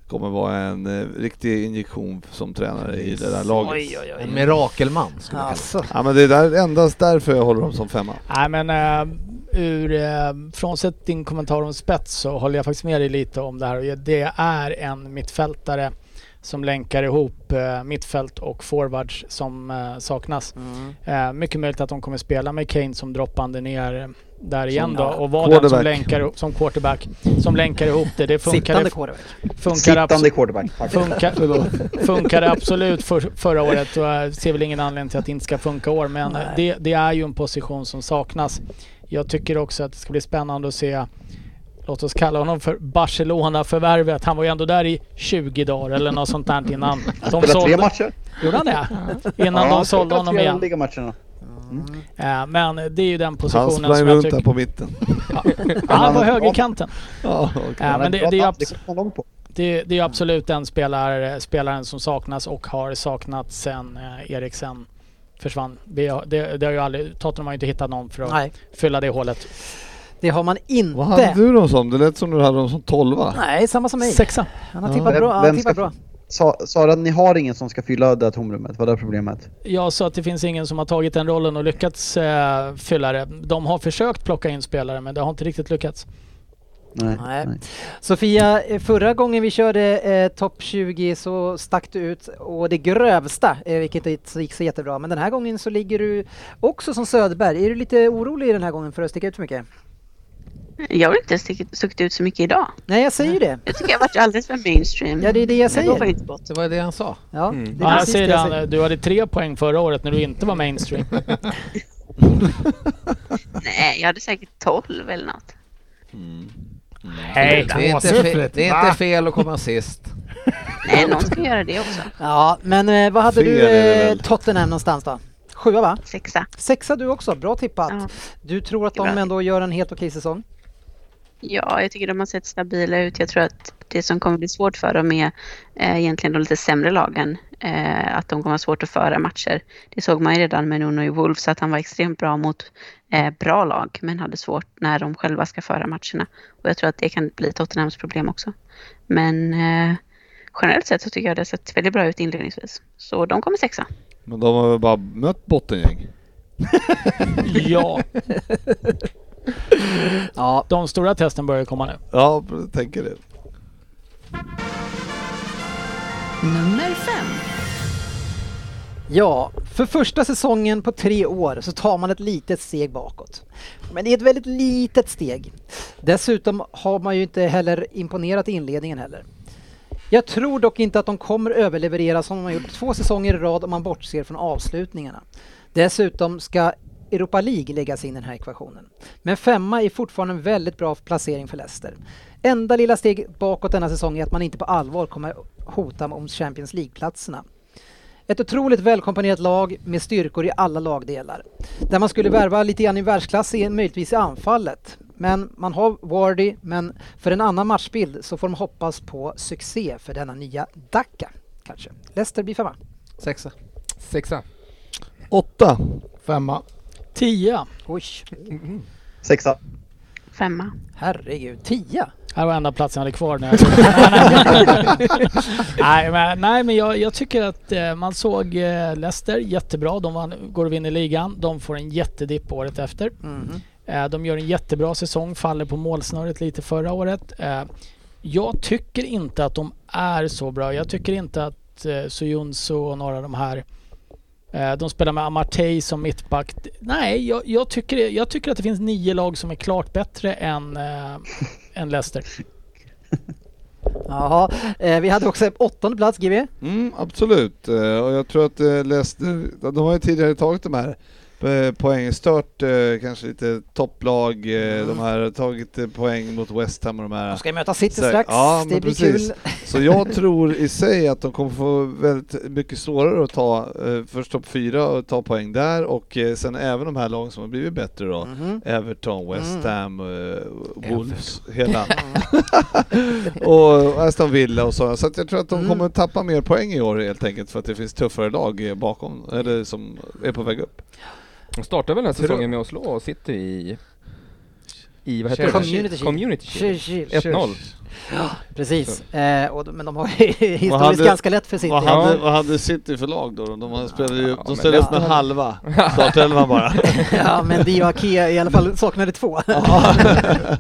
kommer vara en eh, riktig injektion som tränare i det där laget. En mirakelman skulle jag kalla Alltså. Ja men det är där, endast därför jag håller dem som femma. Nej men eh, ur, eh, frånsett din kommentar om spets så håller jag faktiskt med dig lite om det här. Och Det är en mittfältare som länkar ihop eh, mittfält och forwards som eh, saknas. Mm. Eh, mycket möjligt att de kommer spela med Kane som droppande ner eh, där igen då och vara den som quarterback. länkar ihop- som quarterback som länkar ihop det. Det funkar, Sittande quarterback. funkar, Sittande abso- quarterback. faktiskt. funkar, funkar absolut för, förra året och jag ser väl ingen anledning till att det inte ska funka i år men Nej. det, det är ju en position som saknas. Jag tycker också att det ska bli spännande att se Låt oss kalla honom för Barcelona-förvärvet. Han var ju ändå där i 20 dagar eller något sånt där innan de Spelar tre sålde... matcher. Gjorde han det? Innan de sålde honom igen. Ligamatcherna. Eh, Men det är ju den Han positionen sprang som jag runt där tycker... på mitten. Han var högerkanten. Ja, Ja, men det, det, är ju abs- kom långt på. det, det är ju absolut den spelar, spelaren som saknas och har saknats sen eh, Eriksen försvann. Vi har, det, det har ju aldrig, Tottenham har ju inte hittat någon för att Nej, fylla det hålet. det har man Vad hade inte. du dem som? Det lät som du hade dem som Ah. tolva. Nej, samma som mig. Sexa. Han har Ja. tippat Vem- bra. Han har vem tippat ska- bra. Sa, Sara, ni har ingen som ska fylla det här tomrummet. Vad är problemet? Jag sa att det finns ingen som har tagit den rollen och lyckats eh, fylla det. De har försökt plocka in spelare men det har inte riktigt lyckats. Nej. Nej. Sofia, eh, förra gången vi körde eh, topp 20 så stack du ut och det grövsta, eh, vilket inte gick så jättebra. Men den här gången så ligger du också som Söderberg. Är du lite orolig den här gången för att sticka ut för mycket? Jag har inte stick- stuckit ut så mycket idag. Nej, jag säger ju det. Jag tycker jag har varit alldeles för mainstream. Ja, det är det jag Jag går säger. inte bort. det. Det var ju det han sa. Ja, Mm. det är Ja, jag precis säger det det, jag säger. Anne. eh, du hade tre poäng förra året när du inte var mainstream. Nej, jag hade säkert 12 eller något. Nej, Det är inte, fe- Tvåsiffrigt, det är inte fel att komma sist. Nej, någon ska göra det också. Ja, men eh, vad hade Fel du är det eh, väl. Tottenham någonstans då? Sjua va? Sexa. Sexa du också, bra tippat. Ja. Du tror att Det är de bra. ändå gör en helt okej säsong? Ja, jag tycker de har sett stabila ut. Jag tror att det som kommer bli svårt för dem är eh, egentligen de lite sämre lagen. Eh, att de kommer ha svårt att föra matcher. Det såg man ju redan med Nuno i Wolves att han var extremt bra mot eh, bra lag men hade svårt när de själva ska föra matcherna. Och jag tror att det kan bli Tottenhams problem också. Men eh, generellt sett så tycker jag det har sett väldigt bra ut inledningsvis. Så de kommer sexa. Men de har väl bara mött bottengäng. ja. Ja. De stora testen börjar komma nu. Ja, jag tänker det. Nummer fem. Ja, för första säsongen på tre år så tar man ett litet steg bakåt. Men det är ett väldigt litet steg. Dessutom har man ju inte heller imponerat i inledningen heller. Jag tror dock inte att de kommer överleverera som de har gjort två säsonger i rad om man bortser från avslutningarna. Dessutom ska Europa League läggas in i den här ekvationen. Men femma är fortfarande en väldigt bra placering för Leicester. Enda lilla steg bakåt denna säsong är att man inte på allvar kommer hota om Champions League-platserna. Ett otroligt välkomponerat lag med styrkor i alla lagdelar. Där man skulle värva lite grann i världsklass, i- möjligtvis i anfallet. Men man har Wardy, men för en annan matchbild så får de hoppas på succé för denna nya Dacca. Kanske. Leicester blir femma. Sexa. Sexa. Åtta. Femma. Tia. Oj, Sexa. Femma. herregud. Tia? Här var enda platsen jag hade kvar när jag Nej men, nej, men jag, jag tycker att eh, man såg eh, Leicester jättebra. De vann, går och vinner ligan. De får en jättedipp året efter. Mhm. Eh, de gör en jättebra säsong, faller på målsnöret lite förra året. Eh, jag tycker inte att de är så bra. Jag tycker inte att eh, Sojunsu och några av de här eh, de spelar med Amartey som mittback. Nej, jag, jag, tycker, jag tycker att det finns nio lag som är klart bättre än, eh, än Leicester. Jaha, eh, vi hade också åttonde plats GB. Mm, absolut. Eh, Och jag tror att eh, Leicester, de har ju tidigare tagit de här eh, poängstört, eh, kanske lite topplag. eh, De har tagit eh, poäng mot West Ham och de här. De ska ju möta City Så- strax. ja, det men blir precis. kul. Så jag tror i sig att de kommer få väldigt mycket svårare att ta eh, först topp fyra och ta poäng där och eh, sen även de här lagen som har blivit bättre då. Mhm. Everton, Mm. West Ham, eh, Wolves, hela. och Aston Villa och sådana. Så att jag tror att de Mm. kommer tappa mer poäng i år helt enkelt för att det finns tuffare lag eh, bakom, eller som är på väg upp. De startar väl den här Tror- säsongen med att slå City i... I vad heter det? Community Shield. Community Shield. Tjur, tjur. 1-0. Precis, eh, och, de- men de har ju historiskt hade- ganska lätt för City. Vad Ja. hade, vad hade City för lag då? De, har- spelade ju, Ja, de men ställde upp med Leicester- halva startelvan bara. ja, men Dio Akea i alla fall saknade två.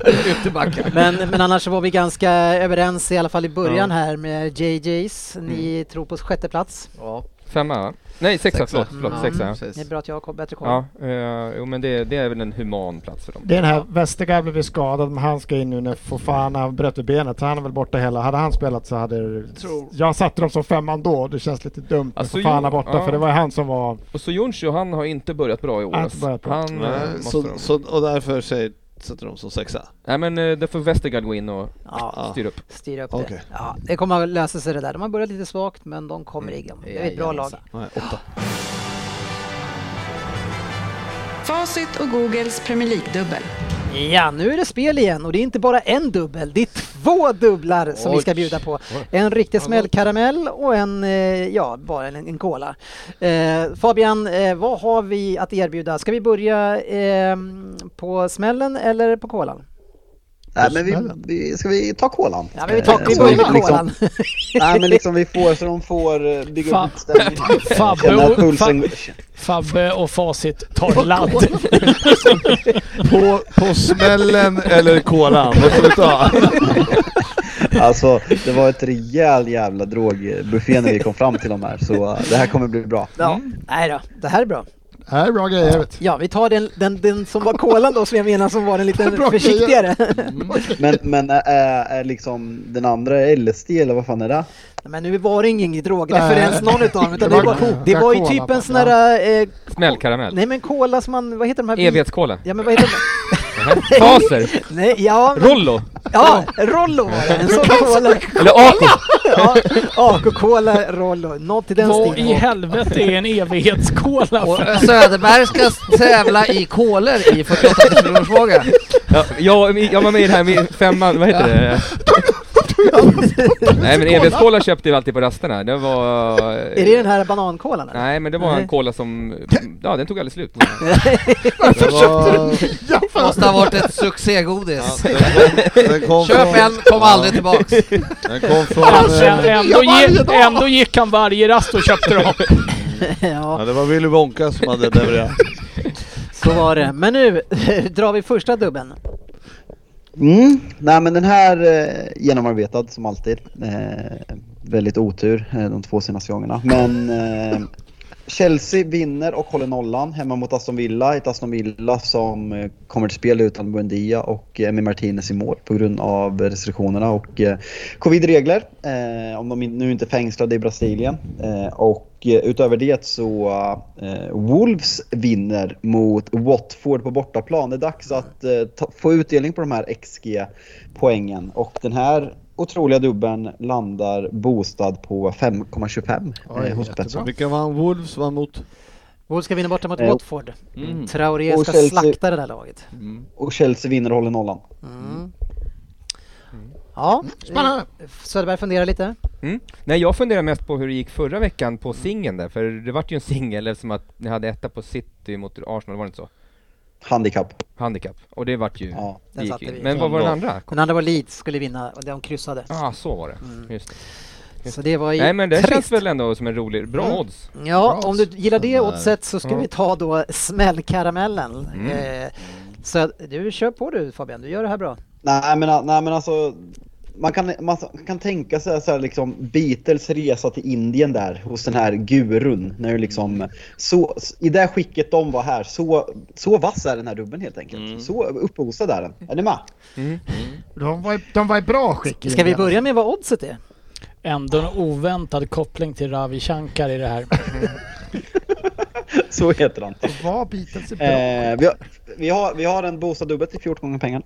Ytterbackar. men, men annars så var vi ganska överens i alla fall i början här med JJs. Ni tror på sjätte plats. Ja, Femma va? Nej, sexa, Sexa. förlåt. förlåt Mm. Sexa. precis. Det är bra att jag har ko- bättre koll. Ja, eh, jo men det, det är väl en human plats för dem. Det är den här, Westergaard blev ju skadad men han ska in nu när Fofana bröt i benet så han är väl borta hela. Hade han spelat så hade Tror- Jag satte dem som femman då, det känns lite dumt med Alltså, Fofana jo, borta ja. för det var ju han som var... Och så Jonsson, han har inte börjat bra i år. Han har alltså. inte börjat bra. Han, eh, Nej, måste så, de- så, och därför säger, sätter de som sexa. Nej men eh, där får Westergaard gå in och Ja, styra upp. styra upp Okej. det. Ja, det kommer att lösa sig det där. De har börjat lite svagt men de kommer Mm. igång. Det är ett bra lag. Jajamensan. Nej, åtta. Facit och Googles Premier League-dubbel. Ja, nu är det spel igen och det är inte bara en dubbel, det är två dubblar som vi ska Oj. bjuda på. En riktig smällkaramell och en, eh, ja, bara en, en cola. Eh, Fabian, eh, vad har vi att erbjuda? Ska vi börja ehm, på smällen eller på kolan? Nej, men vi, vi, ska vi ta kolan? Ja, men vi, tar, Eh, vi så börjar med vi liksom- kolan. Nej, men liksom vi får så de får eh, bygga Fan. upp stämningen. Fabbe Känna och- pulsen. Fabbe och Facit tar ladd. På, på smällen eller kolan, vad ska vi ta? Alltså, det var ett rejäl jävla drogbuffé när vi kom fram till de här, så eh, det här kommer bli bra. Ja, nej då, det här är bra. Det här är bra grejer. Vet. Ja, vi tar den, den, den som var kolan då, som jag menar som var den lite Bra försiktigare. Men, men är, är liksom den andra LSD eller vad fan är det? Men nu var det ingen drogreferens Nej. någon utav dem, utan Det det var var, Coca-Cola det var ju typ en sån här eh, Smällkaramell. Nej men cola som man, vad heter de här? vit- Evighetskolen. Ja men vad heter de? Nähä. Faser. Nej, ja, men- Rollo. ja, Rollo var det. En sån cola. Eller Ako. Ja, AK-cola, Rollo. Något i den Vad i stilen. helvete är en evighetskola? Och för? Söderberg ska tävla i kolor i 48 timmars Ja, jag, jag var med i det här med femman, vad heter det? Nej men evighetskola köpte vi alltid på rasterna. Det var... Är det den här banankolan? eller? Nej men det var Nej. en cola som, ja den tog aldrig slut. Det var, Måste ha varit ett succégodis. den kom Köp från, en, kom aldrig tillbaks. Den kom från... Alltså, eh, ändå, gick, ändå gick han varje rast och köpte dem. Ja, Ja, det var Willy Wonka som hade levererat. så var det. Men nu drar vi första dubben. Mm. Nej men den här eh, genomarbetad som alltid. Eh, väldigt otur eh, de två senaste gångerna. Men eh, Chelsea vinner och håller nollan hemma mot Aston Villa. Ett Aston Villa som eh, kommer till spel utan Buendia och eh, Emi Martinez i mål på grund av restriktionerna och eh, covidregler. Eh, om de in- nu inte är fängslade i Brasilien. Eh, och eh, utöver det så eh, Wolves vinner mot Watford på bortaplan. Det är dags att eh, ta, få utdelning på de här XG-poängen. Och den här otroliga dubben landar bostad på 5,25 Oj, eh, hos jättebra. Betsson. Vilka vann Wolves vann mot? Wolves ska vinna borta mot Eh, Watford. Traoré Och ska Chelsea- slakta det där laget. Och Chelsea vinner och håller nollan. Mm. Ja, Spännande. Mm. eh, Söderberg funderar lite. Mm. Nej, jag funderar mest på hur det gick förra veckan på singeln där, för det vart ju en singel eftersom att ni hade etta på City mot Arsenal, var det inte så? Handikapp. Handikapp. Och det vart ju... Ja, det Den gick satte ju. vi. Men vad var den andra? Den andra var Leeds, skulle vinna, och de kryssade. Mm. Ja, ah, så var det. Just det. Just Så det var ju Nej men det trist. känns väl ändå som en rolig, bra Mm. odds. Ja, om du gillar det Sådär. oddset så ska Ja. vi ta då smällkaramellen. Mm. Eh, så att- du kör på du Fabian, du gör det här bra. Nej men, nej, men alltså, man kan, man kan tänka sig så här, liksom, Beatles resa till Indien där hos den här gurun. När det liksom, så, I det skicket de var här, så, så vass är den här dubben helt enkelt. Så upphaussad är den. Är ni med? Mm. De var, i- de var i bra skick. Ska vi börja med vad oddset är? Ändå en oväntad koppling till Ravi Shankar i det här. Så heter han. Var Beatles i bra Eh, vi, har, vi, har, vi har en bostad dubbel till 14 gånger pengarna.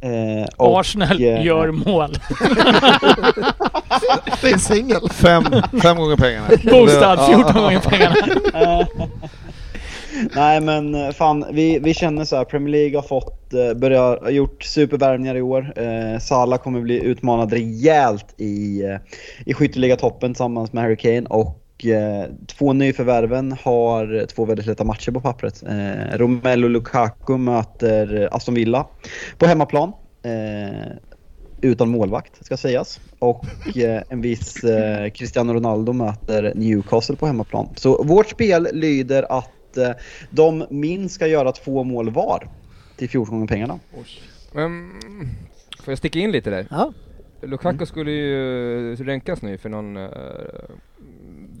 Eh, och, Arsenal eh, gör mål. Det är en singel. Fem, fem gånger pengarna. Bostad 14 Ja. gånger pengarna. Nej men eh, fan, vi, vi känner så här. Premier League har fått, eh, börjar, har gjort supervärvningar i år. Eh, Salah kommer bli utmanad rejält i, eh, i skytteligatoppen tillsammans med Harry Kane. Och eh, två nyförvärven har två väldigt lätta matcher på pappret. Eh, Romelu Lukaku möter eh, Aston Villa på hemmaplan. Eh, utan målvakt ska sägas. Och eh, en viss eh, Cristiano Ronaldo möter Newcastle på hemmaplan. Så vårt spel lyder att eh, de minst ska göra två mål var till 14 gånger pengarna. Men, Ehm, får jag sticka in lite där? Ja. Mm. Lukaku skulle ju eh, ränkas nu för någon... eh,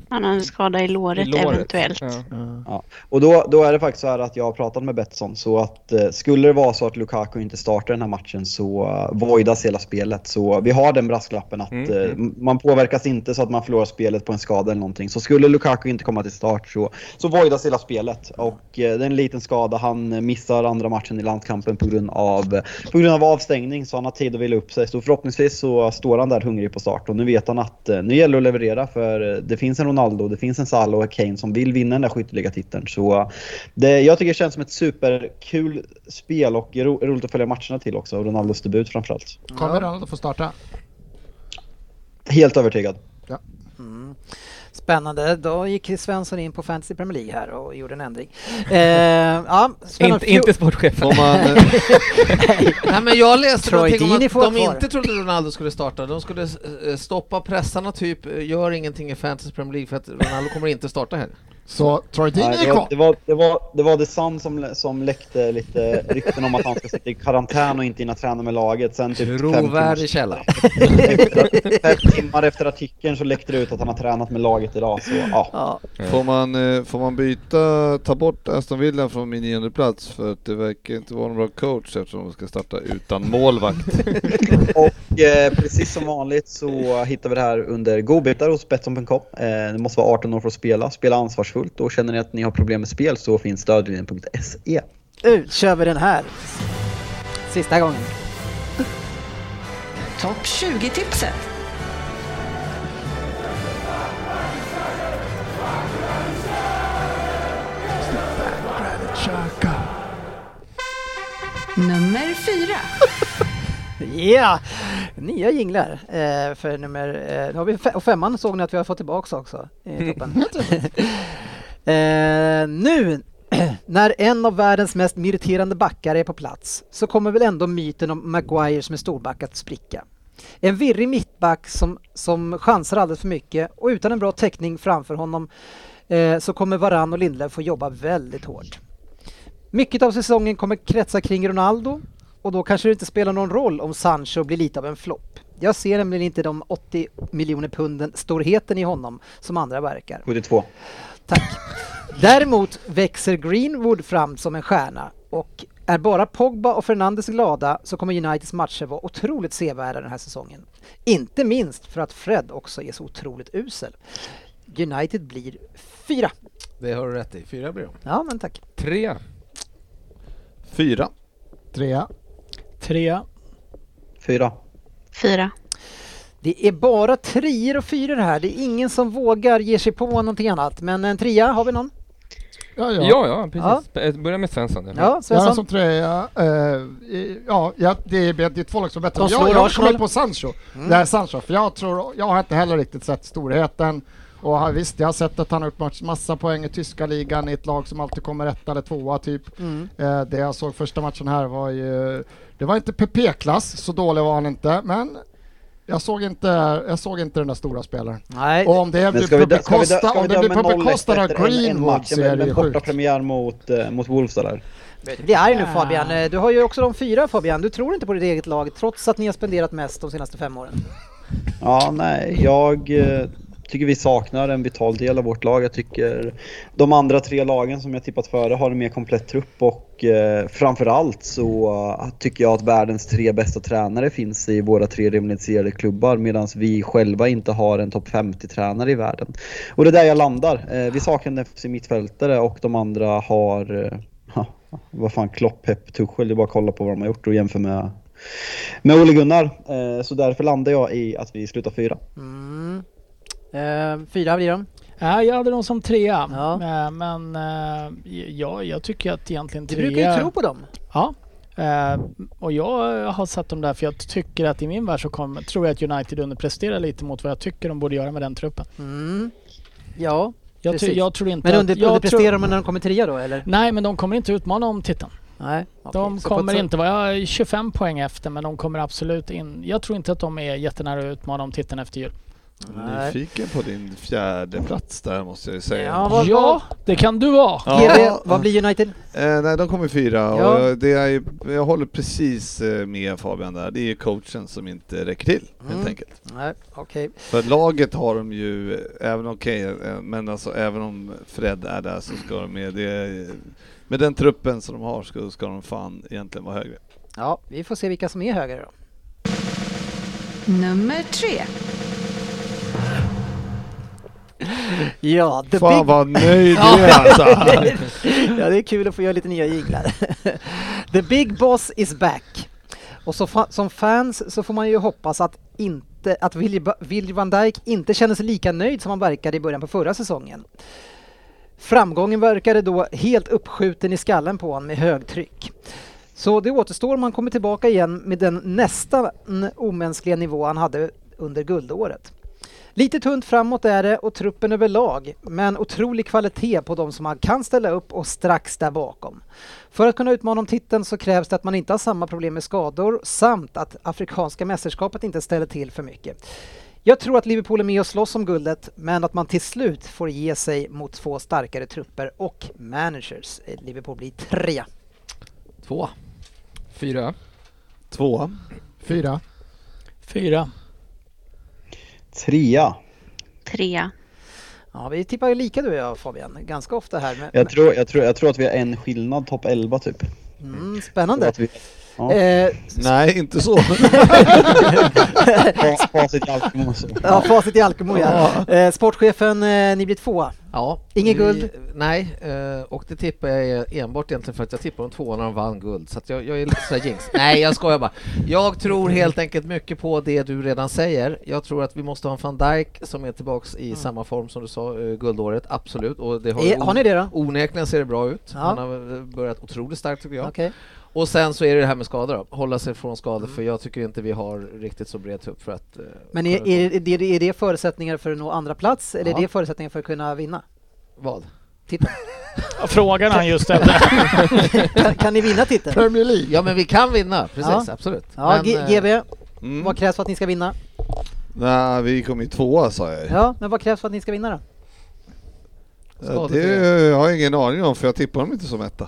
Han har en skada i i låret, låret. eventuellt. Ja. Och då, då är det faktiskt så här att jag har pratat med Betsson så att eh, skulle det vara så att Lukaku inte startar den här matchen så eh, voidas hela spelet. Så vi har den brasklappen att Mm, eh, m- man påverkas inte så att man förlorar spelet på en skada eller någonting. Så skulle Lukaku inte komma till start så, så voidas hela spelet. Och eh, det är en liten skada. Han missar andra matchen i landskampen på grund av, på grund av avstängning så han har tid att vila upp sig. Så förhoppningsvis så står han där hungrig på start och nu vet han att eh, nu gäller det att leverera för eh, det finns en Ronaldo, det finns en Salah och en Kane som vill vinna den där skytteligatiteln. Så eh, det, jag tycker det känns som ett superkul spel och ro, roligt att följa matcherna till också. och Ronaldos debut framförallt. Kommer Ronaldo få starta? Helt övertygad. Mm. Spännande, då gick Svensson in på Fantasy Premier League här och gjorde en ändring. Eh, ja, spännande. Inte, inte sportchefen. Får man, Nej, men jag läste Troy någonting om Deeney att får de vara kvar. inte trodde Ronaldo skulle starta. De skulle eh, stoppa pressarna typ, eh, gör ingenting i Fantasy Premier Leage för att Ronaldo kommer inte starta här. Så Troy Deeney Nej, är det, var, kvar. det, var, det, var, det var The Sun som, lä- som läckte lite rykten om att han ska sitta i karantän och inte hinna träna med laget. Sen typ fem timmar, Trovärdig källa. fem timmar efter artikeln så läckte det ut att han har tränat med laget idag. Så, ja. Ja, får, man, eh, får man byta, ta bort Aston Villa från min nionde plats för att det verkar inte vara någon bra coach eftersom de ska starta utan målvakt. Och eh, precis som vanligt så hittar vi det här under godbitar hos Betsson.com. Eh, det måste vara 18 år för att spela. Spela ansvarsfullt och känner ni att ni har problem med spel så finns stödlinjen.se. nu kör vi den här. Sista gången. Topp 20-tipset. Nummer 4. Ja, nya jinglar eh, för nummer... Eh, nu har vi fe- och femman såg ni att vi har fått tillbaka också i toppen. eh, nu, när en av världens mest meriterande backar är på plats så kommer väl ändå myten om Maguire som är storback att spricka. En virrig mittback som, som chansar alldeles för mycket och utan en bra täckning framför honom eh, så kommer Varann och Lindelöf få jobba väldigt hårt. Mycket av säsongen kommer kretsa kring Ronaldo och då kanske det inte spelar någon roll om Sancho blir lite av en flopp. Jag ser nämligen inte de 80 miljoner punden storheten i honom som andra verkar. 72. Tack. Däremot växer Greenwood fram som en stjärna och är bara Pogba och Fernandes glada så kommer Uniteds matcher vara otroligt sevärda den här säsongen. Inte minst för att Fred också är så otroligt usel. United blir fyra. Det har du rätt i. Fyra blir de. Ja, men tack. Tre. Fyra. Trea. Trea. Fyra. Fyra. Det är bara treor och fyror här. Det är ingen som vågar ge sig på någonting annat. Men en trea, har vi någon? Ja, ja. Ja, ja, precis. P- Börja med Svensson. ja. Jag har som tröja, eh, i- ja, ja, det är, det är två lag som bättre. De Jag, slår jag har Arsenal. kommit på Sancho. Mm. Det här är Sancho, för jag tror, jag har inte heller riktigt sett storheten. Och har- visst, jag har sett att han har gjort match- massa poäng i tyska ligan i ett lag som alltid kommer etta eller tvåa typ. Mm. Eh, det jag såg första matchen här var ju, det var inte PP-klass, så dålig var han inte, men jag såg inte, jag såg inte den där stora spelaren. Nej. Och om det Men blir ska på vi dö- ska vi dö- bekostnad ska om vi det blir döma på 0-1 bekostnad av efter en- en Greenwood match, så är det men ju borta sjukt. premiär mot, eh, mot Wolves där. Det är nu Fabian. Eh, Du har ju också de fyra Fabian. Du tror inte på ditt eget lag trots att ni har spenderat mest de senaste fem åren. Ja, nej, jag eh, tycker vi saknar en vital del av vårt lag. Jag tycker de andra tre lagen som jag tippat före har en mer komplett trupp och eh, framförallt så eh, tycker jag att världens tre bästa tränare finns i våra tre rivaliserade klubbar medan vi själva inte har en topp 50-tränare i världen. Och det är där jag landar. Eh, vi saknar en defensiv mittfältare och de andra har eh, ja, vad fan, Klopp, Pep, Tuchel. Det är bara att kolla på vad de har gjort och jämför med med Ole Gunnar. Eh, Så därför landar jag i att vi slutar fyra. Mm. Eh, fyra blir de. Ja, Eh, jag hade dem som trea. Eh, Men eh, ja, jag tycker att egentligen Du trea... brukar ju tro på dem. Ja. Eh, och jag har satt dem där för jag tycker att i min värld så kommer, tror jag att United underpresterar lite mot vad jag tycker de borde göra med den truppen. Mm. Ja, Jag, precis. ty- jag tror inte Men att- under, jag underpresterar tror- de när de kommer trea då eller? Nej, men de kommer inte utmana om titeln. Nej. De så på kommer ett så- inte vara jag är 25 poäng efter, men de kommer absolut in. Jag tror inte att de är jättenära att utmana om titeln efter jul. Nyfiken på din fjärde plats där måste jag ju säga. Ja, vad- Ja, det kan du vara. GB, vad blir United? Eh, nej, de kommer fyra och Ja. jag- det är, ju- jag håller precis eh, med Fabian där. Det är ju coachen som inte räcker till helt enkelt. Mm. Nej, okej. För laget har de ju, eh, även okej, eh, men alltså även om Fred är där så ska de med det, med den truppen som de har ska, ska de fan egentligen vara högre. Ja, vi får se vilka som är högre då. Nummer tre. Ja, the Fan, big... vad nöjd du Ja. är, alltså. ja, det är kul att få göra lite nya jinglar. the big boss is back. Och så fa- som fans så får man ju hoppas att inte att Willy, Ba- Willy van Dijk inte känner sig lika nöjd som han verkade i början på förra säsongen. Framgången verkade då helt uppskjuten i skallen på honom med högtryck. Så det återstår om han kommer tillbaka igen med den nästan omänskliga nivå han hade under guldåret. Lite tunt framåt är det och truppen överlag, men otrolig kvalitet på de som man kan ställa upp och strax där bakom. För att kunna utmana om titeln så krävs det att man inte har samma problem med skador samt att Afrikanska mästerskapet inte ställer till för mycket. Jag tror att Liverpool är med och slåss om guldet, men att man till slut får ge sig mot två starkare trupper och managers. Liverpool blir trea. Två. Fyra. Två. Fyra. Fyra. Trea. Trea. Ja, vi tippar ju lika du och jag Fabian, ganska ofta här. Men, Jag tror, jag, tror, jag tror att vi har en skillnad, topp 11 typ. mm, Jag tror spännande. att vi- Ja. Eh, Nej, inte så. Fa- Facit i Alkemo. så. Ja, facit i Alkemo ja. Eh, sportchefen, eh, ni blir tvåa. Ja, Inget vi- guld. Nej, eh, och det tippar jag enbart egentligen för att jag tippade de två när de vann guld, så att jag, jag är lite sådär jinx. Nej, jag skojar bara. Jag tror helt enkelt mycket på det du redan säger. Jag tror att vi måste ha en van Dijk som är tillbaks i samma form som du sa, eh, guldåret, absolut. Och det har, Mm. Eh, har ni det då? Onekligen ser det bra ut. Ja. Han har eh, börjat otroligt starkt tycker jag. Okej. Mm. Och sen så är det det här med skador då, hålla sig från skador, för jag tycker inte vi har riktigt så bred tupp för att... eh, Men är, kunna- är, det, är det förutsättningar för att nå andra plats eller Ja. är det förutsättningar för att kunna vinna? Vad? Titeln? Frågan han just ställde. kan, kan ni vinna titeln? Premier League. Ja men vi kan vinna, precis, Ja. absolut. Ja, men, G- eh, GB, Mm. vad krävs för att ni ska vinna? Nej, vi kom ju tvåa sa jag ju. Ja, men vad krävs för att ni ska vinna då? Eh, Det har jag ingen aning om för jag tippar dem inte som etta.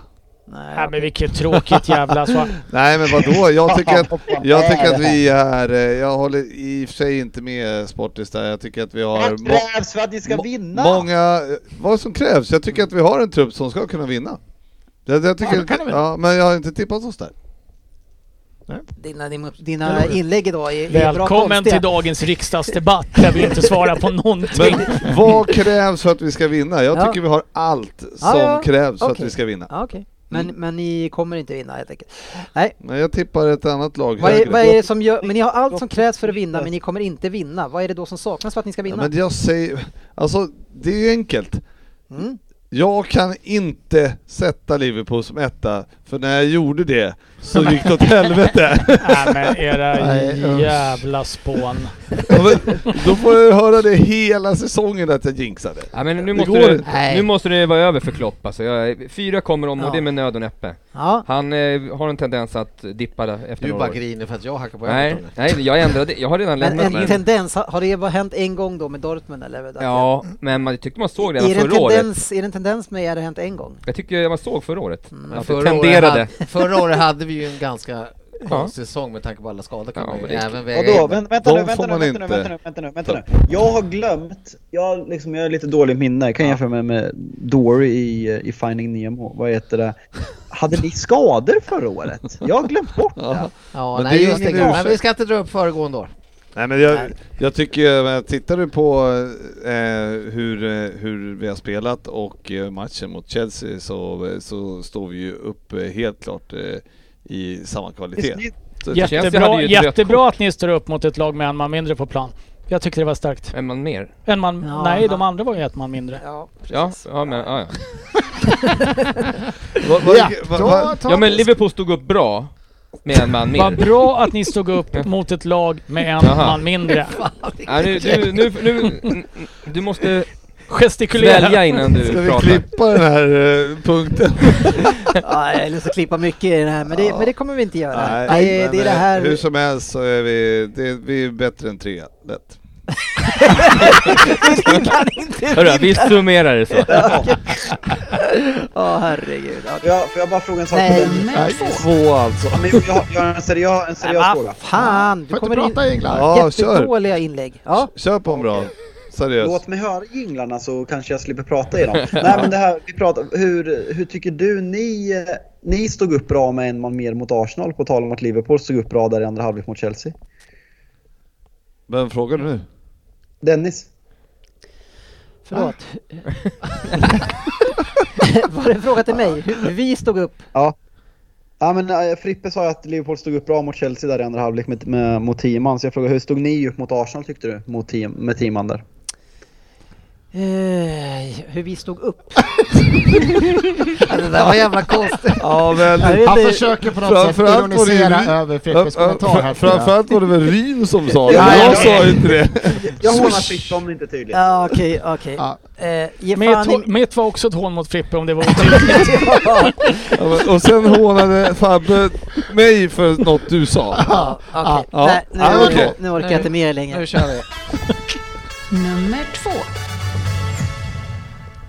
Nej men vilket tråkigt jävla svar. Nej men vadå, jag tycker att, jag tycker att vi är, eh, jag håller i och för sig inte med Sportis där, jag tycker att vi har Vad må- krävs för att ni ska vinna? många, eh, vad som krävs, jag tycker att vi har en trupp som ska kunna vinna. Jag, jag tycker, Ja, då kan de vinna. ja, men jag har inte tippat oss där. Dina, dina inlägg idag är, är bra Välkommen konstiga. till dagens riksdagsdebatt där vi inte svarar på någonting. Men vad krävs för att vi ska vinna? Jag Ja. tycker vi har allt som Ja, ja. krävs för Okej. att vi ska vinna. Mm. Ja, okej. men, men ni kommer inte vinna helt enkelt. Nej, Men jag tippar ett annat lag vad är, högre. vad är det som gör, men ni har allt som krävs för att vinna men ni kommer inte vinna. Vad är det då som saknas för att ni ska Ja, vinna? men jag säger, alltså det är ju enkelt. Mm. Jag kan inte sätta Liverpool som etta, för när jag gjorde det så gick det åt helvete. Nej men era Nej, usch. jävla spån. Ja, men Då får jag höra det hela säsongen att jag jinxade. Ja, men nu, Det måste går det, inte. nu måste det vara över för Klopp alltså. jag, Fyra kommer om och det är med nöd och näppe. Ja. Han eh, har en tendens att dippa där efter Du några bara år. griner för att jag hackar på Nej, Everton. nej, jag ändrade. Jag har redan Men lämnat. en tendens, har- har det bara hänt en gång då med Dortmund eller? Att- Ja, men man jag tyckte man såg redan är, det en förra året. tendens, är det en tendens med är det hänt en gång? Jag tyckte man såg förra året. Men Mm. Att förra, det tenderade. Året hade, förra året hade vi ju en ganska konstig säsong med tanke på alla skador kan Ja, man ju men det- även väga Vadå? in. Vänta, vänta, nu, vänta, nu, vänta, nu, vänta nu, vänta nu, vänta nu. Jag har glömt, jag, liksom, jag har lite dåligt minne, jag kan jämföra mig med Dory i, eh, i Finding Nemo, vad heter det? Hade ni skador förra året? Jag har glömt bort det. Ja, Men nej, det är just det. ingen Men ursäkt. vi ska inte dra upp föregående år. Nej, men jag, jag tycker, ju, men tittar du på eh, hur, eh, hur vi har spelat och eh, matchen mot Chelsea så, eh, så står vi ju upp eh, helt klart eh, i samma kvalitet. Så- Jättebra, jättebra att ni står upp mot ett lag med en man mindre på plan. Jag tyckte det var starkt. En man mer? En man... Ja, nej, en de man. andra var ju ett man mindre. Ja, Ja, ja men ja, ja. Vad- vad- Ja, vad- vad- ta- ta- ja men Liverpool stod upp bra med en man Vad mer. bra att ni stod upp mot ett lag med en Jaha. man mindre. Ja, nu, du, nu, nu, du måste Gestikulera. svälja innan du Ska vi pratar. klippa den här eh, punkten? Ja, jag har lust att klippa mycket i det här, men det, men det kommer vi inte göra. Nej, det, men, det är det eh, här... Hur som helst så är vi, det, vi är bättre än trea, lätt. Hörru, vi summerar det så. Ja, herregud. Ja. Får jag, får jag bara fråga en sak? Nej, Nej, två alltså. Ja, men jag, jag, har- jag har en seriös, en seriös Men fråga. vad fan! Du Får inte kommer in... prata England? Ja, kör. Jättedåliga inlägg. Ja. Kör på en bra. Seriöst. Låt mig höra jinglarna så kanske jag slipper prata i dem. Nej men det här, vi pratar, hur, hur tycker du ni, eh, ni stod upp bra med en man mer mot Arsenal på tal om att Liverpool stod upp bra där i andra halvlek mot Chelsea? Vem frågar du nu? Dennis? Förlåt. Var det en fråga till mig? Hur vi stod upp? Ja. Ja men eh, Frippe sa ju att Liverpool stod upp bra mot Chelsea där i andra halvlek med, med, mot 10 man. Så jag frågar hur stod ni upp mot Arsenal tyckte du? Mot 10 med 10 man där? Eh, hur vi stod upp? Ja, Det där var jävla konstigt. Ja, väldigt. Jag vet Han inte. försöker på något sätt Framförallt var det ju- ironisera över Frippes Ja, ja, kommentar här. fra- tror jag. Framförallt var det väl Ryn som sa det, Ja, jag ja, sa ju inte det. Jag hånar Frippe om det inte är tydligt. Ja, okej, okej. Ja. Eh, Ge Mitt, fan i... hå- mitt var också ett hån mot Frippe om det var otydligt. Ja, men- Och sen hånade Fabbe mig för något du sa. Ja, okej. Ja. Nej, nu, Ja, okej. nu orkar jag inte mer längre. Nu kör vi. Nummer två.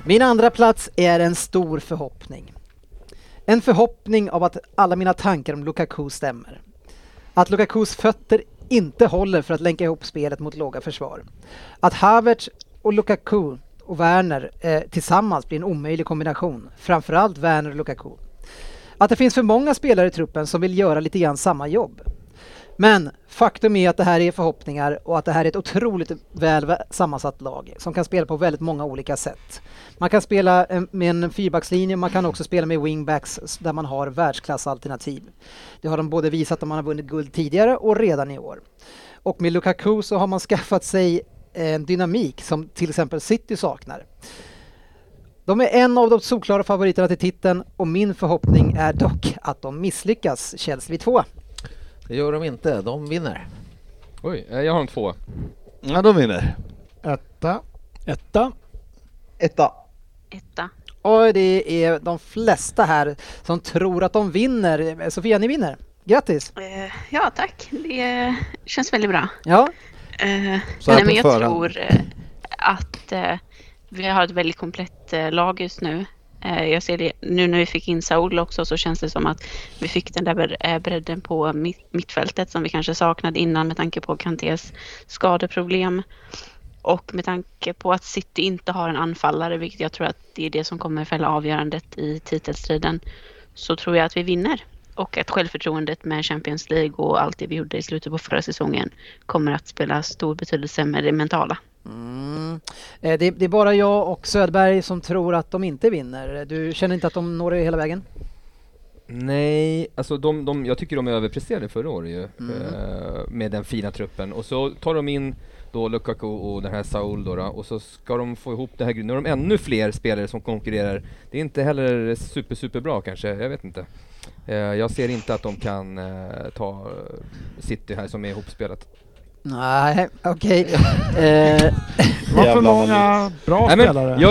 Min andra plats är en stor förhoppning. En förhoppning av att alla mina tankar om Lukaku stämmer. Att Lukakus fötter inte håller för att länka ihop spelet mot låga försvar. Att Havertz och Lukaku och Werner eh, tillsammans blir en omöjlig kombination. Framförallt Werner och Lukaku. Att det finns för många spelare i truppen som vill göra lite grann samma jobb. Men faktum är att det här är förhoppningar och att det här är ett otroligt väl vä- sammansatt lag som kan spela på väldigt många olika sätt. Man kan spela eh, med en fyrbackslinje, man kan också spela med wingbacks s- där man har världsklassalternativ. Det har de både visat att man har vunnit guld tidigare och redan i år. Och med Lukaku så har man skaffat sig en dynamik som till exempel City saknar. De är en av de solklara favoriterna till titeln och min förhoppning är dock att de misslyckas. Chelsea vid tvåa. Det gör de inte. De vinner. Oj, eh, jag har en två. Ja, de vinner. Etta. Etta. Etta. Etta. Och det är de flesta här som tror att de vinner. Sofia, ni vinner. Grattis! Eh, Ja, tack. Det känns väldigt bra. Ja, Eh, Så här nej, på men jag förhand. tror eh, att eh, vi har ett väldigt komplett eh, lag just nu. Eh, jag ser det nu när vi fick in Saul också så känns det som att vi fick den där bre- eh, bredden på mitt, mittfältet som vi kanske saknade innan med tanke på Kantés skadeproblem. Och med tanke på att City inte har en anfallare, vilket jag tror att det är det som kommer fälla avgörandet i titelstriden, så tror jag att vi vinner. Och att självförtroendet med Champions League och allt det vi gjorde i slutet på förra säsongen kommer att spela stor betydelse med det mentala. eh, det, det är bara jag och Södberg som tror att de inte vinner. Du känner inte att de når det hela vägen? Nej, alltså de, de, jag tycker de överpresterade förra året ju, eh, med den fina truppen. Och så tar de in då Lukaku och den här Saul då, då och så ska de få ihop det här. Nu har de ännu fler spelare som konkurrerar. Det är inte heller super, super bra kanske, jag vet inte. Eh, jag ser inte att de kan eh, ta City här som är ihopspelat. Nej, okej. Eh, nej, men, Jag,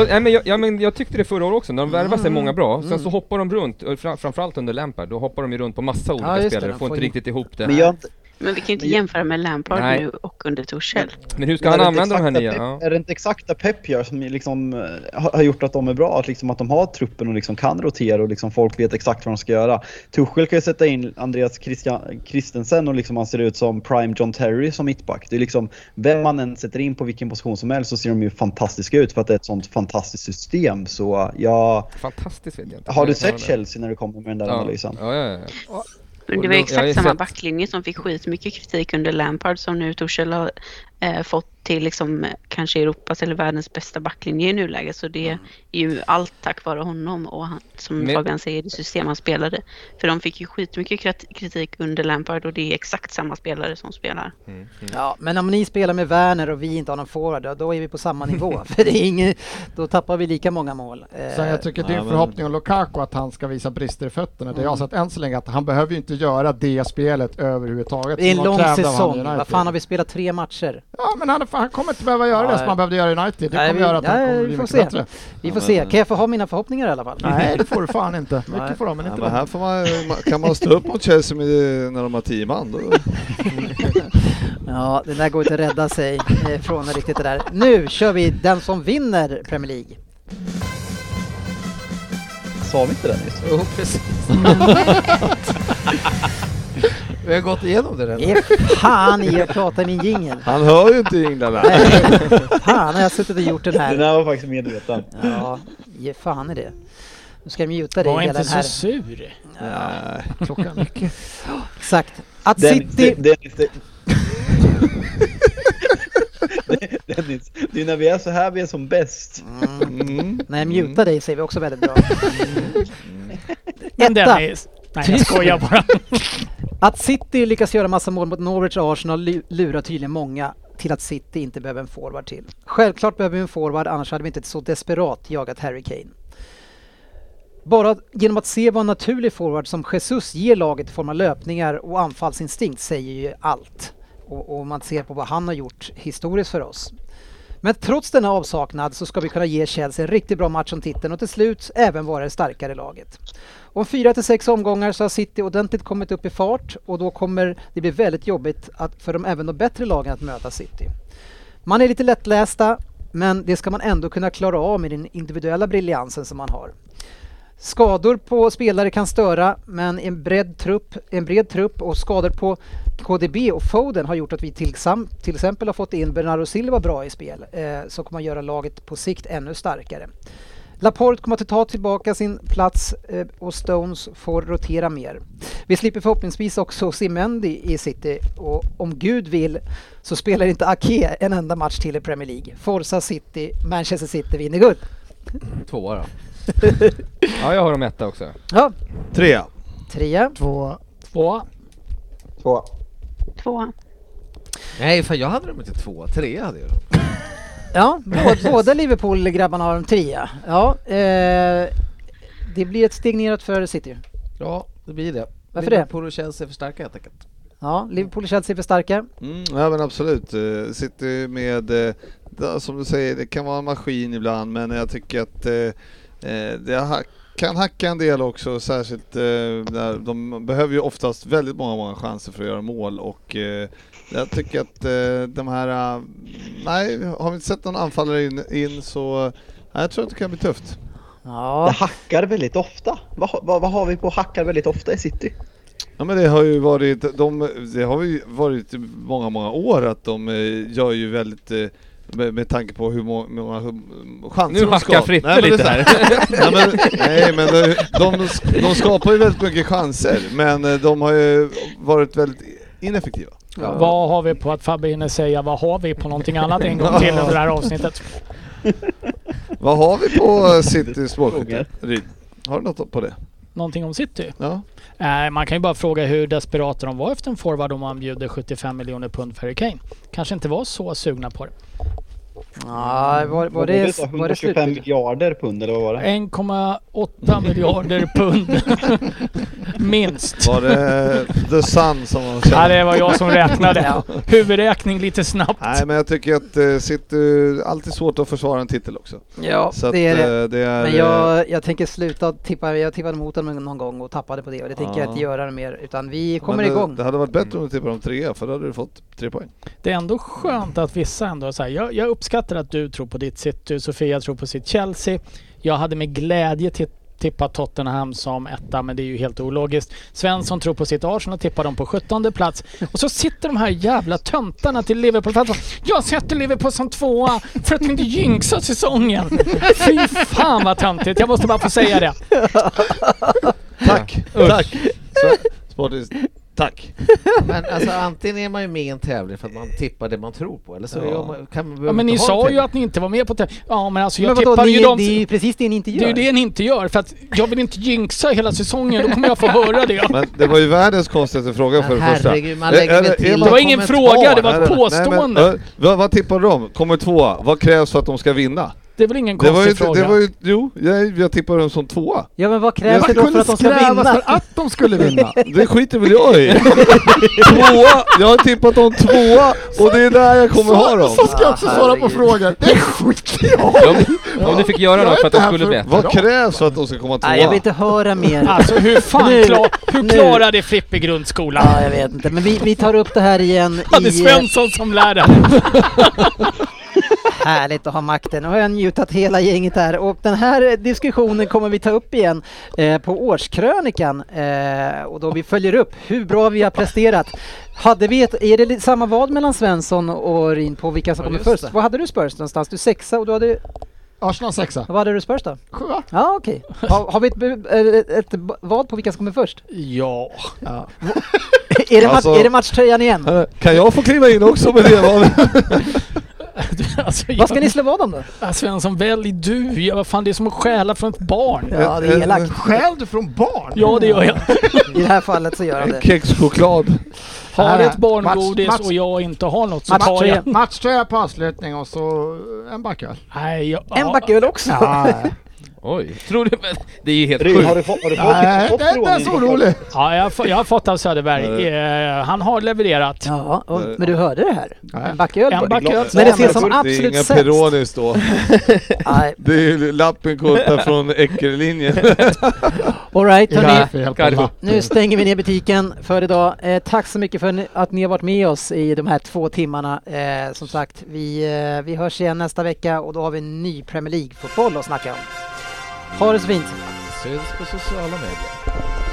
nej, men, jag, ja, men jag tyckte det förra året också, när de värvar sig många bra, sen Mm. så hoppar de runt, och fra- framförallt under Lampard, då hoppar de ju runt på massa olika just det, de spelare, får får inte in- riktigt ihop det. Men jag- Men vi kan ju inte Men jag- jämföra med Lampard Nej. nu och under Torshäll. Men hur ska Men han är det använda de här exakta nya? Pep- Ja. Är det inte exakta Pep gör som liksom eh, har har gjort att de är bra? Att, liksom att de har truppen och liksom kan rotera och liksom folk vet exakt vad de ska göra. Tuchel kan ju sätta in Andreas Christian, Christensen och liksom han ser ut som prime John Terry som mittback. Det är liksom, vem man än sätter in på vilken position som helst så ser de ju fantastiska ut för att det är ett sånt fantastiskt system. Så jag... Fantastiskt vet jag inte. Har du Jag kan sett hålla med. Chelsea när du kommer med den där Ja. analysen? Ja, ja, ja. Men det var ju exakt samma backlinje som fick skitmycket kritik under Lampard som nu Torshäll har eh, fått till liksom, eh, kanske Europas eller världens bästa backlinje i nuläget. Så det är ju allt tack vare honom och han, som Mm. Men- Fabian säger, det system han spelade. För de fick ju skitmycket krat- kritik under Lampard och det är exakt samma spelare som spelar. Mm. ja, men om ni spelar med Werner och vi inte har någon forward, då- då är vi på samma nivå. För det är ingen, då tappar vi lika många mål. Eh, Sen jag tycker din förhoppning om Lukaku att han ska visa brister i fötterna, det jag har sett än så länge att han behöver ju inte göra det spelet överhuvudtaget. Det är en som de lång krävde av han i säsong. United. Vad fan har vi spelat tre matcher? Ja, men han, han kommer inte behöva göra det som han behövde göra i United. Det kommer göra att han nej, kommer vi bli får mycket se. bättre. Vi Ja, får men- se. Kan jag få ha mina förhoppningar i alla fall? Nej, det får du fan inte. Nej. Mycket får de, men Ja, inte men de. här får man, man- kan man stå upp mot Chelsea med, när de har tio man. Då. Ja, det där går inte att rädda sig eh, från riktigt det där. Nu kör vi den som vinner Premier League. Sa vi inte det nyss? Jo, precis. Vi har gått igenom det redan. Ge fan i att prata i min jingel. Han hör ju inte jinglarna. Fan har jag suttit och gjort den här. Den här var faktiskt medveten. Ja, ge fan i det. Nu ska jag muta dig Var hela inte den här. så sur. Ja, klockan mycket. Exakt. Att Dennis, City... det- Dennis, det- Dennis, det är när vi är så här vi är som bäst. Mm. Mm. Nej, muta dig säger vi också väldigt bra. Men Etta. Dennis. Nej, jag skojar bara. Att City lyckas göra massa mål mot Norwich och Arsenal lu- lurar tydligen många till att City inte behöver en forward till. Självklart behöver vi en forward, annars hade vi inte så desperat jagat Harry Kane. Bara genom att se vad en naturlig forward som Jesus ger laget i form av löpningar och anfallsinstinkt säger ju allt. Och, och man ser på vad han har gjort historiskt för oss. Men trots denna avsaknad så ska vi kunna ge Chelsea en riktigt bra match om titeln och till slut även vara det starkare laget. Om fyra till sex omgångar så har City ordentligt kommit upp i fart och då kommer det bli väldigt jobbigt att, för de även de bättre lagen att möta City. Man är lite lättlästa men det ska man ändå kunna klara av med den individuella briljansen som man har. Skador på spelare kan störa men en bred trupp, en bred trupp och skador på KDB och Foden har gjort att vi till, sam- till exempel har fått in Bernardo Silva bra i spel eh, som kommer att göra laget på sikt ännu starkare. Laporte kommer att ta tillbaka sin plats eh, och Stones får rotera mer. Vi slipper förhoppningsvis också Simendi i City och om Gud vill så spelar inte Ake en enda match till i Premier League. Forza City, Manchester City vinner guld. Tvåa då. ja, jag har dem etta också. Ja, Tre. trea. Två. Två. Två. Två. Nej, fan jag hade dem inte två, tre hade jag dem. Ja, båda, båda Liverpool-grabbarna har en trea. Ja, eh, det blir ett steg neråt för City. Ja, det blir det. Varför det? Liverpool och Chelsea är för starka helt enkelt. Ja, Liverpool och Chelsea är för starka. Mm, ja men absolut. Eh, Sitter med, eh, där, som du säger, det kan vara en maskin ibland men jag tycker att eh, eh, det ha- kan hacka en del också särskilt eh, när de behöver ju oftast väldigt många, många chanser för att göra mål och eh, jag tycker att eh, de här, eh, nej har vi inte sett någon anfallare in, in så nej, jag tror att det kan bli tufft. Det Ja, hackar väldigt ofta. Vad, ha- vad, vad har vi på hackar väldigt ofta i city? Ja men det har ju varit, de, det har ju varit i många, många år att de eh, gör ju väldigt eh, med, med tanke på hur må- många hum- chanser Nu de hackar skapar. Frippe men det är lite så nej men, nej, men de, de, de skapar ju väldigt mycket chanser men eh, de har ju varit väldigt ineffektiva. Vad har vi på att Fabbe hinner säga vad har vi på någonting annat en gång till under det här avsnittet? Vad har vi på eh, City målskytte? Ryd? Har du något på det? någonting om City. Ja. Eh, man kan ju bara fråga hur desperata de var efter en forward om man bjuder 75 miljoner pund för Harry Kane. Kanske inte var så sugna på det. Nej, var, var Vad det, sa, var det 125 slutbudet? miljarder pund eller vad var det? 1,8 miljarder pund. Minst. Var det The Sun som man Nej, det var jag som räknade. Huvudräkning lite snabbt. Nej, men jag tycker att eh, City, alltid svårt att försvara en titel också. Ja, Så att, det är eh, det. det är, Men eh, jag, jag tänker sluta tippa. Jag tippade mot dem någon gång och tappade på det och det tänker jag Ja. inte göra mer utan vi kommer men det, igång. Det hade varit bättre om du tippade om trea, för då hade du fått tre poäng. Det är ändå skönt att vissa ändå är så här, jag, jag uppskattar att du tror på ditt City, Sofia tror på sitt Chelsea. Jag hade med glädje ti- tippat Tottenham som etta, men det är ju helt ologiskt. Svensson tror på sitt Arsenal, tippar dem på 17 plats. Och så sitter de här jävla töntarna till Liverpool fans och bara, Jag sätter Liverpool som tvåa för att inte jinxa säsongen. Fy fan vad töntigt, jag måste bara få säga det. Tack! Usch. Tack! Så- Sportis, tack! Men alltså antingen är man ju med i en tävling för att man tippar det man tror på eller så Ja. gör man, kan man Ja, behöver men inte ni ha en sa ju tävling. att ni inte var med på tävlingen. Ja men alltså jag Men vadå, tippar ni, ju det dem. är ju precis det ni inte Det är gör. ju det ni inte gör för att jag vill inte jinxa hela säsongen, då kommer jag få höra det. Men det var ju världens konstigaste fråga för det Men första. herregud, man Är- lägger är- väl är till man- Det var ingen kommentar. fråga, det var ett Nej, nej, men, påstående. eh, vad, vad tippade de? Kommer tvåa. Vad krävs för att de ska vinna? Det är väl ingen Det var, ju, konstig inte- det fråga. var ju, jo, jag, jag tippade dem som tvåa. Ja men vad krävs det Vad då för kunde att de ska krävas vinna? för att de skulle vinna? Det skiter väl jag i. tvåa! Jag har tippat dem tvåa och det är där jag kommer ha dem. Så ska jag också svara på herregud. frågor. Det skiter jag i. Om, om du fick göra Jag något är för att inte de här skulle för- bli etta. Vad krävs för att de ska komma tvåa? Nej jag vill inte höra mer. Alltså hur fan Nu, klar, hur nu. klarade Frippe grundskolan? Ja, jag vet inte men vi, vi tar upp det här igen Hade i... eh, Svensson som lärare. Härligt att ha makten. Nu har jag njutat hela gänget här och den här diskussionen kommer vi ta upp igen eh, på årskrönikan eh, och då vi följer upp hur bra vi har presterat. Hade vi ett, är det li- samma vad mellan Svensson och Rin på vilka som Ja, kommer just först? det. Vad hade du Spurs någonstans? Du sexa och du hade, Arsenal sexa. vad hade du Spurs då? Sjua. Ja okej. Har, har vi ett, bu- eh, ett, ett b- vad på vilka som kommer först? Ja. är, det match, Alltså- är det matchtröjan igen? Kan jag få kliva in också med det? Vad- Alltså, jag, Vad ska ni slå vad om då? Ah, Svensson, välj du. Ja, vad fan, det är som att stjäla från ett barn. Ja det är elakt. Eh, Stjäl du från barn? Ja, det gör jag. I det här fallet så gör han det. En kexchoklad. Har Nej, ett barn Mats- godis Mats- och jag inte har något så tar Matchtröjan. jag... Matchtröja på avslutning och så en backöl. Nej, jag... En ja. backöl också. Oj, tror du? men Det är ju helt Ryn, sjukt. har du fått, har du fått, Nej, fått det är inte frågan? ens orolig. Ja, jag, har fått- jag har fått av Söderberg. Eh, han har levererat. Ja, och, men du hörde det här? En backöl En bara. backöl. Men det ses Ja, som Det är absolut inga sämst. Peronis då. Nej, Det är ju lappen korta från äckellinjen. all right, hörni. Kaffe, helt Karlo. enkelt. Nu stänger vi ner butiken för idag. Eh, tack så mycket för ni- att ni har varit med oss i de här två timmarna. Eh, som sagt, vi, eh, vi hörs igen nästa vecka och då har vi en ny Premier League-fotboll att snacka om. Ha det så fint! Syns på sociala medier.